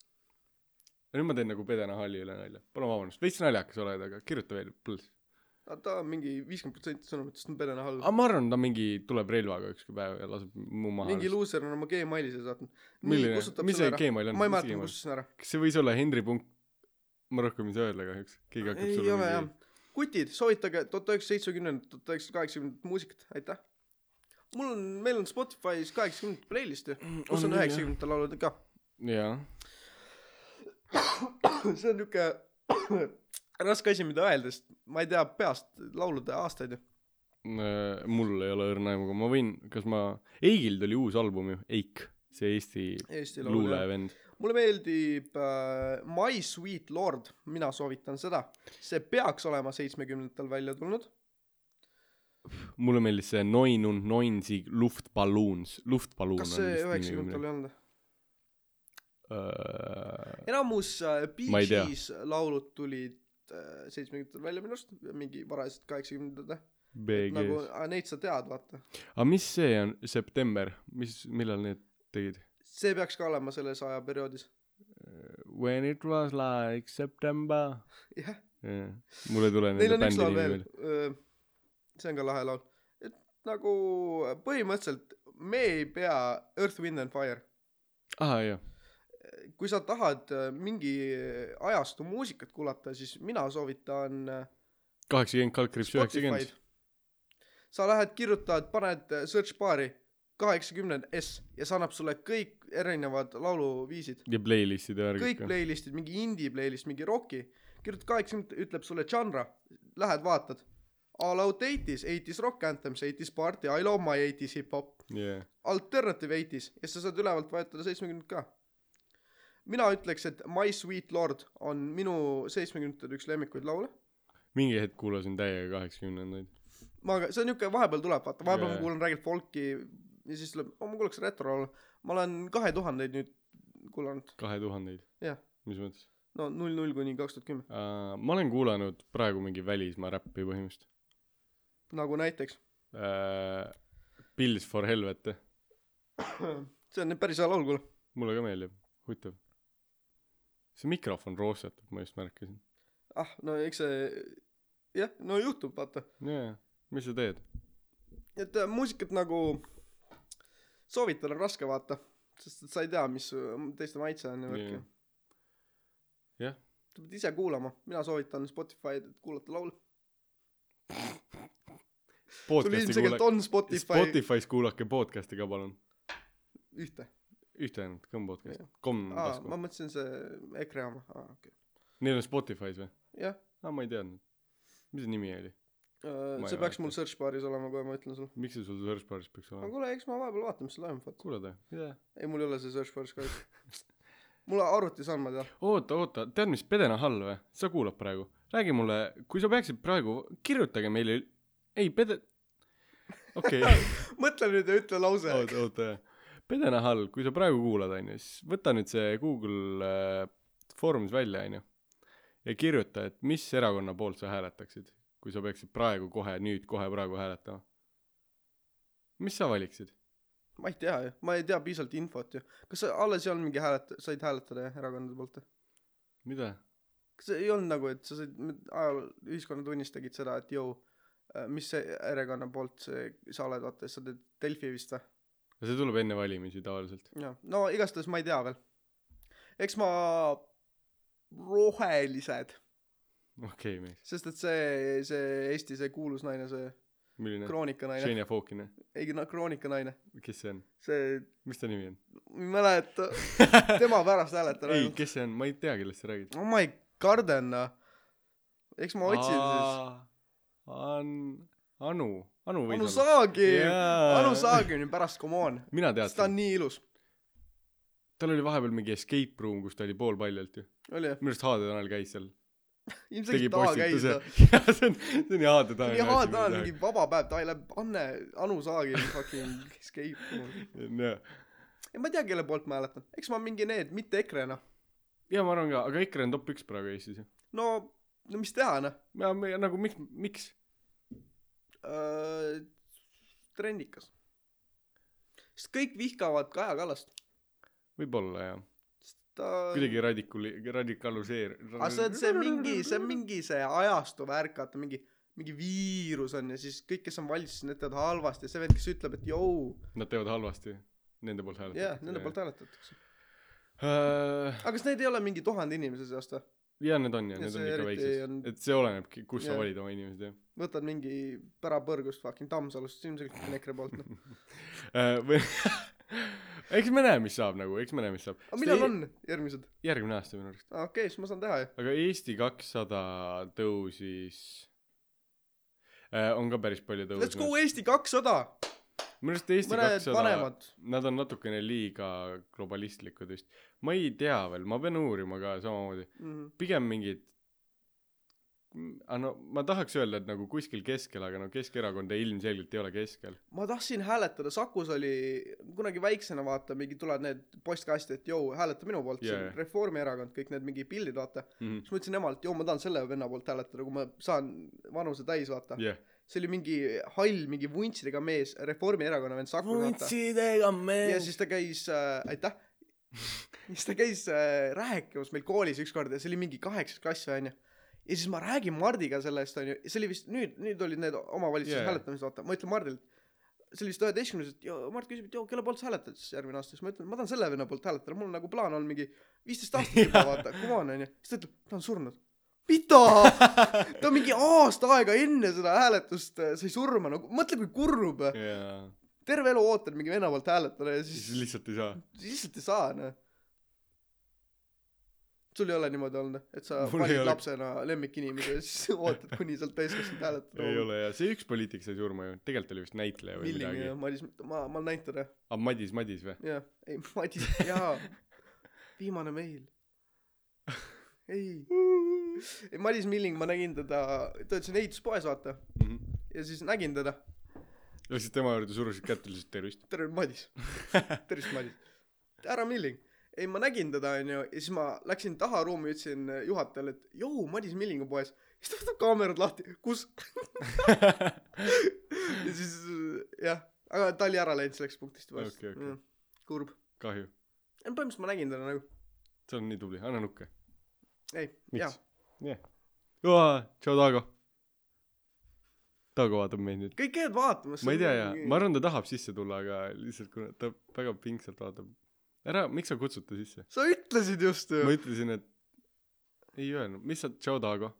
ja nüüd ma teen nagu pedenahali üle nalja palun vabandust veits naljakas oled aga kirjuta veel põls
aga ta on mingi viiskümmend protsenti sõnumitest on Pedenahal
aga ma arvan ta mingi tuleb relvaga ükski päev ja laseb mu maha
mingi luuser on oma Gmaili siia saatnud
milline mis see
Gmail
Gmail on
on ma ei
Mis
mäleta
Gmail?
ma kustutasin ära
kas see võis olla Henri punkt ma rohkem ei saa öelda kahjuks keegi hakkab
ei
sulle
ole jah
mingi
kutid soovitage tuhat üheksasada seitsmekümnendat tuhat üheksasada kaheksakümnendat muusikat aitäh mul on meil on Spotify's kaheksakümnendate playlist ju kus
Mm, on
on
küll, jah.
üheksakümnendate laulud ka
jaa
see on niuke raske asi mida öelda sest ma ei tea peast laulude aastaid ju
Äh, mul ei ole õrna aimuga ma võin kas ma Eigil tuli uus album ju Eik see Eesti
Eesti laulud jah
luulevend
mulle meeldib äh, My Sweet Lord mina soovitan seda see peaks olema seitsmekümnendatel välja tulnud
mulle meeldis see Neun und Neunsi Luftballons Luftballon
kas see üheksakümnendatel ei olnud
üheksakümnendatel
enamus äh,
Ma
Bee
ei tea.
Gees laulud tulid seitsmekümnendatel välja minu arust mingi varajased kaheksakümnendad nagu
BG-s .
a, neid sa tead , vaata .
aga mis see on , september , mis , millal need tegid ?
see peaks ka olema selles ajaperioodis .
Äh, When it was like September
jah ,
yeah. . mul ei tule
neil
nende
on üks
bändi nimi
laul veel Äh,
veel ..
see on ka lahe laul . et nagu põhimõtteliselt me ei pea Earth , Wind and Fire .
aa jah ,
kui sa tahad äh, mingi ajastu muusikat kuulata , siis mina soovitan äh,
kaheksakümmend , kaldkriips
Spotify'd
üheksakümmend ..
sa lähed , kirjutad , paned äh, search baari kaheksakümnend S ja see annab sulle kõik erinevad lauluviisid .
ja playlist'ide värgid
kõik
ka .
playlist'id , mingi indie playlist , mingi rocki , kirjutad kaheksakümmend , ütleb sulle žanra , lähed vaatad . All out eighties , eighties rock anthems , eighties party , I love my eighties hip-hop ,
Yeah.
alternative eighties ja siis sa saad ülevalt vajutada seitsmekümnendat ka . mina ütleks , et My sweet lord on minu seitsmekümnendate üks lemmikuid laule .
mingi hetk kuulasin täiega kaheksakümnendaid .
ma , see on niuke , vahepeal tuleb , vaata , vahepeal yeah.
Jajah.
ma kuulan räägib folki ja siis tuleb , ma kuulaks retrolaulu . ma olen kahe tuhandeid nüüd kuulanud ,
kahe tuhandeid .
Jah.
mis mõttes ?
no null null kuni kaks tuhat kümme ,
Uh, ma olen kuulanud praegu mingi välismaa räppi põhimõtteliselt
nagu näiteks .
uh, . Pills for helvet ,
see on nüüd päris hea laul , kuule .
mulle ka meeldib , huvitav . see mikrofon roostetab , ma just märkasin .
ah , no eks see , jah , no juhtub , vaata .
jaa , mis sa teed ?
et äh, muusikat nagu soovitada on raske , vaata . sest et sa ei tea , mis su- teiste maitse on ja värk
Nii.
ju .
Jah. .
sa pead ise kuulama , mina soovitan Spotify'd , et kuulata laule . sul
podcast'i
ilmselgelt
kuulake ,
on Spotify, Spotify.
Spotify's kuulake podcast'i ka palun .
ühte .
ühte ainult , kõmm podcast
Jah. ,
komm
aa ,
nagu tasku
ma . mõtlesin see EKRE oma , aa okei okay. .
Neil on Spotify's või ?
jah ,
aa , ma ei teadnud . mis see nimi oli ? Ma
see
ei
peaks mul
mäleta.
search bar'is olema , kohe ma ütlen sulle .
miks see sul search bar'is peaks
aga
olema ?
kuule , eks ma vahepeal vaatan , mis seal toimub , vaata .
kuulad või ? mida ?
ei , mul ei ole see search bar'is ka . mul arvutis on , ma tean .
oota , oota , tead , mis Pedena Hall või ? sa kuulad praegu . räägi mulle , kui sa peaksid praegu , kirjutage meile , ei , Pede- , okei okay. ,
mõtle nüüd ja ütle lause .
oota , oota , jah . Pedena Hall , kui sa praegu kuulad , on ju , siis võta nüüd see Google äh, Forms välja , on ju , ja kirjuta , et mis erakonna poolt sa hääletaksid , kui sa peaksid praegu kohe , nüüd kohe praegu hääletama . mis sa valiksid ?
ma ei tea ju , ma ei tea piisavalt infot ju . kas sa alles ei olnud mingi häälet- , said hääletada jah, erakondade poolt või ?
mida ?
kas see ei olnud nagu , et sa said , ajal ühiskonnatunnis tegid seda , et jõu , mis see erakonna poolt see , sa oled , vaata , sa teed Delfi vist või ?
see tuleb enne valimisi tavaliselt .
jah , no igastahes ma ei tea veel . eks ma rohelised ,
okei okay, , mees ,
sest et see , see Eesti see kuulus naine , see
milline ?
kroonikanaine ,
Xenia Fokina ,
ei no kroonikanaine ,
kes see on ?
see ,
mis ta nimi on ?
ma ei mäleta , tema pärast hääletan
ei , kes see on , ma ei tea , kellest sa räägid .
no ma ei karda ennast . eks ma otsin siis .
An- , Anu , Anu
Anu
Võisalu .
Saagim ,
Jaa.
Anu Saagim ju pärast , come on ,
mina
sest ta on
teadsin ,
nii ilus ,
tal oli vahepeal mingi escape room , kus ta oli poolpaljalt ju .
oli ju ,
minu arust Haade Tanel käis seal . tegi
ilmselgelt ta käis
postituse
seal ..
jah , see on , see on ju Haade Tanel .
nii hea ta on , mingi . vaba päev , ta ei lähe , Anne , Anu Saagim fucking escape . ei ma ei tea , kelle poolt ma hääletan , eks ma mingi need , mitte noh. EKRE-na ,
ja ma arvan ka , aga EKRE on top üks praegu Eestis ju .
no , no mis teha noh ,
ja me nagu miks , miks ?
Äh, trendikas . sest kõik vihkavad Kaja Kallast ,
võib-olla jah .
sest ta
kuidagi radikuli- , radikaliseer- .
aga see on see mingi , see on . mingi see ajastu värk , vaata mingi , mingi viirus on ja siis kõik , kes on valitsuses , need teevad halvasti ja see vend , kes ütleb , et jõu ,
Nad teevad halvasti . Nende poolt Äh, hääletatakse .
jah , nende poolt hääletatakse .
hääletatakse .
aga kas neid ei ole mingi tuhande inimese seast või ?
ja need on jah ,
Ja
need on
see
ikka
eriti
väiksed on...
on- ,
et see olenebki , kus yeah.
Jah.
sa valid oma inimesed jah
võtad mingi pärapõrgust fucking Tammsalust , ilmselgelt on EKRE poolt noh .
Äh, või eks me näe , mis saab nagu , eks me näe , mis saab .
aga millal on järgmised ?
järgmine aasta minu arust ,
aa okei okay, , siis ma saan teha ju .
aga Eesti kakssada tõusis äh, , on ka päris palju
Let's go
tõusnud .
Eesti kakssada ,
minu arust Eesti
mõned
kakssada ,
vanemad .
nad on natukene liiga globalistlikud vist . ma ei tea veel , ma pean uurima ka samamoodi . pigem mingid aga no ma tahaks öelda , et nagu kuskil keskel , aga no Keskerakond ilmselgelt ei ole keskel .
ma tahtsin hääletada , Sakus oli kunagi väiksena vaata , mingi tulevad need postkastid , et jõu , hääleta minu poolt
Jaa,
yeah.
jaa. ,
Reformierakond , kõik need mingi pildid vaata .
jah
siis ma ütlesin emalt , joo , ma tahan selle venna poolt hääletada , kui ma saan vanuse täis , vaata . see oli mingi hall mingi vuntsidega mees Reformierakonna vend Saku Nata
vuntsidega
ja
mees
siis ta käis äh, aitäh siis ta käis äh, rääkimas meil koolis ükskord ja see oli mingi kaheksas klass onju ja siis ma räägin Mardiga sellest onju see oli vist nüüd nüüd olid need omavalitsuse
Jaa.
yeah. hääletamised vaata ma ütlen Mardilt see oli vist üheteistkümnes et joo Mart küsib et joo kelle poolt sa hääletad siis järgmine aasta siis ma ütlen ma tahan selle venna poolt hääletada mul on nagu plaan on mingi viisteist aastat juba vaata come on onju siis ta ütleb ta on surnud mida ta mingi aasta aega enne seda hääletust äh, sai surma no mõtle kui kurb
jaa
terve elu ootad mingi venna poolt hääletada ja
siis
siis
lihtsalt ei saa
lihtsalt ei saa noh sul ei ole niimoodi olnud noh, et sa
Mul ei
valid
ole.
lapsena lemmikinimese ja siis ootad kuni sa oled täiskasvanud hääletada
ei ole jah see üks poliitik sai surma ju tegelikult oli vist näitleja või
Milling
midagi
ja Madis ma ma olen näinud teda
aa Madis Madis või
jah ei Madis jaa viimane meil ei ei Madis Milling ma nägin teda ta ütles ehituspoes vaata
Mhm.
ja siis nägin teda
läksid tema juurde surusid kätt ja ütlesid tervist
terve Madis tervist Madis härra Milling ei ma nägin teda onju ja siis ma läksin taha ruumi ütlesin äh, juhatajale et joo Madis Milling on poes siis ta võtab kaamerad lahti kus ja siis äh, jah aga ta oli ära läinud selleks punktist juba
Okei, okei.
Jah. kurb
kahju
ei põhimõtteliselt ma nägin teda nagu
sa oled nii tubli anna nukke
ei
miks
jaa
jah yeah. tšau Taago Taago vaatab meid nüüd
kõik käivad vaatamas
ma ei tea jaa ma arvan ta tahab sisse tulla aga lihtsalt kuna ta väga pingsalt vaatab ära miks sa kutsud ta sisse
sa ütlesid just ju
ma ütlesin et ei öelnud mis sa tšau Taago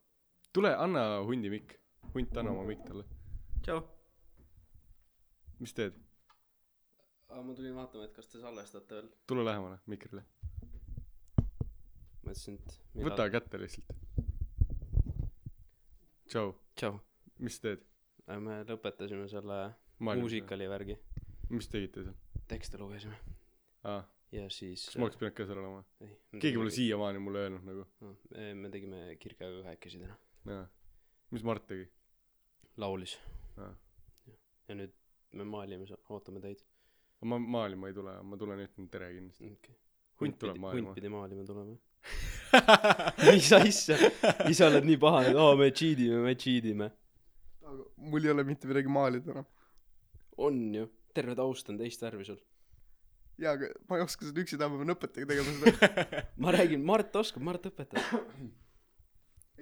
tule anna hundi mikk hunt anna oma mikk talle
tšau .
mis teed
aga ma tulin vaatama , et kas te salvestate veel .
tule lähemale mikrile
ma ütlesin , et .
võta . kätte lihtsalt tšau
tšau .
mis teed
me lõpetasime selle
Maailm-
muusikali värgi .
mis tegite seal
tekste lugesime
aa
ja siis . äh,
kas ma oleks pidanud ka seal olema keegi pole . siiamaani mulle öelnud nagu
me tegime Kirkaga kahekesi täna .
jaa mis Mart tegi
laulis .
Aa.
ja nüüd me maalime , ootame teid .
ma maalima ei tule ma tulen ütlen tere kindlasti
okei .
hunt tuleb maalima
hunt pidi maalima tulema . mis asja , ise oled nii pahane , et oo me cheat ime , me cheat ime .
Aga mul ei ole mitte midagi maalida enam
on ju , terve taust on teist värvi sul .
jaa aga ma ei oska seda üksi teha ma pean õpetajaga tegema seda
ma räägin , Mart oskab , Mart õpetab .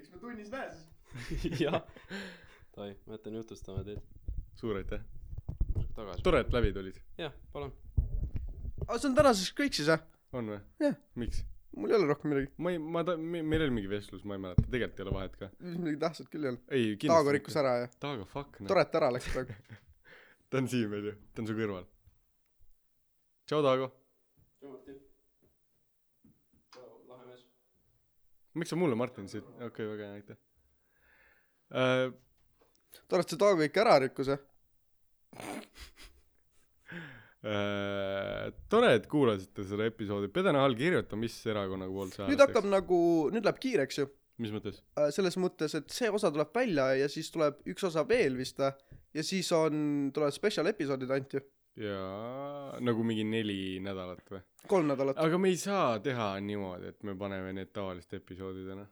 eks me tunnis näe siis
jah . Toi , ma jätan jutustama teid .
suur aitäh
tagasi .
tore et läbi tulid
jah , palun .
aga see on tänaseks kõik siis jah
on vä
Jah.
miks
mul ei ole rohkem midagi
ma ei ma ta- me- meil oli mingi vestlus ma ei mäleta tegelikult ei ole vahet ka
mis midagi tähtsat küll ei ole
ei kindlasti
Taago rikkus
mitte.
ära ja
Taago fuck noh
tore et ära läks praegu
ta on siin meil ju ta on su kõrval tšau Taago
lahe mees .
miks sa mulle Martin siit okei okay, väga hea aitäh Äh,
tore et see Taago ikka ära rikkus jah
äh, tore , et kuulasite seda episoodi , Pedena all kirjuta , mis erakonnaga poolt sa
nüüd hakkab nagu nüüd läheb kiireks ju
mis mõttes ?
Äh, selles mõttes et see osa tuleb välja ja siis tuleb üks osa veel vist vä ja siis on tulevad spetsial episoodid ainult ju
jaa , nagu mingi neli nädalat või ?
kolm nädalat
aga me ei saa teha niimoodi , et me paneme need tavaliste episoodidena .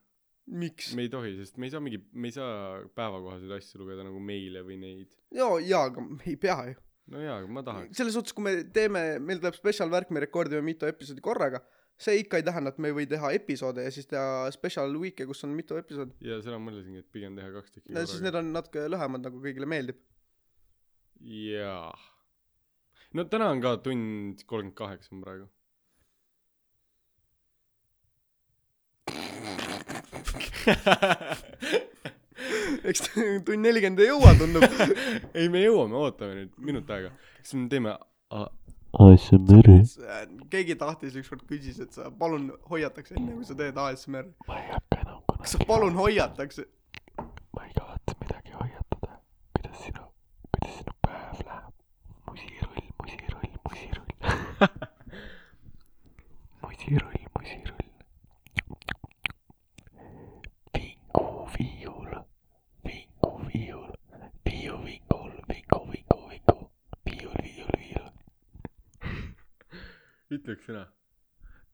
miks
me ei tohi , sest me ei saa mingi , me ei saa päevakohaseid asju lugeda nagu meile või neid .
joo jaa aga me ei pea ju
no jaa , aga ma tahaks .
selles suhtes kui me teeme meil tuleb spetsial värk me rekordime mitu episoodi korraga see ikka ei tähenda et me ei või teha episoode ja siis teha spetsial week'e kus on mitu episoodi
ja seda ma mõtlesingi , et pigem teha kaks tükki
ja siis need . on natuke lühemad nagu kõigile meeldib
jaa . no täna on ka tund kolmkümmend kaheksa on praegu .
eks tund nelikümmend ei jõua tundub
ei , me jõuame , ootame nüüd minut aega . siis me teeme a-
ASMR-i .
keegi tahtis ükskord küsis et sa palun hoiataks enne kui sa teed ASMR
ma ei hakka enam
kas
kunagi ,
sa palun hoiataks
ma ei kavatse midagi hoiatada . kuidas sinu , kuidas sinu päev läheb ? musirull , musirull , musirull . musirull , musirull . vingu , viiul , vingu , viiul , viiu , vingul , vingu , vingu , vingu , viiul , viiul , viiul .
ütle üks sõna .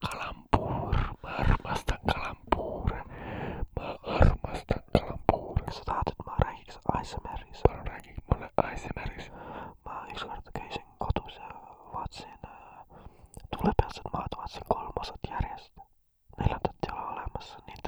kalambuur , ma armastan kalambuure . ma armastan kalambuure . sa tahad , et ma räägiks ASMR-is ? palun räägi . äh,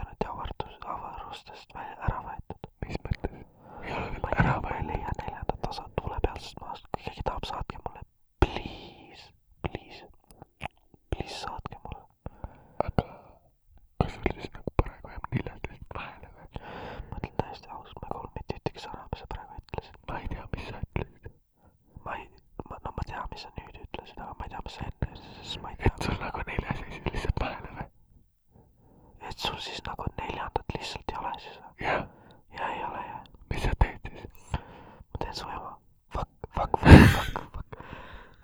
nagu siis ma ei tea . et sul nagu neljas jäi siis lihtsalt vahele või ? et sul siis nagu neljandat lihtsalt ei ole siis või ? jah . ja ei ole jah . mis sa teed siis ? ma teen su ema . Fuck , fuck , fuck , fuck , fuck .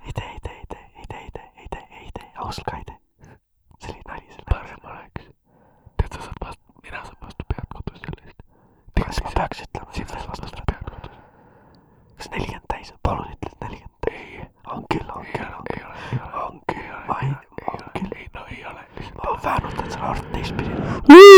ei tee , ei tee , ei tee , ei tee , ei tee , ei tee , ei tee , ausalt ka ei tee . see oli nali selle . parem oleks . tead , sa saad vastu , mina saan vastu pead kodus selle eest . kas ma peaks ütlema , et sa saad vastu pead kodus ? kas nelikümmend täis on , palun ütle , et nelikümmend täis . on küll , on küll , on küll . on küll , ma ei , on küll . ei no ei ole . ma väänutan selle arvut teistpidi .